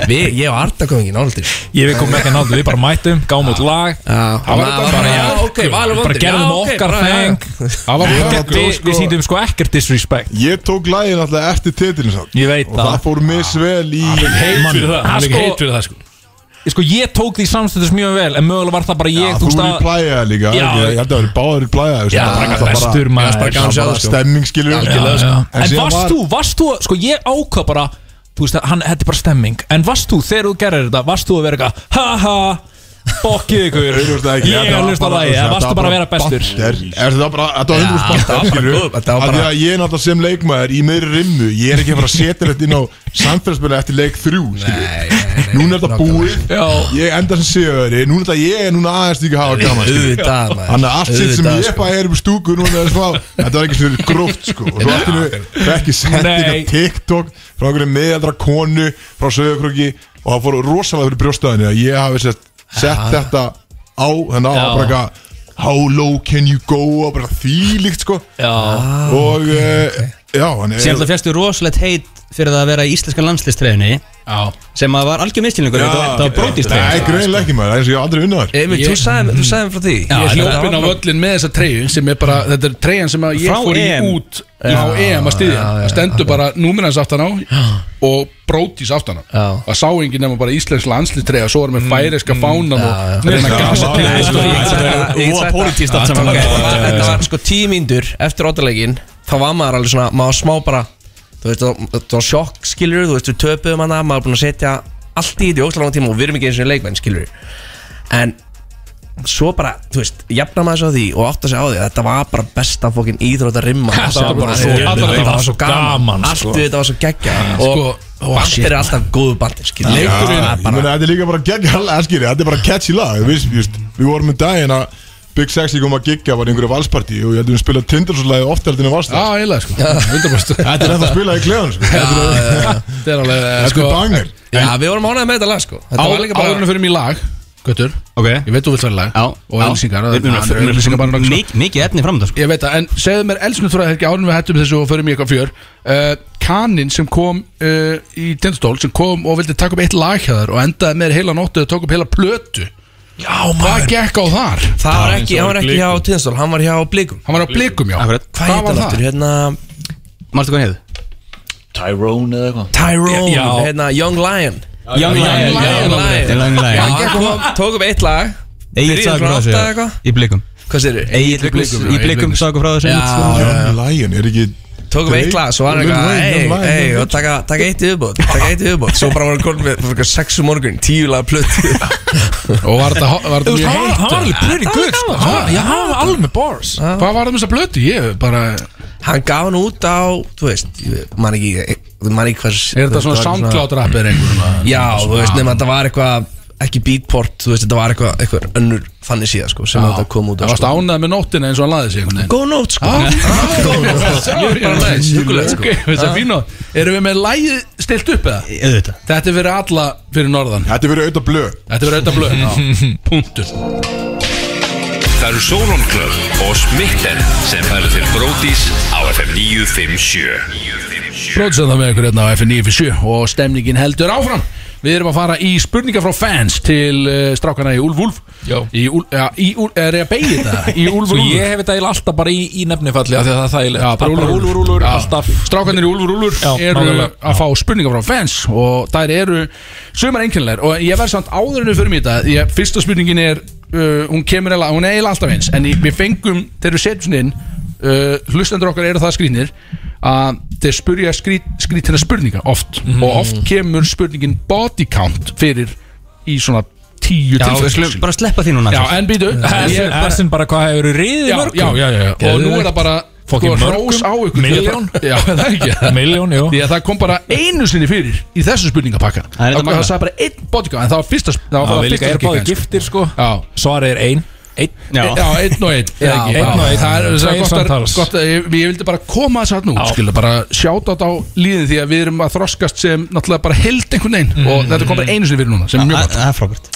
Speaker 8: við, ég og Arda kom ekki nált í
Speaker 9: Ég við komum ekki að náðu, við bara mættum, gáum út lag
Speaker 8: Það
Speaker 9: var þetta bara,
Speaker 8: já,
Speaker 9: já,
Speaker 8: ok,
Speaker 9: Bara
Speaker 8: valur vondir
Speaker 9: gerðum okkar þeng
Speaker 4: það var bara
Speaker 9: Ekkert- Við við sýndum sko ekkert disrespect
Speaker 3: Ég tók lægin alltaf eftir titilin samt
Speaker 9: Ég veit
Speaker 3: Og það
Speaker 9: það
Speaker 3: fór misvel í
Speaker 9: Heit fyrir það,
Speaker 4: hann er ekki heit
Speaker 9: sko,
Speaker 4: fyrir það sko
Speaker 9: sko ég tók því samstættis mjög vel En mögulega var það bara
Speaker 3: Já,
Speaker 9: ég,
Speaker 3: Þú
Speaker 9: þú veist
Speaker 3: er í
Speaker 9: að
Speaker 3: plæja líka
Speaker 9: Já.
Speaker 3: ekki? Ég held að það er báður í plæja
Speaker 9: Já, bara bestur maður
Speaker 8: gaman að sjá það, sko.
Speaker 3: Stemming skilur
Speaker 9: Já, já.
Speaker 3: En
Speaker 9: En
Speaker 3: síðan
Speaker 9: varst
Speaker 3: var-
Speaker 9: þú, varst þú, sko ég ákvað bara Þú veist að hann, þetta er bara stemming En varst þú, þegar þú gerir þetta, varst þú að vera eitthvað Ha ha, bokkið ykkur
Speaker 3: Augljóslega ekki,
Speaker 9: Ég
Speaker 3: þetta
Speaker 9: er
Speaker 3: var
Speaker 9: hlust á
Speaker 3: bara-
Speaker 9: lagi, eða
Speaker 3: þetta
Speaker 9: varstu
Speaker 3: var
Speaker 9: bara að vera bestur
Speaker 3: batter. Er Þetta var bara, þetta var hundrúst
Speaker 8: þetta var
Speaker 3: bantar
Speaker 8: bara
Speaker 3: skilur
Speaker 8: góð, þetta var
Speaker 3: Af því
Speaker 8: bara-
Speaker 3: að ég er náttúrulega sem leikmaður í meðri rimmu Ég er ekki að fara að setja þetta inn á samfélagsbyrja eftir leik þrjú skilur Núna er þetta búið Ég enda sem séu Núna er þetta ég er núna aðeins líka að hafa gaman skilur.
Speaker 8: Auðvitað maður
Speaker 3: Þannig að allt sitt sem
Speaker 8: Auðvitað,
Speaker 3: ég
Speaker 8: sko.
Speaker 3: bara er um stúku núna er smá, þetta var ekki svona gróft sko og svo allt í einu fekk ég sendinga
Speaker 9: Nei.
Speaker 3: TikTok frá einhverju meðaldra konu frá Söðurkróki og það fór rosalega fyrir brjóstaðinni að ég hafi sett, sett þetta á þannig að það var bara eitthvað How low can you go og bara þvílíkt sko
Speaker 9: Já,
Speaker 3: og okay. já, hann
Speaker 5: Sem það fjæstu rosalegt heit fyrir það að vera í íslenska landslistræðinni
Speaker 4: já
Speaker 5: sem að var algjör miskilningur þetta var- þetta var
Speaker 3: Nei,
Speaker 5: brótistræðin
Speaker 3: greinilega ekki maður, það er eins og ég hef aldrei unnaðar
Speaker 8: Emil, þú sagði mér- þú sagði mér frá því
Speaker 4: Ég
Speaker 8: Ég
Speaker 4: hljópin á völlin með þessa treyju sem er bara, þetta er treyjan sem að ég
Speaker 5: Frá
Speaker 4: fór í
Speaker 5: EM.
Speaker 4: út á EM að styðja það stendur bara núminans aftan á og brótis aftan á
Speaker 8: Já.
Speaker 4: það sá enginn nema bara íslensk landslið treyja svo erum við færiska fánan og reyna að gasa til
Speaker 8: Sko, ég get sagt þetta- ég get sagt þetta.
Speaker 5: allt saman.
Speaker 8: Ok, þetta var- Þetta var sko tíu mínútur eftir ottalegin þá var maður alveg svona, maður var smá bara þú veist, það- þetta var sjokk skilur þú veist, við töpuðum hana, maður er búin að setja allt í þetta í óslangan tíma og við erum ekki eins og leikmenn skilur en svo bara, þú veist, jafna maður svo því og átta sig á því, að þetta var bara besta fókin íþrótt að rimma
Speaker 9: Þetta var bara svo-
Speaker 8: þetta var svo gaman,
Speaker 9: gaman,
Speaker 8: allt
Speaker 9: sko.
Speaker 8: við þetta var svo geggja
Speaker 4: sko,
Speaker 8: og Band er alltaf góðu bandin skilur
Speaker 3: Já, ég
Speaker 8: Leikurinn er bara-
Speaker 3: meina, þetta er líka bara (laughs) geggjala, skilji, þetta er bara catchy lag við, just, við vorum um daginn að Big Sexy kom að gigga var í einhverju valsparti og ég heldur við spila Tindersonlagi ofta heldur en við varst
Speaker 4: Já, eiginlega sko 100%
Speaker 3: Þetta er ennþá að spila í kleðan sko. Þetta er-
Speaker 4: (laughs) Þetta er alveg eh,
Speaker 3: þetta
Speaker 4: sko
Speaker 3: er banger
Speaker 8: Já, við vorum ánægði með þetta lag sko Þetta var líka
Speaker 4: Áðurinn
Speaker 8: bara
Speaker 4: fyrir mig í lag Götur
Speaker 5: Ok
Speaker 4: Ég veit þú vilt fara í lag
Speaker 5: Já
Speaker 4: Og elsingar
Speaker 5: Mikið efni framönda sko
Speaker 4: Ég veit það En segðu mér elsinu þrjóða Helgi Áðurinn við hættum þessu Og förum í eitthvað fjör uh, Kanin sem kom uh, Í tindstól Sem kom og vildi taka upp eitt lag hjá þar Og endaði með heila nóttu Og tók upp heila plötu Já maður Hvað gekk á þar?
Speaker 8: Það var ekki, hann var ekki hjá Tindastól, hann var hjá Blikum
Speaker 4: Hann var á blikum já
Speaker 5: Akkurat.
Speaker 8: Hvað heit hann aftur, hérna
Speaker 5: Marstu hvað hefðu?
Speaker 2: Tyrone eða eitthvað
Speaker 8: Tyrone, hérna Young Lion
Speaker 5: Young
Speaker 8: Lion.
Speaker 5: Young Lion
Speaker 8: Hann kom, tók upp eitt lag
Speaker 5: Egil
Speaker 8: Byrjaði
Speaker 5: sagði
Speaker 8: svona
Speaker 5: frá
Speaker 8: átta eða
Speaker 5: þessu
Speaker 8: eitthvað.
Speaker 5: Í blikum
Speaker 8: Hvað sér þau?
Speaker 5: Egil í blikum Í blikum sagði frá þessu
Speaker 8: Já,
Speaker 3: Young Lion er ekki
Speaker 8: tókum eitt glas og var
Speaker 3: Lil
Speaker 8: eitthvað
Speaker 3: Wayne,
Speaker 8: Ei,
Speaker 3: Young Lion,
Speaker 8: ei,
Speaker 3: Young
Speaker 8: og taka, taka eitt í viðbót Taka eitt í viðbót Svo bara voru konum með fyrir sexu morgun um Tíu laga plötu
Speaker 4: Og var þetta var þetta
Speaker 9: Þú veist,
Speaker 4: mjög
Speaker 9: hann var-
Speaker 4: heitt
Speaker 9: hann var alveg pretty good sko. Hann var- Já, hann var alveg með bars
Speaker 4: Hvað var það með þessa plötu? Ég bara
Speaker 8: Hann gaf hann út á, þú veist ég Man ekki, man ekki hvers
Speaker 4: Er þetta svona soundcloud rap eða einhverjum
Speaker 8: Já, þú veist, nema þetta var eitthvað Ekki beatport, þú veist, þetta var eitthvað Eitthvað önnur fannig síða, sko Sem þetta kom út á,
Speaker 4: Það varst ánað með nóttina eins og hann laði sig einhvern veginn
Speaker 8: Góð nót, sko
Speaker 4: Góð
Speaker 8: nice, huggulegt, sko.
Speaker 4: Ok, þetta er fín og Erum við með lægið stilt upp eða?
Speaker 5: Auðvitað
Speaker 4: Þetta er fyrir alla fyrir norðan
Speaker 3: Þetta er verið auðvitað blöð
Speaker 4: Þetta er fyrir auðvitað blöð Punktur
Speaker 7: Það eru Solon Club og Smitten sem færa til Brótis á FM 957
Speaker 4: Bróðsend það með ykkur hérna á F957 Og stemningin heldur áfram Við erum að fara í spurningar frá fans Til uh, strákana í Úlf Úlf
Speaker 9: Já.
Speaker 4: Í Úlf, ja, í Úlf, er ég að beigja þetta? Í Úlf
Speaker 9: Svo
Speaker 4: Úlf
Speaker 9: Sko, ég hef þetta eiginlega alltaf bara í, í nefnifalli af því að það er þægilegt
Speaker 4: Já, bara Úlfur, Úlfur, Úlfur
Speaker 9: alltaf
Speaker 4: Strákarnir í Úlfur, Úlfur
Speaker 9: Já,
Speaker 4: eru
Speaker 9: nákvæmlega.
Speaker 4: að fá spurningar frá fans og þær eru sumar einkennilegar og ég verð samt áður en við förum í þetta ég, fyrsta spurningin er uh, hún kemur eða, hún er eiginlega alltaf eins en í- við fengum, þegar við setjum svona inn uh, hlustendur okkar eru það skrýnir að þeir spurja skrýt, skrýtina spurninga oft og oft kemur spurningin body count fyrir í svona tíu
Speaker 5: Já, við skulum
Speaker 4: tilfellum
Speaker 5: bara sleppa því núna sko.
Speaker 4: Já, en býtu ég-
Speaker 9: Ersin bara hvað hefur riðið
Speaker 4: já,
Speaker 9: mörgum
Speaker 4: já, já, já, já. og nú er það bara sko,
Speaker 9: Fucking mörgum?
Speaker 4: hrós á ykkur
Speaker 9: Milljón?
Speaker 4: (laughs) já, það er ekki það
Speaker 9: Miljón, jú
Speaker 4: Því að það kom bara einu sinni fyrir í þessu spurningapakka Það
Speaker 5: Það er þetta
Speaker 4: það
Speaker 5: magnað.
Speaker 4: sagði bara einn bodyguard En það var fyrsta Það
Speaker 9: Það
Speaker 4: var
Speaker 9: er líka
Speaker 4: fyrsta
Speaker 9: er báði
Speaker 4: kickan,
Speaker 9: giftir sko
Speaker 4: sko. Já
Speaker 9: Svarið er ein Einn
Speaker 5: Já.
Speaker 4: Já, einn og einn
Speaker 9: Já, einn og einn.
Speaker 4: Það er
Speaker 9: Tveir
Speaker 4: það er gott að
Speaker 9: samtals.
Speaker 4: gott að- Ég ég vildi bara koma þess að nú Skilja bara sjáta á líðin Því að við erum að þroskast sem Náttúrulega bara held einhvern veginn Og þetta kom bara einu sinni fyrir núna Sem er mjög gott
Speaker 5: Það er frábært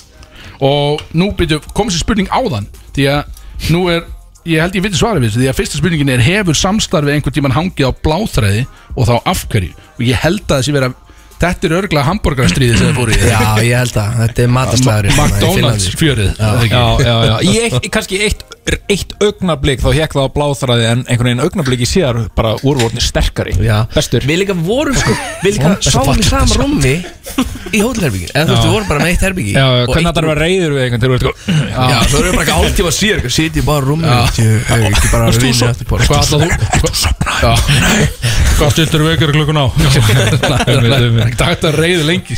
Speaker 4: Og nú byrju, kom þessi spurning áðan Því að nú er Ég held ég viti svara við þessu Því að fyrsta spurningin er Hefur samstarfið einhvern tíman hangið á bláþræði Og þá af hverju Og ég held að þessi vera Þetta er örglega hambúrgarastríði sem það fór í
Speaker 8: Já, ég held að, þetta er hérna matastæður
Speaker 4: McDonalds fjörið eða ekki?
Speaker 9: Já, já, já Í eitt, í kannski eitt, eitt augnablík þá hekk það á bláþræði en einhvern veginn augnablík í síðar bara úrvorni sterkari
Speaker 8: Já.
Speaker 9: Bestur
Speaker 8: Við líka vorum sko Við líka sáum í sama rúmi Í hótelherbyggi En þú veist, við vorum bara með eitt herbyggi
Speaker 9: Já, já, hvernig það er að vera reyður við einhvern til þú (laughs) ert
Speaker 8: Já, svo erum við bara ekki áltíma síðan Sýti bara rúmi eh, Ekki bara
Speaker 4: Varst þú
Speaker 8: vinni
Speaker 4: sof-
Speaker 8: aftur bara
Speaker 4: Hvað ætlað þú? Ertu sopnað? Já Hvað stuttur vekjur klukkun á? (laughs)
Speaker 9: (laughs)
Speaker 4: Þetta hægt að reyði lengi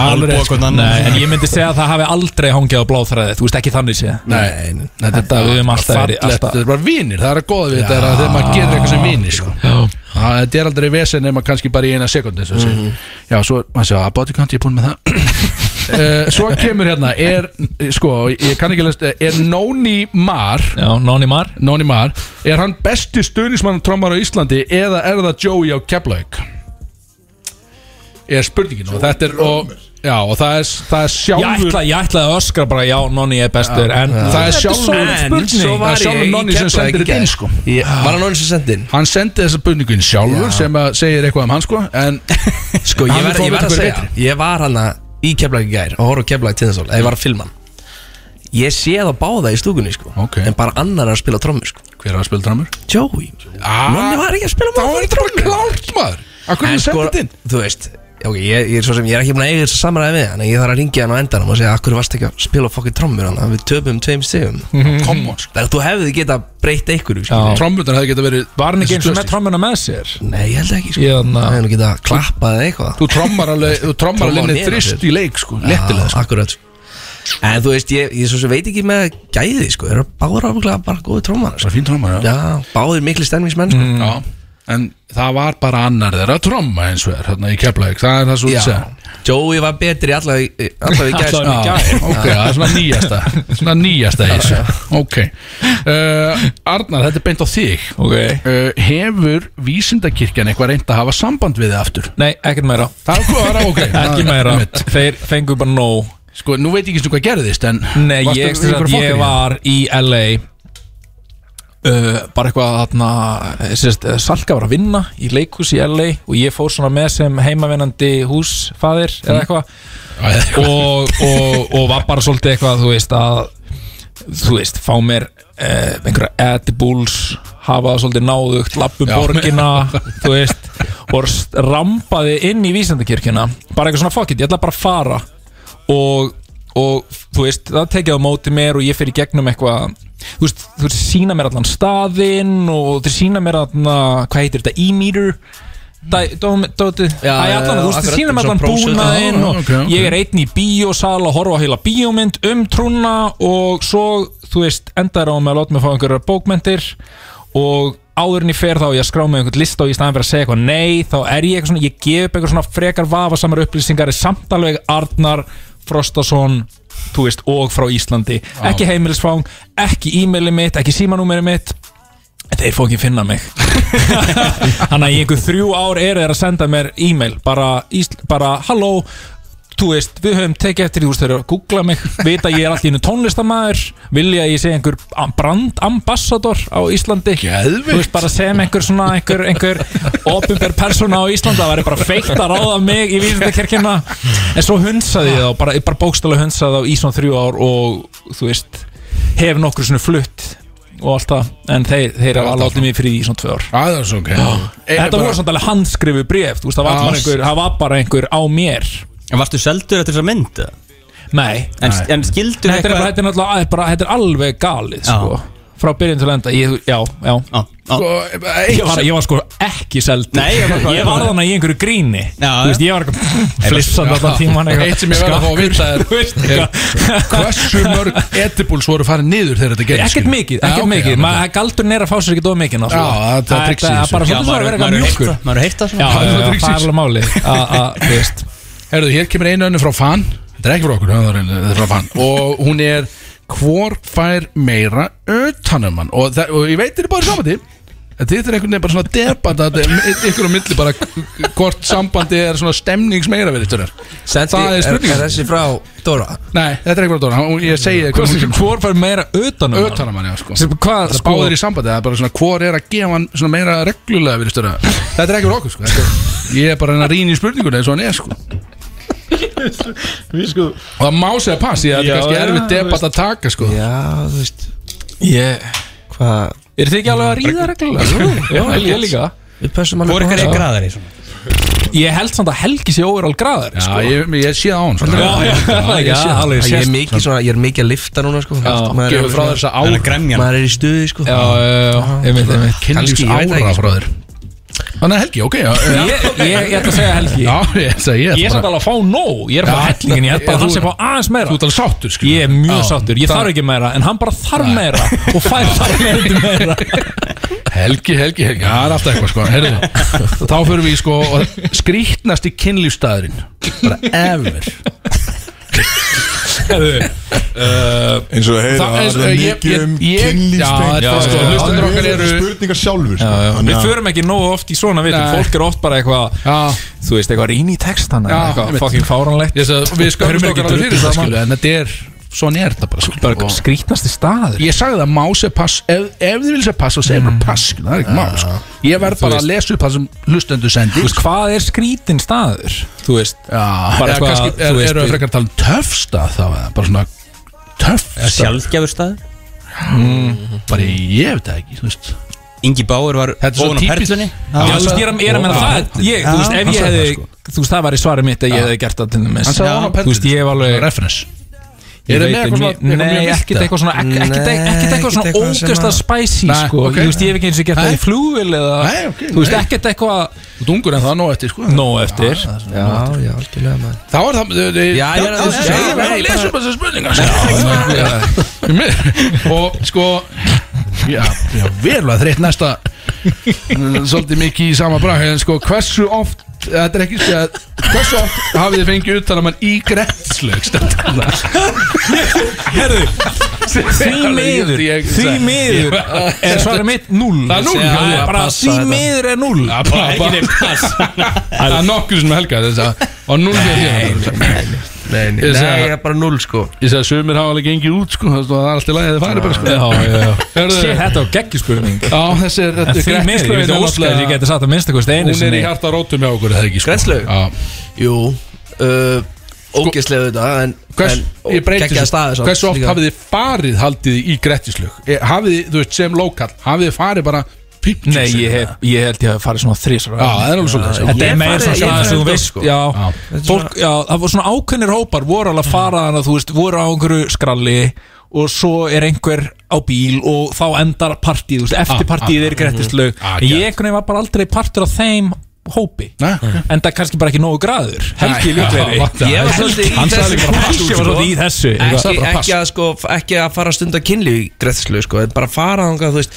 Speaker 4: Alveg sko
Speaker 9: Nei, en ég myndi segja að það hafi aldrei hangið á bláþræði Þú veist ekki þannig segja
Speaker 4: Nei, nei,
Speaker 9: Þetta við höfum alltaf verið-
Speaker 4: fallegt,
Speaker 9: alltaf-
Speaker 4: Þetta er bara vinir, það er að goða við þetta er að þegar maður gerir eitthvað sem vinir sko. Það- Þetta er aldrei vesen nema kannski bara í eina sekund mm
Speaker 9: Mhm.
Speaker 4: -hmm. Já, svo, maður sé að bodycount, ég er búinn með það
Speaker 9: (laughs)
Speaker 4: uh, Svo kemur hérna, er sko, ég kann ekki lest, er Nóni Mar
Speaker 9: Já, Nonni Mar
Speaker 4: Nóni Mar, er hann besti stuðnismann trommar á Íslandi eða er það Joey á Keflavík? Er spurningin og þetta er og, já, og það er, það er
Speaker 9: Ég
Speaker 4: sjálfur
Speaker 9: ætlaði ætla að öskra bara já, Nonni er bestur En
Speaker 4: Það er
Speaker 9: Þetta
Speaker 4: sjálfur
Speaker 9: svona spurning.
Speaker 4: svo var
Speaker 9: Það er
Speaker 4: ég-
Speaker 9: sjálfur Nonni sem
Speaker 4: sendir þetta inn, sko.
Speaker 8: Var hann orðin sem sendi inn?
Speaker 4: Hann sendi þessa spurningin sjálfur sem að segir eitthvað um hann sko En
Speaker 8: Sko, ég
Speaker 4: Hann
Speaker 8: var,
Speaker 4: fór með
Speaker 8: ég var að
Speaker 4: einhverju
Speaker 8: segja Ég var hann í keflagi gær Og horf á keflagi tindastól Ég var að filma hann Ég sé það báða í stúkunni sko
Speaker 4: Ok.
Speaker 8: En bara annar er að spila trommu sko
Speaker 4: Hver er að spila drammur?
Speaker 8: Joey Nonni Ah, var ekki að spila
Speaker 4: Þá
Speaker 8: með
Speaker 4: er þetta bara klárt maður Akkur er
Speaker 8: En
Speaker 4: það
Speaker 8: sko,
Speaker 4: sendið þetta inn?
Speaker 8: þú veist ok, ég, ég, er svo sem, ég er ekki búin að eiga þess að samræða við Þannig að ég þarf að ringja hann á endanum og segja Akkur varst ekki að spila fokkin trommur Þannig að við töpum tveim stegum
Speaker 4: Come on sko
Speaker 8: Þannig að þú hefði geta breytt einhverju sko. skilur.
Speaker 4: Trommutan hefði geta verið
Speaker 9: Var hann ekki eins og með
Speaker 4: Þessi
Speaker 9: trommuna með sér?
Speaker 8: Nei, ég held ekki sko.
Speaker 9: Ég, na-
Speaker 8: Það hefði nú geta klappað eða eitthvað
Speaker 4: Þú trommar alveg, þú trommar
Speaker 8: Trommar
Speaker 4: alveg
Speaker 8: á
Speaker 4: inni
Speaker 8: nefið
Speaker 4: þrist
Speaker 8: þér.
Speaker 4: í leik sko Lettilega sko
Speaker 8: Akkurat En þú veist, ég, ég svo sem veit ekki með gæði sko. Þeir eru báður áfuglega bara góði trommar
Speaker 4: Það
Speaker 8: sko.
Speaker 4: er fín trommar, já
Speaker 8: Já, báður miklu stemningsmenn sko.
Speaker 4: Já en það var bara annar þeirra tromma eins og er hérna í Keflavík, það er það svo að segja
Speaker 8: Joey var betri allavega í- allavega í sko. gæs
Speaker 9: Allavega í
Speaker 8: Já.
Speaker 9: gær.
Speaker 4: Já, ok, það er svona
Speaker 9: (laughs)
Speaker 4: nýjasta svona nýjasta í þessu ok, uh, Arnar, þetta er beint á þig
Speaker 9: Ok
Speaker 4: uh, hefur vísindakirkjan eitthvað reynd að hafa samband við þið aftur?
Speaker 9: Nei, ekkert meira
Speaker 4: Það er hvað, ok
Speaker 9: (laughs) Ekki
Speaker 4: það-
Speaker 9: meira
Speaker 4: einmitt.
Speaker 9: Þeir fengu bara nóg
Speaker 4: Sko, nú veit ég ekki svona hvað gerðist, en
Speaker 9: Nei,
Speaker 4: varstu
Speaker 9: ég,
Speaker 4: í einhverju
Speaker 9: sem sagt,
Speaker 4: fokkeríi?
Speaker 9: ég var í LA uh, Bara eitthvað þarna eh, sérst, Salka var að vinna í leikhús í LA Og ég fór svona með sem heimavinnandi húsfaðir Eða eitthvað
Speaker 4: Já, já, já.
Speaker 9: (laughs) og, og, og var bara svolítið eitthvað þú veist að þú veist, fá mér eh, einhverja edibles, hafa það svolítið náðugt lappum
Speaker 4: Já.
Speaker 8: (laughs)
Speaker 9: borgina þú veist, og s- rampaði inn í vísendakirkjuna, bara eitthvað svona fuck it, ég ætla bara að fara og, og þú veist, það tekið á móti mér og ég fyrir gegnum eitthvað þú veist, þú veist, sína mér allan staðinn og þú sína mér allan hvað heitir þetta, e-meter Dæ- dóm- dótið, æ,
Speaker 8: Já, já,
Speaker 9: allan,
Speaker 8: já,
Speaker 9: þú veist,
Speaker 8: akkurat,
Speaker 9: sína mér
Speaker 8: eins og
Speaker 9: allan
Speaker 8: prófsöl.
Speaker 9: búnaðinn
Speaker 4: Já,
Speaker 9: og
Speaker 4: ok, ok.
Speaker 9: ég er einn í bíósal að horfa á heila bíómynd um trúna og svo, þú veist, endar á með að láta mig fá einhverjar bókmyndir og áður en ég fer þá á ég að skrá mig einhvern lista og ég staðan fyrir að segja eitthvað nei, þá er ég eitthvað svona, ég gef upp eitthvað svona frekar vafasamar upplýsingar í samtalveg Arnar Frostason þú veist, og frá Íslandi ekki heimilisfang, ekki e-mailið mitt ekki símanúmerið mitt En Þeir fá ekki finna mig Þannig að í einhver þrjú ár eru þeir að senda mér e-mail bara, ísl, bara halló Þú veist, við höfum tekið eftir því, þú veist, þeir eru að googla mig Vita að ég er alltaf innu tónlistamæður Vilja að ég sé einhver brandambassador á Íslandi
Speaker 4: Geðveikt.
Speaker 9: Þú veist, bara sem einhver svona, einhver, einhver Opinber persóna á Íslandi Það væri bara feitt að ráða mig í vísindakirkina En svo hunsaði ég þá, bara, bara bókstælega hunsaði þá í svona þrjú ár Og, þú veist, hef nokkur svona flutt og allt það en þeir, þeir hafa
Speaker 4: alltaf
Speaker 9: látið mig fyrir því í svona tvö ár
Speaker 4: Það er svo ok
Speaker 9: Þetta voru samt alveg handskrifu bref þú veist, það, var
Speaker 4: Já.
Speaker 9: bara einhver, það var bara einhver á mér
Speaker 5: En varstu seldur eftir þessa mynd? eða?
Speaker 9: Nei,
Speaker 5: En, en skildur
Speaker 9: þetta er, bara, þetta, er náttúrulega- að- bara, þetta er alveg galið
Speaker 5: Já.
Speaker 9: sko. frá byrjun til enda ég, já, já.
Speaker 5: á, á.
Speaker 9: Sko,
Speaker 4: Sko,
Speaker 9: Ég, var, ég var sko ekki seldur
Speaker 5: Nei, ég var bara-
Speaker 9: ég var þannig í einhverju gríni
Speaker 5: Já,
Speaker 9: Þú veist, ég var eitthvað flissandi allan tíman eitthvað. Sko.
Speaker 4: Eitt sem ég verði að fá að vita er, er Hversu
Speaker 9: (laughs)
Speaker 4: mörg edibuls voru farið niður þegar þetta gerðist
Speaker 9: ekkert
Speaker 4: skilur?
Speaker 9: mikið,
Speaker 4: Já,
Speaker 9: ekkert
Speaker 4: ok,
Speaker 9: mikið
Speaker 4: já,
Speaker 9: Ma, galdurinn er að fá sér ekki dóð mikið náttúrulega.
Speaker 4: Já, það er trixið í
Speaker 9: það
Speaker 4: þessu.
Speaker 9: er bara
Speaker 5: Já,
Speaker 9: svolítið að vera eitthvað mjúkur
Speaker 5: maður er heitt að
Speaker 9: Já,
Speaker 5: svona
Speaker 9: já,
Speaker 4: það er
Speaker 9: já,
Speaker 4: trixið.
Speaker 9: það er alveg máli að, að, þú veist
Speaker 4: Herðu, hér kemur einu önnu frá fan Þetta er ekki frá okkur, það er einu- þetta er frá
Speaker 8: (laughs)
Speaker 4: fan Og hún er Hvor fær meira utanum hann Og, það, og ég veit þetta er bara í sambandi En Þetta er einhvern veginn bara svona debat að þetta er ykkur á milli bara hvort sambandi er svona stemningsmeira við þetta
Speaker 8: Sendi-
Speaker 4: Það er
Speaker 8: er
Speaker 4: spurningin.
Speaker 8: er þessi frá Dóra
Speaker 4: Nei, þetta er ekki frá Dóra Hún- Ég segi
Speaker 9: Hvað
Speaker 4: hún-
Speaker 9: sem hvor fær meira utanum hann?
Speaker 4: utan að mann, já, sko
Speaker 9: Sem- hvað,
Speaker 4: Það
Speaker 9: sko-
Speaker 4: báðir í sambandi, það er bara svona hvor er að gefa hann svona meira reglulega við störa Þetta er ekki fyrir okkur, sko Þetta er, Ég er bara að reyna að rýna í spurninguna eins og hann er, sko Og það má segja pass, ég þetta er kannski erfið debat að taka, sko
Speaker 8: Já, þú veist
Speaker 9: Ég
Speaker 8: Hvað
Speaker 9: Er þið ekki alveg að ríða reglulega? Jú, já, ég líka
Speaker 8: Við pössum alveg
Speaker 5: Hvor
Speaker 8: upp á
Speaker 5: ykkar
Speaker 8: það.
Speaker 5: er graðar í svona?
Speaker 9: Ég held samt að Helgi sé óverál graðar
Speaker 4: Já, ég, ég sé það á hann, sko
Speaker 9: sko. Já, já,
Speaker 4: ég
Speaker 9: já,
Speaker 4: sé það.
Speaker 9: alveg
Speaker 8: Ég er
Speaker 9: sést.
Speaker 8: mikið svona Ég er mikið að lifta núna sko
Speaker 9: Já,
Speaker 8: Maður er-
Speaker 4: Gefur frá þess að á
Speaker 5: Það er gremjan
Speaker 8: Maður er í stuði sko
Speaker 9: Já, já, já, ég veit, ég veit
Speaker 8: Kannski,
Speaker 4: kynlífs
Speaker 8: ég veit það
Speaker 4: ára
Speaker 8: ekki, sko.
Speaker 4: frá þér Þannig að Helgi, ok, já já.
Speaker 9: Ég, ég, ég ætla að segja Helgi
Speaker 4: Já, ég segi
Speaker 9: Ég er
Speaker 4: ég
Speaker 9: samt
Speaker 4: bara-
Speaker 9: alveg að fá nóg Ég er bara
Speaker 4: Já.
Speaker 9: hellingin, ég held
Speaker 4: Þú-
Speaker 9: bara að hann sé að fá aðeins
Speaker 4: Þú
Speaker 9: meira
Speaker 4: ert alveg sáttur, sko
Speaker 9: Ég er mjög
Speaker 4: Já.
Speaker 9: sáttur, ég þarf ekki meira En hann bara þarf meira Og fær (laughs) þarf meira meira
Speaker 4: Helgi, Helgi, Helgi, það er alltaf eitthvað sko Heyrðu, Þá fyrir við í, sko og skrýtnasti kynlífstæðurinn bara ever
Speaker 9: Hefðu,
Speaker 3: eins og að heyra
Speaker 4: Það-
Speaker 3: það
Speaker 4: eins-
Speaker 3: er
Speaker 4: ég-
Speaker 3: mikið
Speaker 4: ég-
Speaker 3: um
Speaker 4: ég- já,
Speaker 3: kynlífstengt
Speaker 4: já,
Speaker 9: já, já.
Speaker 4: Hlustendur sko, okkar eru-
Speaker 3: spurningar sjálfur sko.
Speaker 4: já.
Speaker 3: Þannig
Speaker 9: Við
Speaker 3: að-
Speaker 9: förum ekki nógu oft í svona vitum
Speaker 4: Nei.
Speaker 9: Fólk er oft bara eitthvað
Speaker 4: Já,
Speaker 9: Þú veist, eitthvað rýn í textana
Speaker 4: Já,
Speaker 9: Eitthvað
Speaker 4: einmitt.
Speaker 9: fucking fáranlegt
Speaker 4: ég sagði, við skömmum
Speaker 9: Erum ekki
Speaker 4: okkar alveg fyrir
Speaker 9: drullu
Speaker 4: það
Speaker 9: saman.
Speaker 4: skilu En þetta er, svona er þetta bara sko
Speaker 9: Bara
Speaker 4: Og-
Speaker 9: skrítnasti staður
Speaker 4: Ég sagði það, má segja pass Ef, ef þið vil segja pass, þá segja bara pass skilu Það er ekki má sko Ég verð bara að lesa upp það sem hlustendur sendi
Speaker 9: Þú veist, hvað er skrítin staður? Þú veist
Speaker 4: Já,
Speaker 9: Bara
Speaker 4: eða
Speaker 9: eitthvað,
Speaker 4: kannski
Speaker 9: þú
Speaker 4: er-
Speaker 9: veist,
Speaker 4: eru
Speaker 9: við-
Speaker 4: það frekar að tala um töfstað þá eða bara svona töfstað
Speaker 5: Sjálfgjafur staður
Speaker 4: bara ég veit það ekki, þú veist
Speaker 5: Ingi Báur var
Speaker 4: Þetta er svo
Speaker 5: ofan á
Speaker 4: típist-
Speaker 5: perlunni
Speaker 9: Já, þú veist, ég er að- ég er að menna
Speaker 4: Já.
Speaker 9: það ég, Þú veist,
Speaker 4: Já,
Speaker 9: ef
Speaker 4: hann
Speaker 9: ég
Speaker 4: sagði
Speaker 9: hefði
Speaker 4: það,
Speaker 9: Þú veist, það sko. var í svari mitt að ég hefði gert það til dæmis
Speaker 4: Hann sagði
Speaker 9: Já.
Speaker 4: hann á pöllinu.
Speaker 9: Þú veist, ég hef alveg
Speaker 4: reference
Speaker 9: Ég
Speaker 4: Eru
Speaker 9: veit
Speaker 4: með eitthvað
Speaker 9: ekki-
Speaker 4: um svona- eitthvað
Speaker 9: Nei,
Speaker 4: mjög
Speaker 9: ekkert
Speaker 4: villt,
Speaker 9: eitthvað svona Ekkert ekkert-
Speaker 8: Nei,
Speaker 9: ekkert eitthvað
Speaker 8: ekkert
Speaker 9: svona
Speaker 8: eitthvað sem
Speaker 9: ógæsla
Speaker 8: að-
Speaker 9: spicy,
Speaker 4: Nei,
Speaker 9: sko
Speaker 4: ok.
Speaker 9: Þú veist, ég hef ekki eins og gert það í
Speaker 4: Nei.
Speaker 9: flugvil eða
Speaker 4: Nei, ok,
Speaker 9: Þú veist,
Speaker 4: nei.
Speaker 9: ekkert eitthvað Ah,
Speaker 4: Þú dungur en það nóg eftir sko
Speaker 9: Nó eftir
Speaker 8: Já, já, algjörlega maður
Speaker 4: Þá er það Já,
Speaker 8: Já, ég er að-
Speaker 4: já, já,
Speaker 8: já,
Speaker 4: ég verð að
Speaker 8: nei,
Speaker 4: lesa upp þessar spurningar Já, já, já. Og sko Já, já, verulega þreytt næsta svolítið mikið í sama brag en sko hversu oft þetta er ekki sko að- hversu oft hafið þið fengið uttala mann í grenslög
Speaker 9: Herðu, því miður
Speaker 4: Ég-
Speaker 9: Því
Speaker 4: ég-
Speaker 9: miður er svarið mitt 0
Speaker 4: Það er núll, já, já, passa
Speaker 9: Því
Speaker 4: þetta.
Speaker 9: miður er 0
Speaker 4: ekki neitt pass það er nokkur sem helga þess að og núl fyrir því
Speaker 8: Nei, nei,
Speaker 4: Ég segi-
Speaker 8: nei, ég er bara null sko
Speaker 4: ég segi að sömur hafa alveg gengið út sko það er alltaf lægið að fara bara sko Hörðu,
Speaker 9: Sér þetta á geggjuskurning
Speaker 4: já þessi er
Speaker 9: Því miður, ég veit óskæði að ég geti satt að minnsta kosti einu
Speaker 4: hún er
Speaker 9: sinni
Speaker 4: í harta rótum hjá okkur er það ekki sko
Speaker 8: Grenslaug?
Speaker 4: já
Speaker 8: Jú uh, Ógeðslega þetta En,
Speaker 4: Hvers,
Speaker 8: en
Speaker 4: ég breyti
Speaker 8: geggjaður staður samt
Speaker 4: hversu oft
Speaker 8: líka.
Speaker 4: hafið þið farið haldið þið í Grettislög E, hafið þið, þú veist, sem lokal hafið þið farið bara píptjús
Speaker 9: Nei, ég, hef, ég held ég að farið svona þrís
Speaker 4: já, það er alveg svolítið
Speaker 9: Þetta
Speaker 8: Ég
Speaker 9: er meira
Speaker 8: farið-
Speaker 9: svona
Speaker 8: ég
Speaker 9: staðar
Speaker 8: farið
Speaker 9: sem þú
Speaker 8: þetta,
Speaker 9: veist
Speaker 8: sko.
Speaker 9: já,
Speaker 4: Já.
Speaker 9: fólk, já, það voru svona ákveðnir hópar voru alveg að fara þannig að þú veist voru á einhverju skralli og svo er einhver á bíl og þá endar partíð, þú veist, eftir
Speaker 4: Ah,
Speaker 9: partíð er grettislaug
Speaker 4: Ah,
Speaker 9: en
Speaker 4: gett.
Speaker 9: ég einhvern veginn var bara aldrei partur á þeim hópi
Speaker 4: Nei.
Speaker 9: en það er kannski bara ekki nógu graður Helgi
Speaker 4: Nei, (laughs) já,
Speaker 9: Ljókveri
Speaker 4: vant-
Speaker 8: Ég var svolítið í
Speaker 9: hann sagði
Speaker 8: þessu
Speaker 9: bara pass
Speaker 8: sko.
Speaker 9: Helgi var svolítið í þessu
Speaker 8: ekki,
Speaker 9: Bara pass.
Speaker 8: ekki, að, sko, ekki að fara að stunda kynlíf í greiðslu sko, en bara fara þangað þú veist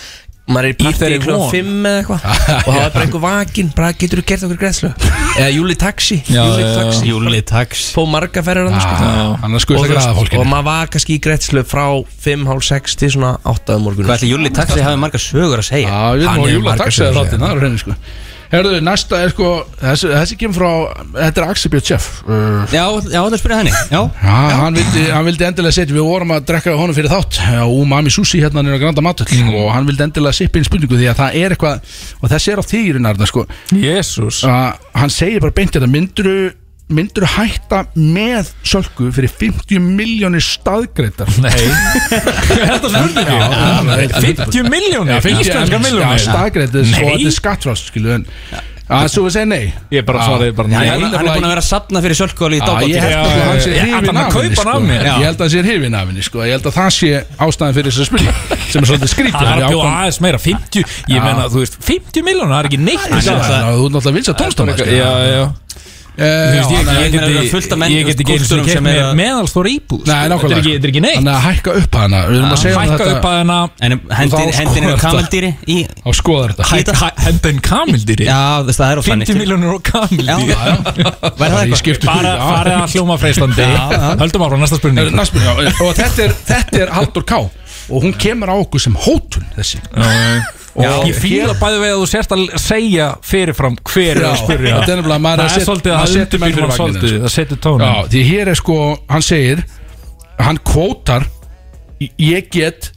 Speaker 8: maður er í partí
Speaker 9: þeirri
Speaker 8: í klokkan
Speaker 9: von.
Speaker 8: 5 eða
Speaker 9: (laughs)
Speaker 8: eitthvað og það er bara einhver vakin bara getur þú gert okkur greiðslu eða júli taxi
Speaker 9: Já,
Speaker 5: Eh,
Speaker 8: júli
Speaker 9: já, já.
Speaker 8: taxi
Speaker 5: Júli tax
Speaker 8: fó marga
Speaker 4: Ah,
Speaker 8: ferðar hann sko
Speaker 4: hann er
Speaker 8: og,
Speaker 4: skuðst
Speaker 8: þú
Speaker 4: að græða
Speaker 8: veist, og
Speaker 4: fólkinu
Speaker 8: maður var kannski í greiðslu frá 5.30 til svona 8 morgun
Speaker 5: Hvað ætli Júli taxi hafi margar sögur að segja?
Speaker 4: já, við erum
Speaker 8: Hann
Speaker 4: á
Speaker 8: hefur
Speaker 4: júla
Speaker 8: margar
Speaker 4: taxið
Speaker 8: sögur,
Speaker 4: þáttinn, það er á hreinu sko herðu, næsta er sko þessi, þessi kemur frá, þetta er Axel Björn Sjöf uh,
Speaker 5: Já, já, það spyrir henni Já,
Speaker 4: Já, hann vildi, hann vildi endilega setja, við vorum að drekka við honum fyrir þátt og Umami Sushi hérna nýra granda matur og hann vildi endilega sippa inn spurningu því að það er eitthvað, og þessi er á þýrinarna sko,
Speaker 9: Jésús
Speaker 4: að hann segir bara beint þetta mynduru, mynduru hætta með sölku fyrir 50 miljónir staðgreitar
Speaker 9: (laughs) Þetta nefndi
Speaker 4: Já,
Speaker 9: ekki 50 miljónir, íslenskar
Speaker 4: já,
Speaker 9: miljónir
Speaker 4: staðgreitar og
Speaker 9: Nei.
Speaker 4: þetta er sko- skattfrást skilu en að svo við segja nei
Speaker 9: Ég bara
Speaker 4: Já.
Speaker 9: svaraði bara
Speaker 4: Já,
Speaker 9: nei.
Speaker 4: ég-
Speaker 5: hann, hann er búin að vera að sapna fyrir sölkóli í
Speaker 4: Já, ég held
Speaker 5: dagbóti
Speaker 4: að hann sé
Speaker 9: já, já. Ætlar
Speaker 4: hrifin
Speaker 9: hann að
Speaker 4: af henni
Speaker 9: kaupa hann af
Speaker 4: sko.
Speaker 9: mér?
Speaker 4: Ég held að hann sé hrifin af henni sko. Ég held að það sé ástæðan fyrir þess að spyrja (laughs) sem er svolítið skrítið
Speaker 9: Það er
Speaker 4: Hann
Speaker 9: að
Speaker 4: er
Speaker 9: bjóða
Speaker 4: ákvæm-
Speaker 9: aðeins meira 50, ég menna, þú veist 50 miljónir, það er ekki neitt í
Speaker 4: Já,
Speaker 9: dag.
Speaker 4: þannig að Þú er náttúrulega sko. vins að tónstama
Speaker 9: Já, já
Speaker 4: Eh,
Speaker 9: Þú veist, ég-
Speaker 5: hann er-
Speaker 9: ég
Speaker 5: ég meina,
Speaker 9: geti-
Speaker 5: það eru fullt af menn,
Speaker 9: Ég
Speaker 5: þú veist,
Speaker 9: get ekki eins og
Speaker 5: kúpturum
Speaker 9: kemur
Speaker 5: sem
Speaker 9: með
Speaker 5: eru að-
Speaker 9: meðalstór íbúð sko.
Speaker 4: Nei, nákvæmlega.
Speaker 9: Þetta er ekki- Þetta er ekki neitt
Speaker 4: Þannig að hækka upp hana Við erum að segja um
Speaker 9: Hækka upp
Speaker 4: þetta
Speaker 9: að hennar
Speaker 5: En hendin,
Speaker 4: þá
Speaker 5: hendin
Speaker 4: skoðar
Speaker 5: eru
Speaker 4: þetta.
Speaker 5: kamaldýri í
Speaker 4: á skoðar þetta
Speaker 5: Hæ-
Speaker 9: Henda inn kamildýri
Speaker 5: Já, þess, það er of
Speaker 9: 50 miljónir og
Speaker 5: Já,
Speaker 9: kamildýri
Speaker 5: já. Væri það
Speaker 4: Bara í
Speaker 5: eitthvað?
Speaker 4: skiptu
Speaker 9: Bara
Speaker 4: Já.
Speaker 9: farið að hljóma freistandi Höldum áfram næsta spurning
Speaker 4: Næst spurning, já, Og þetta er, þetta er Haldur K Og hún kemur á okkur sem hótun þessi
Speaker 9: Já, Ég fíla bæði við að þú sért að segja fyrirfram hver er að spurja
Speaker 4: þetta er nefnilega maður að
Speaker 9: Það er
Speaker 4: set-
Speaker 9: svolítið að
Speaker 4: maður
Speaker 9: það
Speaker 4: setur menn
Speaker 9: undirbýr
Speaker 4: fyrir
Speaker 9: hann
Speaker 4: vagninn,
Speaker 9: svolítið
Speaker 4: sko.
Speaker 9: Það setur tónum
Speaker 4: Já, því hér er sko, hann segir Hann kvótar Ég get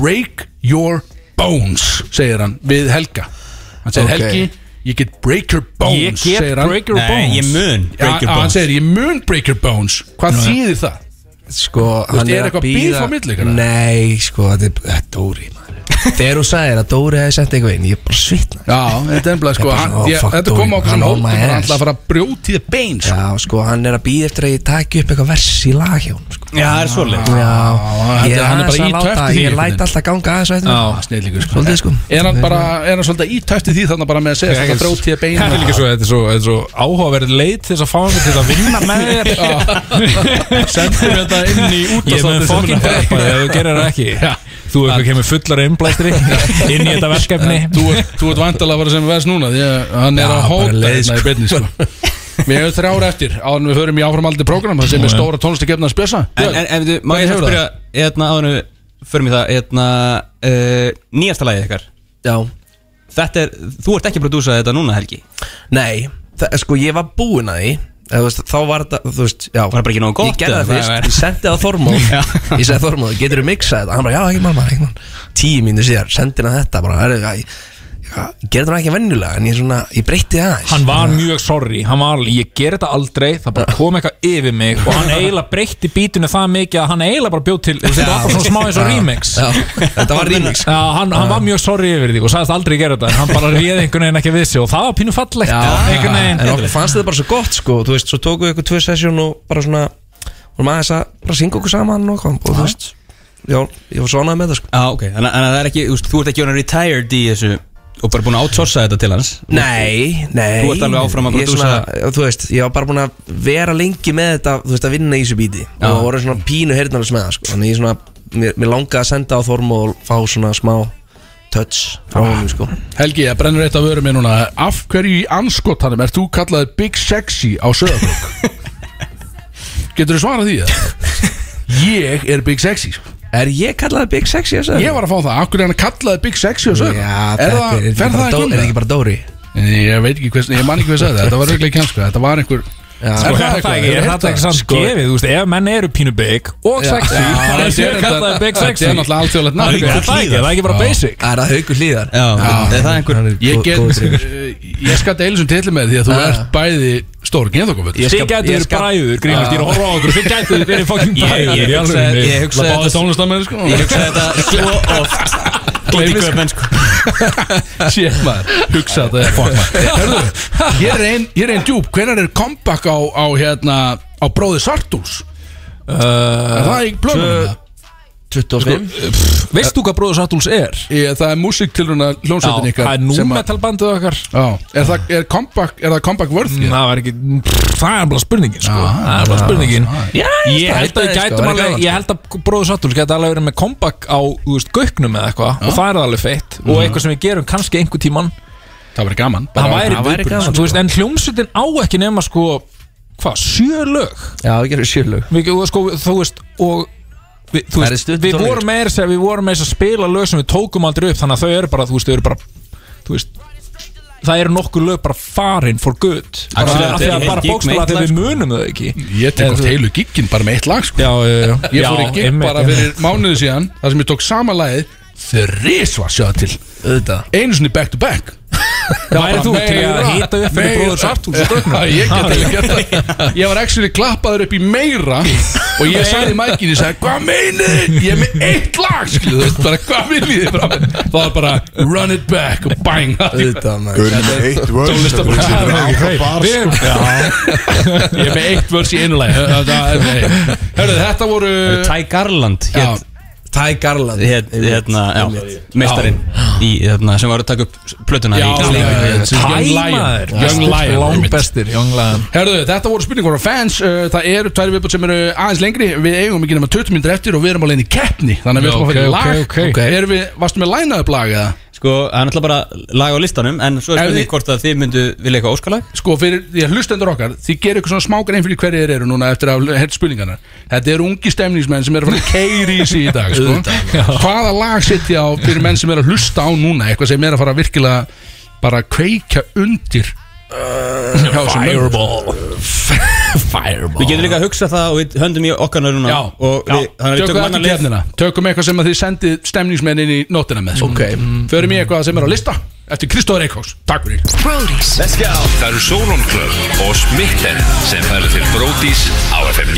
Speaker 4: break your bones segir hann við Helga Hann segir
Speaker 8: Ok.
Speaker 4: Helgi Ég get break your bones
Speaker 9: Ég get
Speaker 4: segir hann
Speaker 9: break your
Speaker 5: Nei,
Speaker 9: bones
Speaker 5: ég mun
Speaker 4: Já,
Speaker 5: break your
Speaker 4: Hann
Speaker 5: bones
Speaker 4: segir ég mun break your bones Hvað þýðir það?
Speaker 8: sko,
Speaker 4: veist,
Speaker 8: hann
Speaker 4: er
Speaker 8: er að
Speaker 4: eitthvað
Speaker 8: bíða
Speaker 4: bíf á milli ykkar?
Speaker 8: nei sko, þetta er- þetta er Dóri maður. þegar þú sagðir að Dóri hefði sett eitthvað inn ég bara svitna
Speaker 4: Já, þetta er bara sko
Speaker 8: Þetta er
Speaker 4: hann,
Speaker 8: svona, "Oh,
Speaker 4: ég,
Speaker 8: fuck
Speaker 4: Þetta kom á
Speaker 8: doing,
Speaker 4: okkur
Speaker 8: hann
Speaker 4: sem
Speaker 8: on
Speaker 4: hóttum
Speaker 8: my
Speaker 4: Hann
Speaker 8: ass.
Speaker 4: ætla að fara að brjótið bein sko.
Speaker 8: Já, sko, hann er að býða eftir að ég taki upp eitthvað vers í lag hjá hann sko.
Speaker 5: Já, það er svolítið
Speaker 8: Já,
Speaker 4: þetta- hann
Speaker 8: ég er
Speaker 4: er
Speaker 8: aðeins
Speaker 4: bara
Speaker 8: að
Speaker 4: í töftu því
Speaker 8: láta, ég
Speaker 4: einhvern
Speaker 8: læt
Speaker 4: veginn.
Speaker 8: alltaf ganga aðeins að þetta
Speaker 4: Já, snillingur sko
Speaker 8: Svolítið, sko.
Speaker 4: Er hann bara, er hann svolítið ítæftið því þannig bara með að segja
Speaker 9: Ég-
Speaker 4: þetta brjótið bein
Speaker 9: Þetta er líka svo, þetta er svo, þetta er svo áhugaverð leið til þess að fá hann til að vinna með
Speaker 4: (laughs)
Speaker 9: þér
Speaker 4: Sendur þetta inn í
Speaker 9: Ég mun
Speaker 4: útastáttin
Speaker 9: fokkin drepa þig ef þú gerir það ekki Þú eitthvað kemur fullar
Speaker 4: (laughs)
Speaker 9: innblæstri inn í þetta verkefni
Speaker 4: Þú ert, þú ert vandalega að fara sem vers núna því að hann er
Speaker 8: Já,
Speaker 4: að
Speaker 8: bara
Speaker 4: hóta
Speaker 8: leið,
Speaker 4: hérna í beinni sko Við hefum þrjár eftir áður en við förum í áframaldi prógram það sem er stóra tónlistakefna að spjösa
Speaker 5: En, en, en, veitu, má ég
Speaker 4: hefur
Speaker 5: hefur spyrja, hérna, áður en við förum í það, hérna, uh, nýjasta lagið ykkar
Speaker 8: Já,
Speaker 5: Þetta er, þú ert ekki að prodúsa þetta núna, Helgi
Speaker 8: nei, það, sko, ég var búinn að því eða, þú veist, Þá var þetta, þú veist, já
Speaker 5: Var bara ekki nógu gott,
Speaker 8: Ég gerði
Speaker 5: eða? Nei,
Speaker 8: það fyrst,
Speaker 5: nei.
Speaker 8: ég sendi það á
Speaker 9: (laughs)
Speaker 8: Þormóð
Speaker 5: Já.
Speaker 8: Ég segi Þormóð, getur þú miksað þetta? Hann bara, já, ekki mál maður, ekki mál Tíu mínu síðar, sendi hann þetta bara, er, ég, ég, ég gerði það ekki venjulega En ég svona, ég breytti það aðeins
Speaker 9: Hann var mjög sorry, hann var alveg, ég ger þetta aldrei Það bara kom eitthvað yfir mig Og hann eiginlega breytti bítinu það mikið að hann eiginlega bara bjóð til Þetta var bara svona smá eins og
Speaker 8: Já,
Speaker 9: remix
Speaker 8: Já, þetta var remix
Speaker 9: Já, hann, hann var mjög sorry yfir því og sagðist aldrei gera þetta en hann bara réði einhvern veginn ekki við sig og það var pínu fallegt einhvern veginn
Speaker 8: Ah, En okkur fannst þetta bara svo gott sko Þú veist, svo tókum við ykkur tvö sessjón og bara svona vorum aðeins að bara syngja okkur saman og kom og þú veist Já, ég var svonað með það sko
Speaker 5: Já, Ah, ok, þannig að það er ekki, þú veist, þú ert ekki orðin retired í þessu og bara búin að outsourca þetta til hans
Speaker 8: Nei, nei
Speaker 5: Þú ert alveg áfram að
Speaker 8: Ég
Speaker 5: prodúsa.
Speaker 8: svona, Þú veist, ég var bara búin að vera lengi með þetta Þú veist, að vinna í þessu bíti Og voru svona pínu heyrnarlis með það sko Þannig ég svona, mér, mér langaði að senda á Þorm og fá svona smá touch frá honum sko
Speaker 4: Helgi, það brennur eitt af vörum mér núna Af hverju í anskotanum er þú kallaði Big Sexy á sögabrók?
Speaker 8: (laughs)
Speaker 4: Getur þú svarað því það? Ég er Big Sexy
Speaker 8: Er ég kallaði Big Sexy að
Speaker 4: Ég var að fá það, af hverju hann kallaði Big Sexy á sögabrók?
Speaker 8: Já,
Speaker 4: er
Speaker 8: þetta
Speaker 4: það,
Speaker 8: er, er,
Speaker 4: fer það
Speaker 8: er,
Speaker 4: ekki um
Speaker 8: er ekki
Speaker 4: það?
Speaker 8: bara Dóri
Speaker 4: Ég veit ekki hvers, ég man ekki hvað sagði það Þetta var auðvitað kjánsko, þetta var einhver
Speaker 8: Já.
Speaker 4: Er
Speaker 9: Er Sko, það ekki, er það ekki samt
Speaker 4: Sko-
Speaker 9: gefið, þú veist, ef menn eru pínu big og sexy, það er sér kallaði big sexy
Speaker 4: Þetta er náttúrulega alþjóðlegt
Speaker 9: Það
Speaker 4: nafn
Speaker 9: er ekki- er það ekki, það er ekki bara basic
Speaker 8: Það er að haugu hlýðar
Speaker 5: Já, er það einhver
Speaker 4: Ég get, Eh,
Speaker 8: góð
Speaker 4: (laughs)
Speaker 8: drengur.
Speaker 4: ég skal deilum sem tilum með því að þú
Speaker 8: Já.
Speaker 4: ert bæði stór geðokoföld
Speaker 9: Þið gætu
Speaker 8: Ah. ég
Speaker 9: verið
Speaker 8: skal-
Speaker 9: bræður, grínast, ég er að horfa á okkur Þið gætu verið fucking
Speaker 5: Ég-
Speaker 9: bræður
Speaker 5: ég
Speaker 9: í
Speaker 5: hugsaði-
Speaker 9: alvörunni.
Speaker 5: ég hugsaði þetta-
Speaker 9: Það báði tónlistamenn, sko
Speaker 5: Ég hugsaði þetta svo (laughs) oft Út í
Speaker 4: Gleymist.
Speaker 5: göfmenn sko
Speaker 4: Sér maður, hugsa þetta er fokk
Speaker 8: (laughs)
Speaker 4: maður Hörðu, ég er ein, ég er ein djúb Hvenær er comeback á, á hérna á bróði Sartús?
Speaker 9: Uh,
Speaker 4: Er það ekki plönum það?
Speaker 8: 25
Speaker 9: Veist þú hvað Bróður Sattúls er?
Speaker 4: Ég, það er músiktilruna hljónsveitin ykkar
Speaker 9: það er
Speaker 4: sem að-
Speaker 9: númetalbandið okkar
Speaker 4: Já, er það, er comeback, er það comeback vörð?
Speaker 9: Mm,
Speaker 4: Mm,
Speaker 9: Það var ekki, pff, það er bara spurningin sko. Það er bara spurningin Ég held að
Speaker 4: það
Speaker 9: við
Speaker 4: er
Speaker 9: gætum
Speaker 4: sko, það er
Speaker 9: alveg
Speaker 4: gaman,
Speaker 9: Ég held að bróður Sattúls gæti alveg verið með comeback á þú veist, gauknum eða eitthvað og það er alveg feitt og eitthvað sem við gerum kannski einhver tíman
Speaker 4: það verður gaman
Speaker 9: Það væri
Speaker 8: það væri
Speaker 9: viðburður,
Speaker 8: gaman,
Speaker 9: sko. Þú veist, En hljómsutin á ekki nema sko hvað, sjö lög
Speaker 8: Já, ég gerir sjölug
Speaker 9: Við- og, sko, þú veist og Við, þú
Speaker 8: Það er
Speaker 9: veist,
Speaker 8: stutt í
Speaker 9: við
Speaker 8: tónleikar.
Speaker 9: vorum meira að segja- við vorum meira að spila lög sem við tókum aldrei upp þannig að þau eru bara, þú veist, þau eru bara þú veist, það eru nokkur lög bara farin for good bara,
Speaker 5: Actually,
Speaker 9: af
Speaker 5: þetta er
Speaker 9: því að
Speaker 5: heilt
Speaker 9: bara
Speaker 5: gig með
Speaker 9: bókstala
Speaker 5: eitt
Speaker 9: að
Speaker 5: lag,
Speaker 9: við
Speaker 5: sko.
Speaker 9: munum þau ekki
Speaker 4: Ég tek
Speaker 9: Eða
Speaker 4: oft
Speaker 9: þú-
Speaker 4: heilu gigginn bara með eitt lag sko.
Speaker 9: já, já,
Speaker 4: Ég
Speaker 9: já.
Speaker 4: fór í
Speaker 9: já,
Speaker 4: gigg
Speaker 9: einmitt,
Speaker 4: bara
Speaker 9: já.
Speaker 4: fyrir mánuðu síðan þar sem ég tók sama lagið þrísvar sjáða til
Speaker 8: Auðvitað
Speaker 4: einu sinni back to back Það
Speaker 9: Væri þú til að hita upp fyrir bróður Sartúls og gögnum?
Speaker 4: Ég get alveg gert það Ég var actually klappaður upp í meira Og ég sagði mækinni, ég sagði Hvað meinið þið? Ég er með eitt lag skilu, þú veist, bara, Hvað viljið þið frá mér? Það var bara run it back og bang
Speaker 8: Auðvitað maður
Speaker 3: Gaurinn með eitt
Speaker 2: (laughs)
Speaker 3: vörð
Speaker 4: Tónlistarmaður.
Speaker 3: Tónlistabræð
Speaker 4: Ég er með eitt vörs í einu lagi Hörðu, þetta voru
Speaker 5: Ty Garland
Speaker 4: Já,
Speaker 5: hét-
Speaker 8: Ty Garland
Speaker 5: hét- hérna, já, meistarinn í, hérna, sem var að taka upp plötuna
Speaker 4: já,
Speaker 5: í
Speaker 4: já, já, já, sem Young
Speaker 9: Tæmaður
Speaker 4: Lion Young Lion einmitt.
Speaker 9: Langbestir Young Lion
Speaker 4: Herðu, þetta voru spurningur á fans uh, Það eru tværi viðbútt sem eru aðeins lengri Við eigum ekki nema 20 minnir eftir og við erum alveg í keppni Þannig að við
Speaker 9: Já,
Speaker 4: ætlum að fyrir
Speaker 9: ok,
Speaker 4: lag
Speaker 9: ok, ok.
Speaker 4: Erum við, Varstu með line-up lag eða?
Speaker 5: Sko, það er náttúrulega bara lag á listanum En
Speaker 4: Ef
Speaker 5: svo
Speaker 4: þið-
Speaker 5: er spurning hvort að þið myndu vilja eitthvað óskalag
Speaker 4: Sko fyrir því að hlustendur okkar Þið gerir eitthvað svona smákar einn fyrir hverju þeir eru núna Eftir að hert spurningarnar Þetta eru ungi stemningsmenn sem eru að fara að keiri í sig í dag sko. Hvaða lag setja á fyrir menn sem eru að hlusta á núna Eitthvað sem er að fara að virkilega bara kveikja undir uh, Fireball Fireball
Speaker 5: Við getum líka að hugsa það og við höndum í okkar núna
Speaker 4: Já,
Speaker 5: og við, þannig að við
Speaker 4: tökum eftir
Speaker 5: tökum annan (laughs) lið
Speaker 4: kefnina Tökum eitthvað sem að þið sendið stemningsmenn inn í nótina með sko. okay. Förum í eitthvað sem er á lista Eftir Kristóður Eikhóks, takk fyrir
Speaker 7: Það eru Solon Club og Smitten sem færðu til Brótis á FM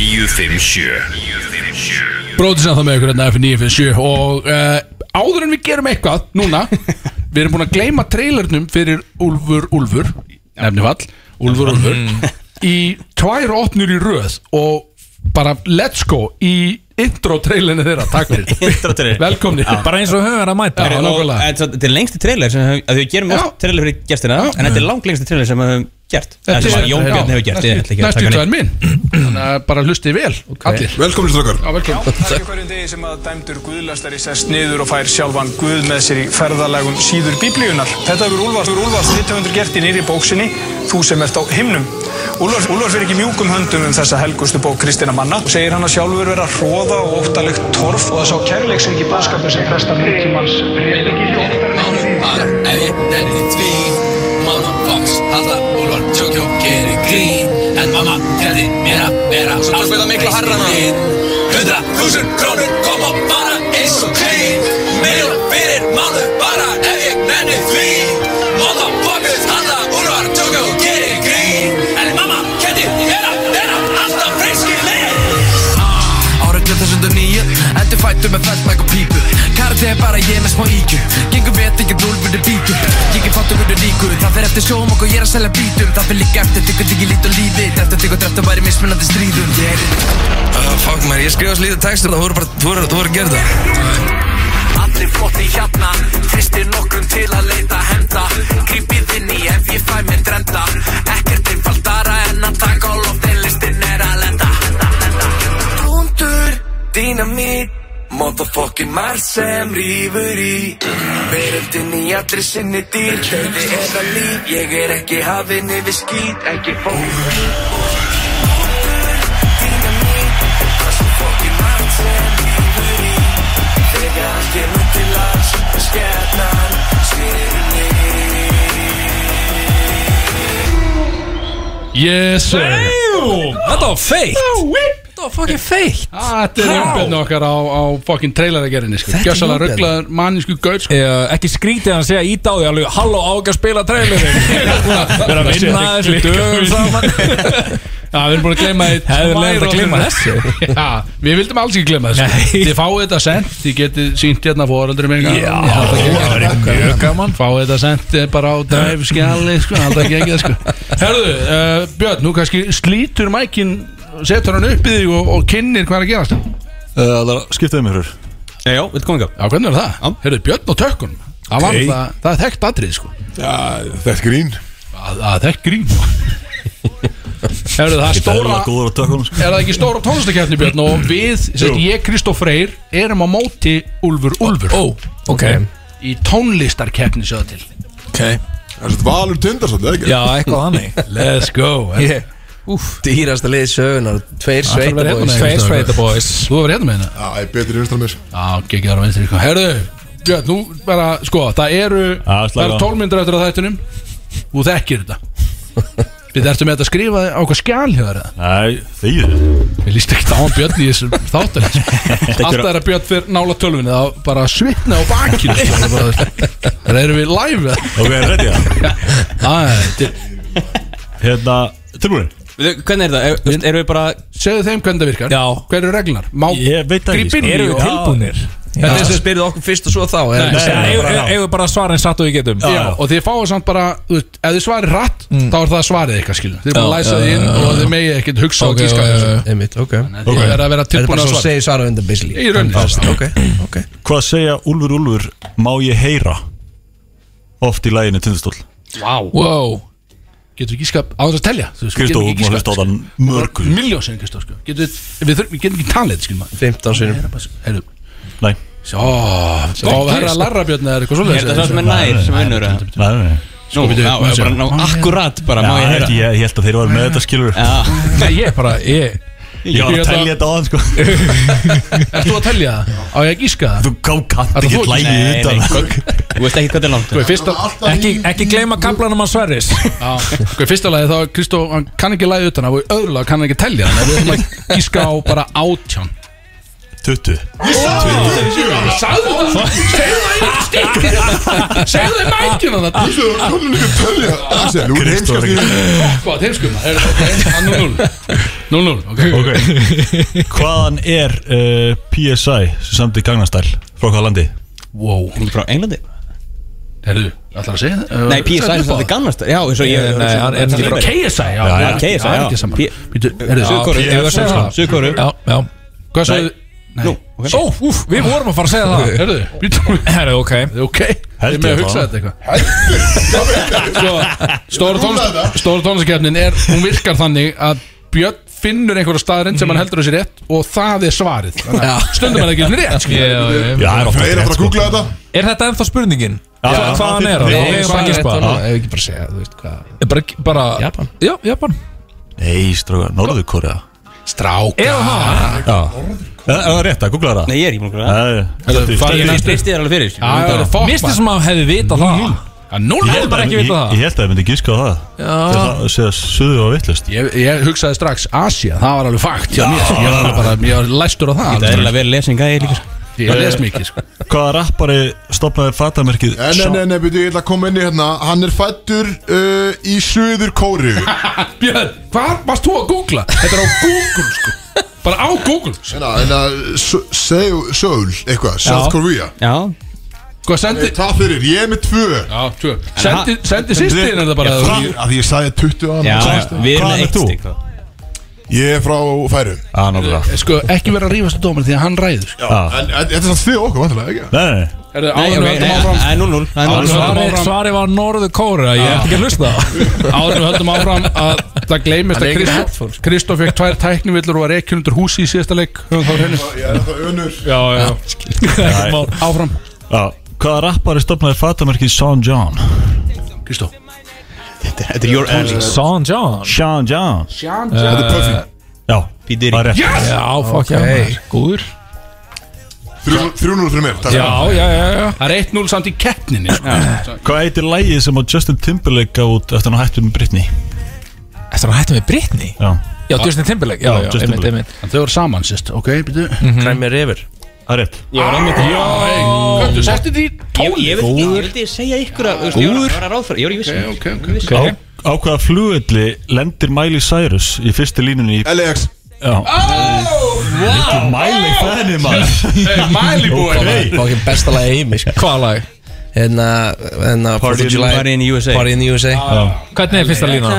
Speaker 7: 957
Speaker 4: Bróðisinn það með ykkur hérna F957 og uh, áður en við gerum eitthvað
Speaker 5: (laughs)
Speaker 4: núna, við erum búin að gleyma trailernum fyrir Úlfur Úlfur nefnifall, Úlfur Úlfur
Speaker 5: Mhm.
Speaker 4: í tvær opnur í röð og bara let's go í intro trailinu þeirra, takk fyrir
Speaker 5: (laughs) Intro-trailer.
Speaker 4: velkomni
Speaker 9: Bara eins og höfum við að mæta
Speaker 4: Já,
Speaker 5: Og
Speaker 4: nákvæmlega.
Speaker 5: en svo- Þetta er lengsti trailer sem höfum- að við gerum
Speaker 4: Já.
Speaker 5: oft trailer fyrir gestina
Speaker 4: Já.
Speaker 5: En þetta er langt lengsti trailer sem við höfum gert
Speaker 4: Þetta
Speaker 5: Eða sem
Speaker 4: er-
Speaker 5: að Jón
Speaker 4: já.
Speaker 5: Björn hefur gert Ég ætla ekki að
Speaker 4: næstu
Speaker 5: taka
Speaker 4: tvær
Speaker 5: neitt.
Speaker 4: minn þannig að bara hlustið vel allir
Speaker 3: Velkomin strókar
Speaker 4: Já, velkomin.
Speaker 10: Það er hverjum degi sem að dæmdur guðlastari sest niður og fær sjálfan guð með sér í ferðalagum síður biblíunar. Þetta hefur Úlfars, Úlfars 1900 gert í nýri bóksinni, þú sem ert á himnum. Úlfars, Úlfars er ekki mjúkum höndum um þessa helgustu bók Kristina manna og segir hann að sjálfur vera hróða og óttalegt torf og að sá kærleik sem ekki baskapur sem prestar nútímans. Við ekki ljóttar en ekki því.
Speaker 11: Ef ég nenni því Mamma box, hallar, úlvar, tjókjó, gerir grín En mamma kenni mér að vera Svo alls með það miklu harra mín Hundra þúsund krónur koma bara eins og klín Meira fyrir mánu bara ef ég nenni því Mamma box, hallar, úlvar, tjókjó, gerir grín En mamma kenni mér að vera Alltaf friski leið Ára 2009 Endur fættu með fættmæk og pípu Karate er bara ég með smá IQ Gengur vet ekki núl verður bítu Ég er fattu verður ríkur Það fer eftir sjóm og ég er að selja bítum Það fer líka eftir tyggur tyggi lít og lífi Eftir tyggur dreftu bara í mismunandi stríðum Ég er uh,
Speaker 8: Ah,
Speaker 11: Fuck maður, ég skrifa slítið textur Það voru bara, þú voru, þú voru að gera það Allir flotti hérna Tristir nokkrum til að leita henda Grípið inn í ef ég fæ mér drenda Ekkert einfaldara en að taka á loft En listin er að lenda Tundur, dynamít Motherfucking
Speaker 12: Fucking marg sem rýfur í Veröldin í allri sinni dýr Dauði eða líf Ég er ekki hafinn yfir skýt Ekki fóður Dynamít, það sem fucking margt sem rífur í. Þegar allt kemur til alls, skepnan sér um mig.
Speaker 4: Yes sir
Speaker 9: Þetta var feitt
Speaker 8: Þetta var fucking feitt
Speaker 4: Þetta er umbyrðin okkar á, á fucking traileragerðinni sko.
Speaker 9: Þetta er
Speaker 4: Gjössalega
Speaker 9: umbyrðin.
Speaker 4: rugglaður mannisku gaut sko.
Speaker 9: Eh, Ekki skrítið að hann segja ít á því alveg Halló á ekki að spila (laughs) trailerin Við erum að vinna þessu dögum saman
Speaker 4: Já, við erum búin að gleyma því
Speaker 9: Hefðirlega að gleyma þessu
Speaker 4: Já, við vildum alls ekki gleyma þessu Þið fáið þetta sent, þið getið sínt hérna fóröldri minga
Speaker 9: Já, það væri mjög gaman
Speaker 4: Fáið þetta sent eh, bara á drive skjali sko, alltaf ekki ekki sko Herðu, uh, Björn, nú kannski slítur mækin setur hann upp í þig og, og kynnir hvað er að gerast
Speaker 2: Það er skiptaði mér hér
Speaker 5: Já, já, við komum ekki
Speaker 4: Já, hvernig er það? Herðu, Björn og tökkun Það var
Speaker 3: Ok.
Speaker 4: það, það er þekkt atrið sko
Speaker 3: Já, þetta grín
Speaker 4: Það það er þekkt grín Herðu, það er
Speaker 2: Ég er
Speaker 4: stóra
Speaker 2: alveg góður á tökum sko.
Speaker 4: Er það ekki stóra tónlistakefni Björn og við, sérst, ég, Kristoff Freyr erum á móti Úlfur Úlfur
Speaker 9: Ó, ok
Speaker 4: í tónlistarkefni sjöða til
Speaker 9: Ok
Speaker 3: Það er svona valur tundar svolítið, eða ekki?
Speaker 9: Já,
Speaker 4: Ah,
Speaker 9: eitthvað (laughs) hannig
Speaker 4: Let's go
Speaker 8: Ég Dýrasta lið sögunar Tveir sveitabóis
Speaker 9: Tveir sveita boys
Speaker 4: Þú hefur hérna með hérna
Speaker 3: Já, ég er betri vinstra mér
Speaker 4: Já, gekkið þar á vinstri sko. Herðu, Björn, nú bara, sko, það eru
Speaker 2: Já,
Speaker 4: Það
Speaker 2: slaka á.
Speaker 4: eru tólmyndir eftir að þættunum Þú þekkir þetta Við ertum með þetta að skrifa á hvað skjál hjá þér eða?
Speaker 2: Nei, þegið
Speaker 4: Mér líst ekki á hann Björn í þessum
Speaker 9: (laughs)
Speaker 4: þáttunum sko.
Speaker 2: ekki
Speaker 4: Alltaf er að Björn fyrir nála tölvunni þá bara svitna á bakinu sko.
Speaker 9: (laughs)
Speaker 4: Það er bara- Það erum við live eða?
Speaker 2: Ok, er ready
Speaker 4: (laughs)
Speaker 2: það?
Speaker 4: Æ, þetta er-
Speaker 2: Hérna, tilbúin
Speaker 5: Við- Hvernig er það? Er, þú veist, erum við bara
Speaker 4: Segðu þeim hvernig það virkar
Speaker 9: Já.
Speaker 4: Hver eru reglunar? Má
Speaker 2: Ég veit það ekki sko.
Speaker 4: Gríp inn í
Speaker 9: Eru við
Speaker 4: og-
Speaker 9: tilbúnir?
Speaker 8: Þetta er sem spyrir okkur fyrst og svo þá er
Speaker 9: Nei,
Speaker 8: þetta-
Speaker 9: eigum- eigum við bara að svara eins satt og við getum
Speaker 4: Já, og þið fáið samt bara þú veist, ef þið svarið rætt, þá er það svarið ykkar skilur þið er búin að
Speaker 9: Mm. Já,
Speaker 4: læsa þið inn og þið megið ekkert hugsa og
Speaker 9: Ok,
Speaker 4: gíska
Speaker 9: já, já,
Speaker 4: þessu.
Speaker 8: Einmitt, ok Þetta
Speaker 4: þið verða að vera
Speaker 8: er
Speaker 4: tilbúin
Speaker 8: bara
Speaker 4: að
Speaker 8: svo að
Speaker 4: svara
Speaker 8: segja svara undan basically
Speaker 4: í rauninni
Speaker 8: Ok, ok
Speaker 2: Hvað segja Úlfur Úlfur má ég heyra oft í læginu tundastól?
Speaker 4: wow. getur við gíska á þess að telja Þú veist, við
Speaker 2: Kristó,
Speaker 4: getum
Speaker 2: þú
Speaker 4: ekki
Speaker 2: má
Speaker 4: giskað.
Speaker 2: hlusta á þann mörgu
Speaker 4: milljón sinni Kristó sko. Getum við, við, þurfum- við getum ekki talið skilur maður
Speaker 8: 15 sinum
Speaker 4: Heyrðu.
Speaker 2: Nei,
Speaker 4: Sjá, þá verða að larra björn eða eitthvað
Speaker 5: Er það það
Speaker 4: svoleiðis
Speaker 5: sem er nær sem vinnur eða?
Speaker 2: nei, nei, nei.
Speaker 9: Sko,
Speaker 5: Nú, já, ég bara ná akkurat bara
Speaker 2: Já,
Speaker 5: má ég heyra
Speaker 2: ég, ég held að þeir eru með þetta skilur
Speaker 5: Já,
Speaker 9: Nei, ég bara, ég
Speaker 2: Ég var að
Speaker 4: ég-
Speaker 2: telja þetta á hann sko
Speaker 4: Erst þú að telja það? Á ég að gíska það?
Speaker 2: (laughs) Þú kannt
Speaker 4: Ætlar
Speaker 2: ekki
Speaker 4: þú ekki?
Speaker 2: lægi
Speaker 5: nei, nei,
Speaker 2: utan
Speaker 5: hvað- þú veist ekki hvað það er langt
Speaker 4: Sko, í fyrsta,
Speaker 9: Ekki, ekki gleyma kaplanum að Sverris
Speaker 4: á, sko, í fyrsta lagi þá er Kristó, hann kann ekki lægi utan það og í öðru lag kann hann ekki telja þannig að við erum að gíska á bara átján
Speaker 2: 20
Speaker 4: Sæðu það Segðu það í stikk Segðu það í mækjuna það
Speaker 3: Þú er komin líka að tölja Axel, þú er
Speaker 2: Kristó er
Speaker 3: heimskast í
Speaker 4: Hvað, þeim skum það er 0-0 0-0, ok
Speaker 2: Ok Hvaðan er uh, PSI sem samti Gangnastæl frá hvaða landi?
Speaker 4: Wow
Speaker 5: Er ekki frá Englandi?
Speaker 4: Herðu, ætlar að segja það?
Speaker 5: Nei, PSI sem þetta er gannast Já, eins og ég
Speaker 9: Nei, hann er ekki frá-
Speaker 4: KSI, já
Speaker 5: já,
Speaker 4: já,
Speaker 5: KSI,
Speaker 4: Það er
Speaker 5: já.
Speaker 4: ekki
Speaker 5: P-
Speaker 4: saman Býtu, herðu
Speaker 5: Suðkóru,
Speaker 2: Já,
Speaker 5: ég var að segja það Suðkóru
Speaker 9: Já, já
Speaker 4: Hvað sagði
Speaker 5: Nú, ok
Speaker 9: Ó, úf, við vorum að fara að segja
Speaker 4: (laughs)
Speaker 9: það
Speaker 4: Herðu, býtu
Speaker 9: Herru, ok
Speaker 4: Ok,
Speaker 2: Held
Speaker 4: ég með
Speaker 2: ég
Speaker 4: að hugsa
Speaker 2: það.
Speaker 4: þetta eitthvað Stóra tónlistakefnin er Hún virkar þannig að Björn finnur einhverja staðrind sem hann heldur á sér rétt og það er svarið Þannig að stundum er það ekki einu sinni rétt skilur.
Speaker 9: Já, já,
Speaker 2: Já,
Speaker 9: já.
Speaker 2: það er oft
Speaker 3: Það er
Speaker 2: rétt
Speaker 3: aftur að
Speaker 2: sko
Speaker 3: googla þetta
Speaker 9: Er þetta ennþá spurningin?
Speaker 2: Já,
Speaker 9: Hva-
Speaker 2: já, þið-
Speaker 9: Hvaðan er
Speaker 2: þið- þið-
Speaker 9: það? Ég er bara að
Speaker 8: rétt
Speaker 9: gispa
Speaker 8: honum, Ef ekki bara segja, þú veist hvað
Speaker 9: Bara, bara
Speaker 8: Japan.
Speaker 9: Já, Japan
Speaker 2: Nei, stráka, Norður Korea
Speaker 4: Strák
Speaker 9: Er það?
Speaker 2: Já Er er það rétt að googla það?
Speaker 5: Nei, ég er ekki múin að gráða
Speaker 2: Nei
Speaker 5: Ég finnst þið er alveg fyrir
Speaker 4: það er fokk
Speaker 9: Misti sem að hefði vitað það
Speaker 4: Núl
Speaker 2: Ég
Speaker 9: Hefði
Speaker 2: held
Speaker 9: bara
Speaker 2: að
Speaker 9: ekki
Speaker 2: ég-
Speaker 9: vitað það.
Speaker 2: ég held að það myndi gíska á það Þegar það segja suðu og vittlust
Speaker 4: Ég, ég hugsaði strax Asia, það var alveg fakt hjá mér Ég var alveg bara, ég var læstur á það
Speaker 5: Það er
Speaker 4: alveg.
Speaker 5: alveg verið lesing að ég líka
Speaker 4: Ég les mikið sko.
Speaker 2: Hvaða rappari stopnaði fatamerkið
Speaker 3: Nei, nei, nei, nei, byrju, ég ætla að koma inn í hérna Hann er fættur uh, í Suður Kóri
Speaker 4: Björn, hvað varst þú að googla? Þetta er á Google sko Bara á Google sko.
Speaker 3: Hérna, hérna, Seoul, Seoul, eitthvað, South Korea
Speaker 5: Já
Speaker 4: Hvað Sko, sendi
Speaker 3: Það fyrir, ég er með tvö
Speaker 4: Já, tvö Sendi, sendi sýstin er það bara
Speaker 3: Ég er frá- Að ég sagði 20
Speaker 5: Já,
Speaker 3: annars
Speaker 5: við
Speaker 2: Hvaðan
Speaker 5: erum með
Speaker 2: ert
Speaker 5: eitt
Speaker 2: þú?
Speaker 5: stík
Speaker 3: Ég er frá færum
Speaker 2: Já, náttúrulega
Speaker 4: Sko, ekki vera að rífast á dómar því að hann ræður sko.
Speaker 2: Já.
Speaker 3: En en þetta er samt þið okkur, vantilega, ekki?
Speaker 2: Nei, nei, nei
Speaker 4: Herðu,
Speaker 5: Nei,
Speaker 4: áður
Speaker 5: ok,
Speaker 4: við höldum
Speaker 5: nei,
Speaker 4: áfram Áður
Speaker 5: það er 0-0 Það er 0-0
Speaker 4: en við höldum
Speaker 9: Svari,
Speaker 4: áfram
Speaker 9: svari var Norður Kóra Ég ætti ekki að hlusta
Speaker 4: Áður en við höldum áfram að það gleymist
Speaker 3: Hann er
Speaker 4: að
Speaker 3: ekki með
Speaker 4: Kristó
Speaker 3: headphones.
Speaker 4: Kristó fekk tvær tæknivillur og var ekki undir húsi í síðasta leik höfum þá hreinu
Speaker 3: Ég er það önur
Speaker 4: Já, já,
Speaker 2: Nei.
Speaker 4: já Áfram
Speaker 2: Já, hvaða rappari stopnaði fatamarkið Sean John?
Speaker 4: Kristó
Speaker 2: Þetta er your
Speaker 9: alley. Sean John
Speaker 2: Sean John
Speaker 4: Sean
Speaker 9: John. Þetta er Puffy.
Speaker 2: Já, það er rétt
Speaker 9: Yes! Já, fuck já, maður.
Speaker 4: Góður
Speaker 3: 3-0 fyrir mér
Speaker 4: Já, já, já, já Það er 1-0 samt í keppninni sko.
Speaker 2: Hvað heitir lægið sem að Justin Timberlake gaf út eftir að hann hætti með Britney?
Speaker 9: Eftir að hann hætti með Britney?
Speaker 2: Já
Speaker 9: Já, Justin Timberlake, já, já, einmitt, einmitt
Speaker 4: En Þau eru saman sýst, ok, byrju
Speaker 8: Kræmið reyfur
Speaker 2: Það er rétt
Speaker 8: Ég var einmitt
Speaker 4: Já, Köttu, setti því
Speaker 5: Ég, ég, vildi, ég vildi segja ykkur að, þú veist, ég var-
Speaker 4: Góður.
Speaker 5: ég var að ráð fyrir, ég var í vissum
Speaker 4: Ok, ok, ok
Speaker 2: Á, á hvaða flugvelli lendir Miley Cyrus í fyrstu línunni í...
Speaker 3: LAX
Speaker 2: Já Viltu Miley fæðinni maður?
Speaker 4: Mæli búið
Speaker 8: Fokkin besta lag í heimi sko.
Speaker 9: Hvaða lag?
Speaker 8: Hérna hérna, Fourth of
Speaker 2: in-
Speaker 8: July-
Speaker 5: Party in Ah. USA.
Speaker 8: Party in the USA
Speaker 9: Hvernig er fyrsta lína?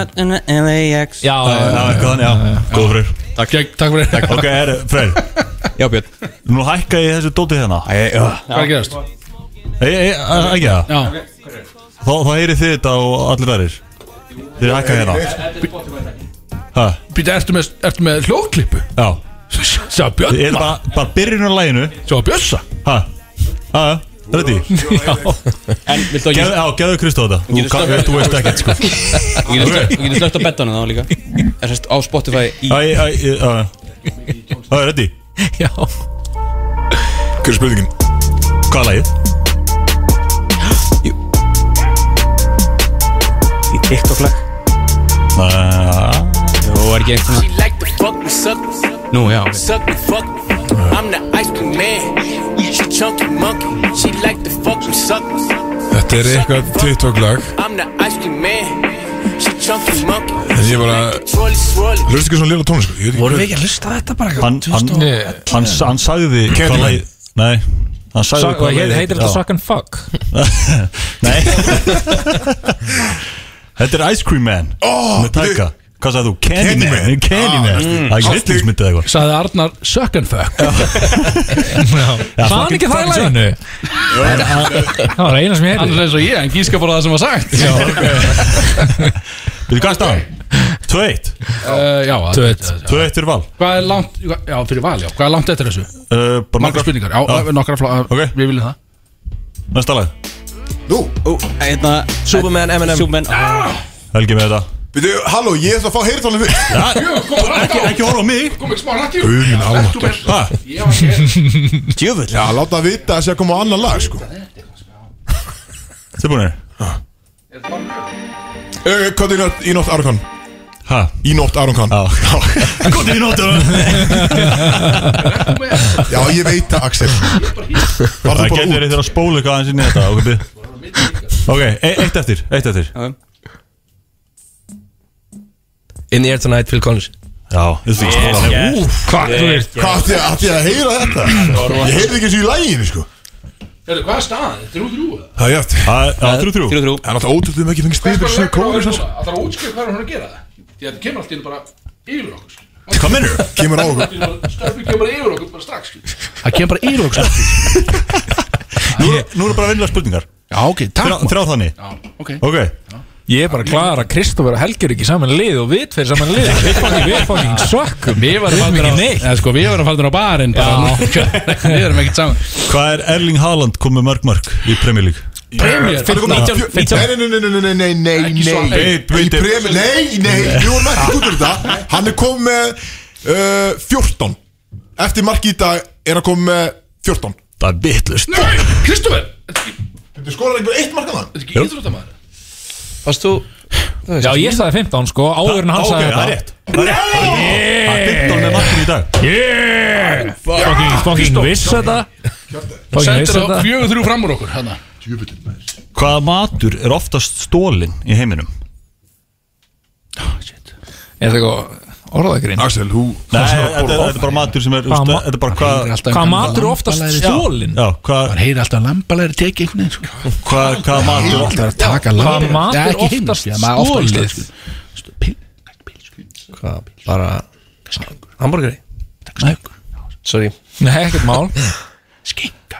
Speaker 5: LAX
Speaker 9: Já,
Speaker 2: Já,
Speaker 9: já,
Speaker 2: eitthvað þannig, já Góð freyr
Speaker 4: Takk, takk fyrir Hvað
Speaker 2: Ok, herru, freyr
Speaker 5: Já, Björn
Speaker 2: Nú hækka ég þessu dóti hérna Æ,
Speaker 4: er að gerast?
Speaker 2: Ei, ei, að- ekki það
Speaker 4: Já
Speaker 2: Þá, þá heyri þið þetta og allir verðir Þið hækka hérna Hæ,
Speaker 4: Býta, ertu með, ertu með hljóðklippu? (laughs)
Speaker 2: já
Speaker 4: Sjá
Speaker 2: Þið
Speaker 4: Björn
Speaker 2: er bara, bara byrjun á læginu
Speaker 4: Sjá Björsa
Speaker 2: Hæ, hæ, ready
Speaker 5: En viltu að
Speaker 2: Geð- Já, gefðu Kristó þetta Þú
Speaker 5: Getur
Speaker 2: ka-
Speaker 5: slökkt-
Speaker 2: Þú veist ekkert sko
Speaker 5: ég Þú getur slögt á bettanum þá líka Er sérst á Spotify í
Speaker 2: Æ, æ, æ, já, já Það er ready
Speaker 9: já
Speaker 3: Hver er spurningin?
Speaker 2: Hvað er lagið?
Speaker 5: Í TikTok-lag
Speaker 2: Næ,
Speaker 5: Jó, er ekki einhvern
Speaker 12: She like to fuck and suck me,
Speaker 5: Nú, já ok.
Speaker 12: suck me, fuck me. I'm the ice cream man. She chunky monkey. She like to fuck and suck me.
Speaker 13: Þetta er eitthvað TikTok lag
Speaker 12: I'm the ice cream man. She chunky monkey.
Speaker 13: En ég bara
Speaker 12: Swirly, swirly.
Speaker 3: Hlustu ekki svona lilla tónlist sko? Ég veit
Speaker 8: Vorum við ekki að hlusta á þetta bara eitthvað?
Speaker 2: hann, hann, hann, hann sagði hvað
Speaker 3: Candyman.
Speaker 2: lagið Nei, hann sagði
Speaker 9: Suck-
Speaker 2: hvað
Speaker 9: heit-
Speaker 2: lagið
Speaker 9: Heitir
Speaker 2: Já.
Speaker 9: þetta Suck and Fuck?
Speaker 2: (laughs) Nei Þetta er Ice Cream Man
Speaker 3: Ó,
Speaker 2: Með taka Hvað sagði þú? Candyman Ah.
Speaker 3: Candyman.
Speaker 2: Candyman Það er ekki hryllingsmyndið eða eitthvað
Speaker 4: Saði Arnar Suck and fuck
Speaker 9: Saðan ekki það í læginu? Það var eina sem ég
Speaker 4: Hann
Speaker 9: heyrði
Speaker 4: er eins og ég, en gíska bara það sem var sagt Já,
Speaker 2: Byrðu hvað er staðan? 2-1
Speaker 4: uh, já að-
Speaker 2: 2-1 fyrir val Eh,
Speaker 4: Hvað er langt, já fyrir val, já Hvað er langt eftir þessu?
Speaker 2: Uh, Bara
Speaker 4: Margar spurningar, já,
Speaker 2: Já.
Speaker 4: nokkra flá
Speaker 2: Ok.
Speaker 4: Við viljum það
Speaker 2: Næsta lag
Speaker 3: Nú,
Speaker 5: Ó, Hérna
Speaker 8: Superman, Eminem.
Speaker 5: Superman ah.
Speaker 2: Helgi með þetta
Speaker 3: byrju, halló, ég ætla að fá heyrðalinn fyrir
Speaker 2: Ekki, ekki horfa á mig
Speaker 4: Kom ekki smá rætti
Speaker 3: Guð minn almáttur.
Speaker 2: Hvað?
Speaker 5: Djöfull
Speaker 3: Já, láta það vita að sé að koma á annan lag sko
Speaker 2: Tilbúinir?
Speaker 3: Eh, Hvað er í nótt Aron Kahn?
Speaker 2: Hæ?
Speaker 3: Í nótt Aron Kahn
Speaker 2: Já Gótið í nótum
Speaker 3: Já, ég veit það, Axel Var
Speaker 2: Það
Speaker 3: það bara
Speaker 2: getur
Speaker 3: út?
Speaker 2: þeir að spóla eitthvað aðeins inn í þetta Ok, bið Ok, e eitt eftir Eitt eftir
Speaker 8: In the air tonight, Phil Collins
Speaker 2: Já, þú veist ekki spóla yes.
Speaker 9: Hvað, þú veist
Speaker 3: Hvað átti ég- átti ég að heyra þetta? Ég heyrði ekki eins og í læginu sko
Speaker 4: Hérðu, hvað er staðan? Þrjú, þrjú eða?
Speaker 3: Það er jæft
Speaker 2: Já, þrjú þrjú
Speaker 5: Þrjú, þrjú
Speaker 3: Það er náttúrulega ótrúlega við höfum ekki fengið
Speaker 4: Það
Speaker 3: stýpir sem kóður
Speaker 4: er bara að útskjöf hvað er hún að gera það Því að þetta kemur allt í hennu bara yfir okkur skilur.
Speaker 2: Hvað minnur?
Speaker 3: Kemur á okkur
Speaker 4: Þetta er bara- Stöfnum kemur bara yfir okkur bara strax skilur. Það kemur bara yfir okkur strax
Speaker 2: Nú, nú eru bara vennilega spurningar
Speaker 4: Já, ok, takk
Speaker 2: Þrjá,
Speaker 4: maður.
Speaker 2: þrjá þannig
Speaker 4: Já, ok
Speaker 2: Ok
Speaker 9: Ég er bara klar að Kristófur og Helgi eru ekki saman lið og við tveir saman lið Við fucking- Við fucking sökkum
Speaker 4: Við varum
Speaker 9: Við erum
Speaker 4: fallin á
Speaker 9: ekki neitt.
Speaker 4: Eða sko, við varum fallin á barinn bara Við erum ekkert saman
Speaker 2: Hvað er Erling Haaland komið mörg mörg í Premier League?
Speaker 4: Premier
Speaker 3: Fyrir komið Nei, nei, nei, nei, nei, nei, nei, nei,
Speaker 4: Ekki svo
Speaker 3: nei
Speaker 2: alveg.
Speaker 3: Í premi- Nei, nei, við vorum ekki út úr þetta Hann er komið með uh, 14 Eftir marki í dag er hann komið með 14
Speaker 2: Það er vitlust
Speaker 4: Kristoffer,
Speaker 3: Þú skorar ekki bara eitt markan það
Speaker 4: þetta er ekki íþróttamæður
Speaker 8: Varst þú
Speaker 9: Já, ég sagði 15 sko, áður en hann
Speaker 2: það
Speaker 9: sagði
Speaker 2: er
Speaker 9: þetta
Speaker 2: rétt Það er rétt Það er 15 með markin í dag
Speaker 9: Yeah Fucking, fucking viss þetta Fucking viss
Speaker 4: Sendir það
Speaker 9: þetta
Speaker 4: fjögur þrjú fram úr okkur hérna. hana.
Speaker 2: Hvaða matur er oftast stólinn í heiminum?
Speaker 9: Er þetta eitthvað orðagrinn?
Speaker 3: Axel, þú
Speaker 2: Nei, þetta er- þetta er bara matur sem er þú veist,
Speaker 9: Hvaða ma-
Speaker 2: Þetta er bara hvað
Speaker 9: Hvað matur er oftast stólinn?
Speaker 2: Já, hvað
Speaker 4: Það heyri alltaf lambalæri tekið einhvern veginn sko.
Speaker 2: hva, hva matur
Speaker 4: Það er að taka
Speaker 9: Hvað
Speaker 4: lambalæri
Speaker 9: matur er oftast stólið?
Speaker 4: sko.
Speaker 8: Hvað, Sko, bara Hamburgeri Sorry
Speaker 9: Nei, ekkert mál
Speaker 4: Skinka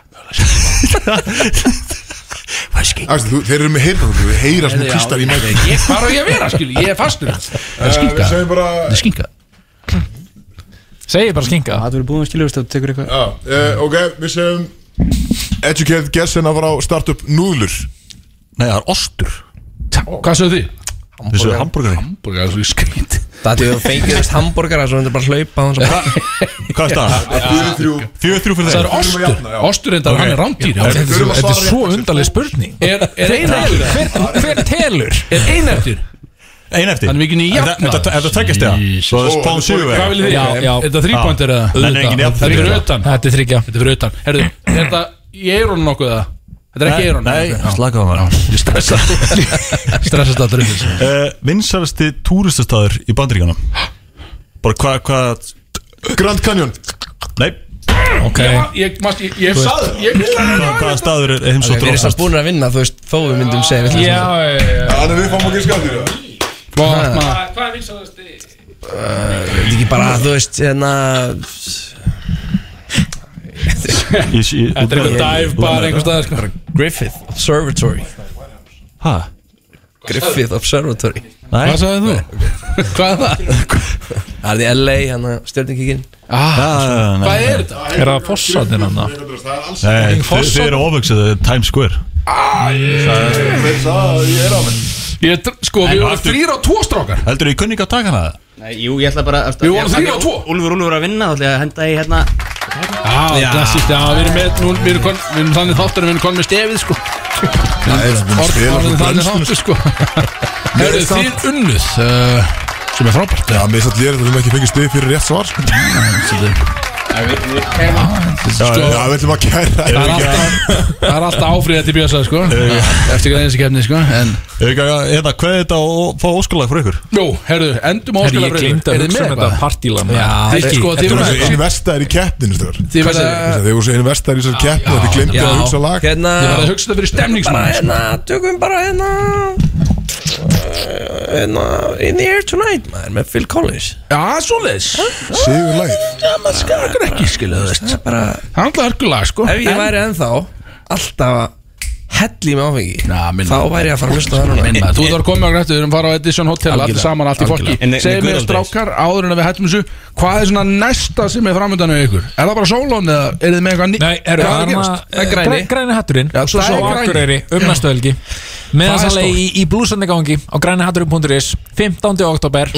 Speaker 8: Husky
Speaker 3: Axel, þú- þeir eru með heyrðan Þú heyra svona
Speaker 4: Já,
Speaker 3: kristar í mæti
Speaker 4: ég- Hvar á ég að vera, skilji, ég er fastur Það er
Speaker 3: Við
Speaker 4: skinka
Speaker 3: segjum bara
Speaker 4: Það er skinka
Speaker 9: Segir bara skinka
Speaker 5: Það verður búin að skilja þú tekur eitthvað
Speaker 3: Já, uh, ok, við segjum Educated guess en að fara á startup núðlur
Speaker 2: Nei, það er ostur
Speaker 4: Hvað sögðu þið?
Speaker 2: Við sögum hambúrgari
Speaker 4: Hamburgar, svo skrýt
Speaker 8: Það er því að þú fengir þess hambúrgara Svo þetta bara hlaupa og svo bara
Speaker 2: Hvað er staðan?
Speaker 3: Fjöru þrjú
Speaker 2: Fjögur þrjú fyrir
Speaker 4: Það er
Speaker 2: þeir
Speaker 4: ostur, ostur reyndar, hann er rándýr
Speaker 9: Þetta er svo-
Speaker 3: að
Speaker 9: þetta er
Speaker 3: svara
Speaker 9: svo undarleg spurning
Speaker 4: Er er einhættur?
Speaker 9: Hver hver telur?
Speaker 4: Er einhættur?
Speaker 2: Ein eftir
Speaker 4: Hann er mikið í
Speaker 2: Er
Speaker 4: jafna.
Speaker 2: þetta- er þetta tveggjast eða? Svo það er spáðum sigur
Speaker 4: Hvað viljið þið?
Speaker 9: Já, já.
Speaker 4: Er þetta þrýpointir eða?
Speaker 2: Ah. Nei, nei, engin jafn.
Speaker 4: Þetta er fyrir utan
Speaker 9: Þetta er þryggja
Speaker 4: Þetta er fyrir utan Herðu, er þetta í eironu nokkuð eða? Þetta er ekki
Speaker 2: Nei,
Speaker 4: eironu
Speaker 2: nei, slaka á maður.
Speaker 4: Ég
Speaker 8: (laughs)
Speaker 4: stressa Stressast alltaf um þessu
Speaker 2: uh, Vinsalasti túristastadur í bandaríkjana Bara hvað hva,
Speaker 3: Grand Canyon
Speaker 2: Nei,
Speaker 9: Ok
Speaker 4: Ég, mást, ég, ég sagði Ég
Speaker 2: hvaða hva staður er
Speaker 8: Við
Speaker 2: heimsóttur
Speaker 8: erum samt
Speaker 2: oftast
Speaker 8: búin að vinna Þú veist, þó við myndum segja við ætlum
Speaker 9: Já, já, já
Speaker 3: Þannig að við fáum okkur skattur
Speaker 4: Hvað
Speaker 9: Hvað er vinsaðast í?
Speaker 8: samt Líki bara, þú veist, hérna
Speaker 2: Þetta
Speaker 4: Þetta er eitthvað dive bar einhver staðar sko
Speaker 8: Griffith Observatory
Speaker 2: Hæ?
Speaker 8: Griffith Observatory
Speaker 2: Nei,
Speaker 4: Hvað sagði þú? Hvað er það?
Speaker 8: Það er því LA, hérna, stjórningkikinn
Speaker 4: Ah,
Speaker 2: það
Speaker 4: Hvað er þetta?
Speaker 9: Er það fossatinn hann það?
Speaker 2: Nei,
Speaker 3: Það
Speaker 2: þið
Speaker 9: Fossat-
Speaker 2: þið eru oföksuð, þetta er Times Square
Speaker 3: er það að ég er á mig
Speaker 4: Ég, tr- sko, við vorum þrýra og tvo strákar
Speaker 2: Heldur þið, ég kunni ekki að taka hana það?
Speaker 5: Nei, jú, ég ætla bara
Speaker 4: Við vorum þrír á tvo.
Speaker 5: Úlfur, Úlfur að vinna, þá ætla ég að henda í hérna
Speaker 4: Já, klassíkt, já, við erum með Nú, við erum kon- við erum þannig þáttur að við erum konn með stefið sko
Speaker 3: Það er svona að spila
Speaker 4: Orðin
Speaker 3: svona
Speaker 4: þannig
Speaker 3: brennslunum.
Speaker 4: (laughs) þáttur sko Herðu, þið unnuð uh, sem er frábært
Speaker 3: Já, mér satt lérið að við höfum ekki fengið stuð fyrir rétt svar sko.
Speaker 4: Sko,
Speaker 3: Já, við ætlum að
Speaker 4: það
Speaker 3: kæra
Speaker 4: er alltaf, það er alltaf áfríða til bjösa sko Eftir hverja einsi kefni sko En,
Speaker 2: Ég ekki að, hérna, hvað er þetta að fá óskalag frá ykkur?
Speaker 4: jú, herðu, endum
Speaker 9: Herri, ég
Speaker 4: áskalabröður
Speaker 9: gleymd að hugsa um þetta partílan
Speaker 4: Helgi, sko, þið
Speaker 3: Þeir
Speaker 4: voru
Speaker 3: voru svo einu vestar í keppnin
Speaker 4: Þið verða
Speaker 3: Þeir voru svo einu vestar í þessar keppnin og Þeir glemdi að hugsa lag
Speaker 8: Hérna
Speaker 4: Þið verða að hugsa þetta fyrir
Speaker 8: Bara,
Speaker 4: stemningsmann
Speaker 8: hérna, tökum bara, hérna uh, Hérna, In the Air Tonight, maður, með Phil Collins
Speaker 4: Já, svoleiðis
Speaker 3: Sigur lagið
Speaker 4: Já, maður skakar ekki, skilu, þú veist
Speaker 8: Það er bara
Speaker 4: Það er alltaf hörkulag, sko
Speaker 8: Ef ég
Speaker 4: En-
Speaker 8: væri ennþá alltaf að helli með áfengi
Speaker 4: Já, minna.
Speaker 8: Þá væri ég að fara að hlusta það núna
Speaker 4: Minna, Þú þarf að koma okkur eftir, við erum að fara á Edition Hotel Allir
Speaker 8: Algjörlega,
Speaker 4: saman, allt í fólki
Speaker 5: algjörlega. En- en
Speaker 4: Segðu
Speaker 5: good
Speaker 4: mér
Speaker 5: old days.
Speaker 4: strákar, áður en að við hættum þessu Hvað er svona næsta sem er framöndan á ykkur? Er það bara sólón eða er þið með eitthvað nýtt?
Speaker 9: Nei, Eh, er
Speaker 4: Hvað að
Speaker 9: það
Speaker 4: gerast? Það er
Speaker 9: græni
Speaker 4: græni
Speaker 9: Græni hatturinn
Speaker 4: Já,
Speaker 9: Svo
Speaker 4: það
Speaker 9: svo
Speaker 4: er græni.
Speaker 9: Akureyri um næstu helgi Með
Speaker 4: Það er
Speaker 9: þess að leið í, í blúsandegangi á grænihatturinn.is 15. oktober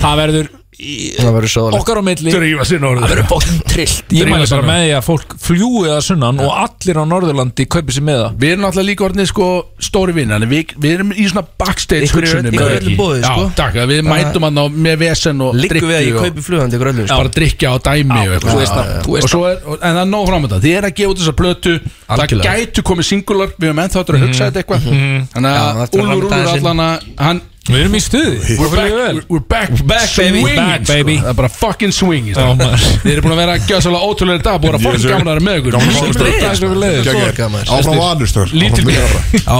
Speaker 9: Það verður í-
Speaker 8: Það verður sóðalegt
Speaker 9: okkar á milli
Speaker 4: Drífa sinna orðið
Speaker 9: Það verður (laughs) bóttum trillt Ég
Speaker 4: Drífa
Speaker 9: mæli
Speaker 4: sig
Speaker 9: bara
Speaker 4: nú.
Speaker 9: með því að fólk fljúið að sunnan og allir á Norðurlandi kaupi sér með það
Speaker 4: Við erum náttúrulega líka orðinni sko stóri vinnan Við, við erum í svona backstage
Speaker 8: Ykkur er-
Speaker 4: hugsunum
Speaker 8: ykkur er
Speaker 4: eða
Speaker 8: öllum
Speaker 4: ekki?
Speaker 8: boðið, sko.
Speaker 4: Já, takk, við mætum hann á með vesen og
Speaker 8: Liggur við að ég
Speaker 4: og-
Speaker 8: kaupi flugandi ykkur öllum
Speaker 4: Já. bara drikja á dæmi
Speaker 9: Já,
Speaker 4: og eitthvað.
Speaker 9: þú veist það, þú veist
Speaker 4: og svo er, og- en það er nóg framönda þið er að gefa út þessa plötu það
Speaker 8: Algjörlega.
Speaker 4: gætu komið singular við erum ennþá eftir að
Speaker 3: Mhm.
Speaker 4: hugsa þetta eitthvað þannig að
Speaker 8: Já, það er
Speaker 4: Úlfur
Speaker 8: eftir að ramma
Speaker 4: Úlfur
Speaker 8: þetta aðeins
Speaker 4: allan að hann
Speaker 9: Við erum í stuði
Speaker 4: We're back, we're back, back
Speaker 9: baby.
Speaker 4: swinging
Speaker 9: Back,
Speaker 4: sko.
Speaker 9: baby.
Speaker 4: Það er bara fucking swinging
Speaker 9: Já, maður.
Speaker 4: Þið eru búin að vera að gjöða svolítið ótrúlega dag Búin að fólk
Speaker 3: Oh sir.
Speaker 4: gamlaður með ykkur
Speaker 3: Gaman að fá
Speaker 4: Sem
Speaker 3: ykkur.
Speaker 4: er dag sem við leiðum.
Speaker 3: Geggjað.
Speaker 8: Gaman.
Speaker 3: Áfram vanur stöður
Speaker 4: Lítil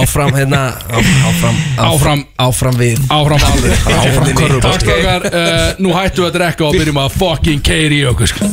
Speaker 8: Áfram hérna á- Áfram
Speaker 4: Áfram.
Speaker 8: Áfram við
Speaker 4: Áfram alveg
Speaker 8: Áfram körfubolti.
Speaker 4: Eh, Takk okkar, uh, nú hættum við að drekka og byrjum að fucking keiri í okkur sko.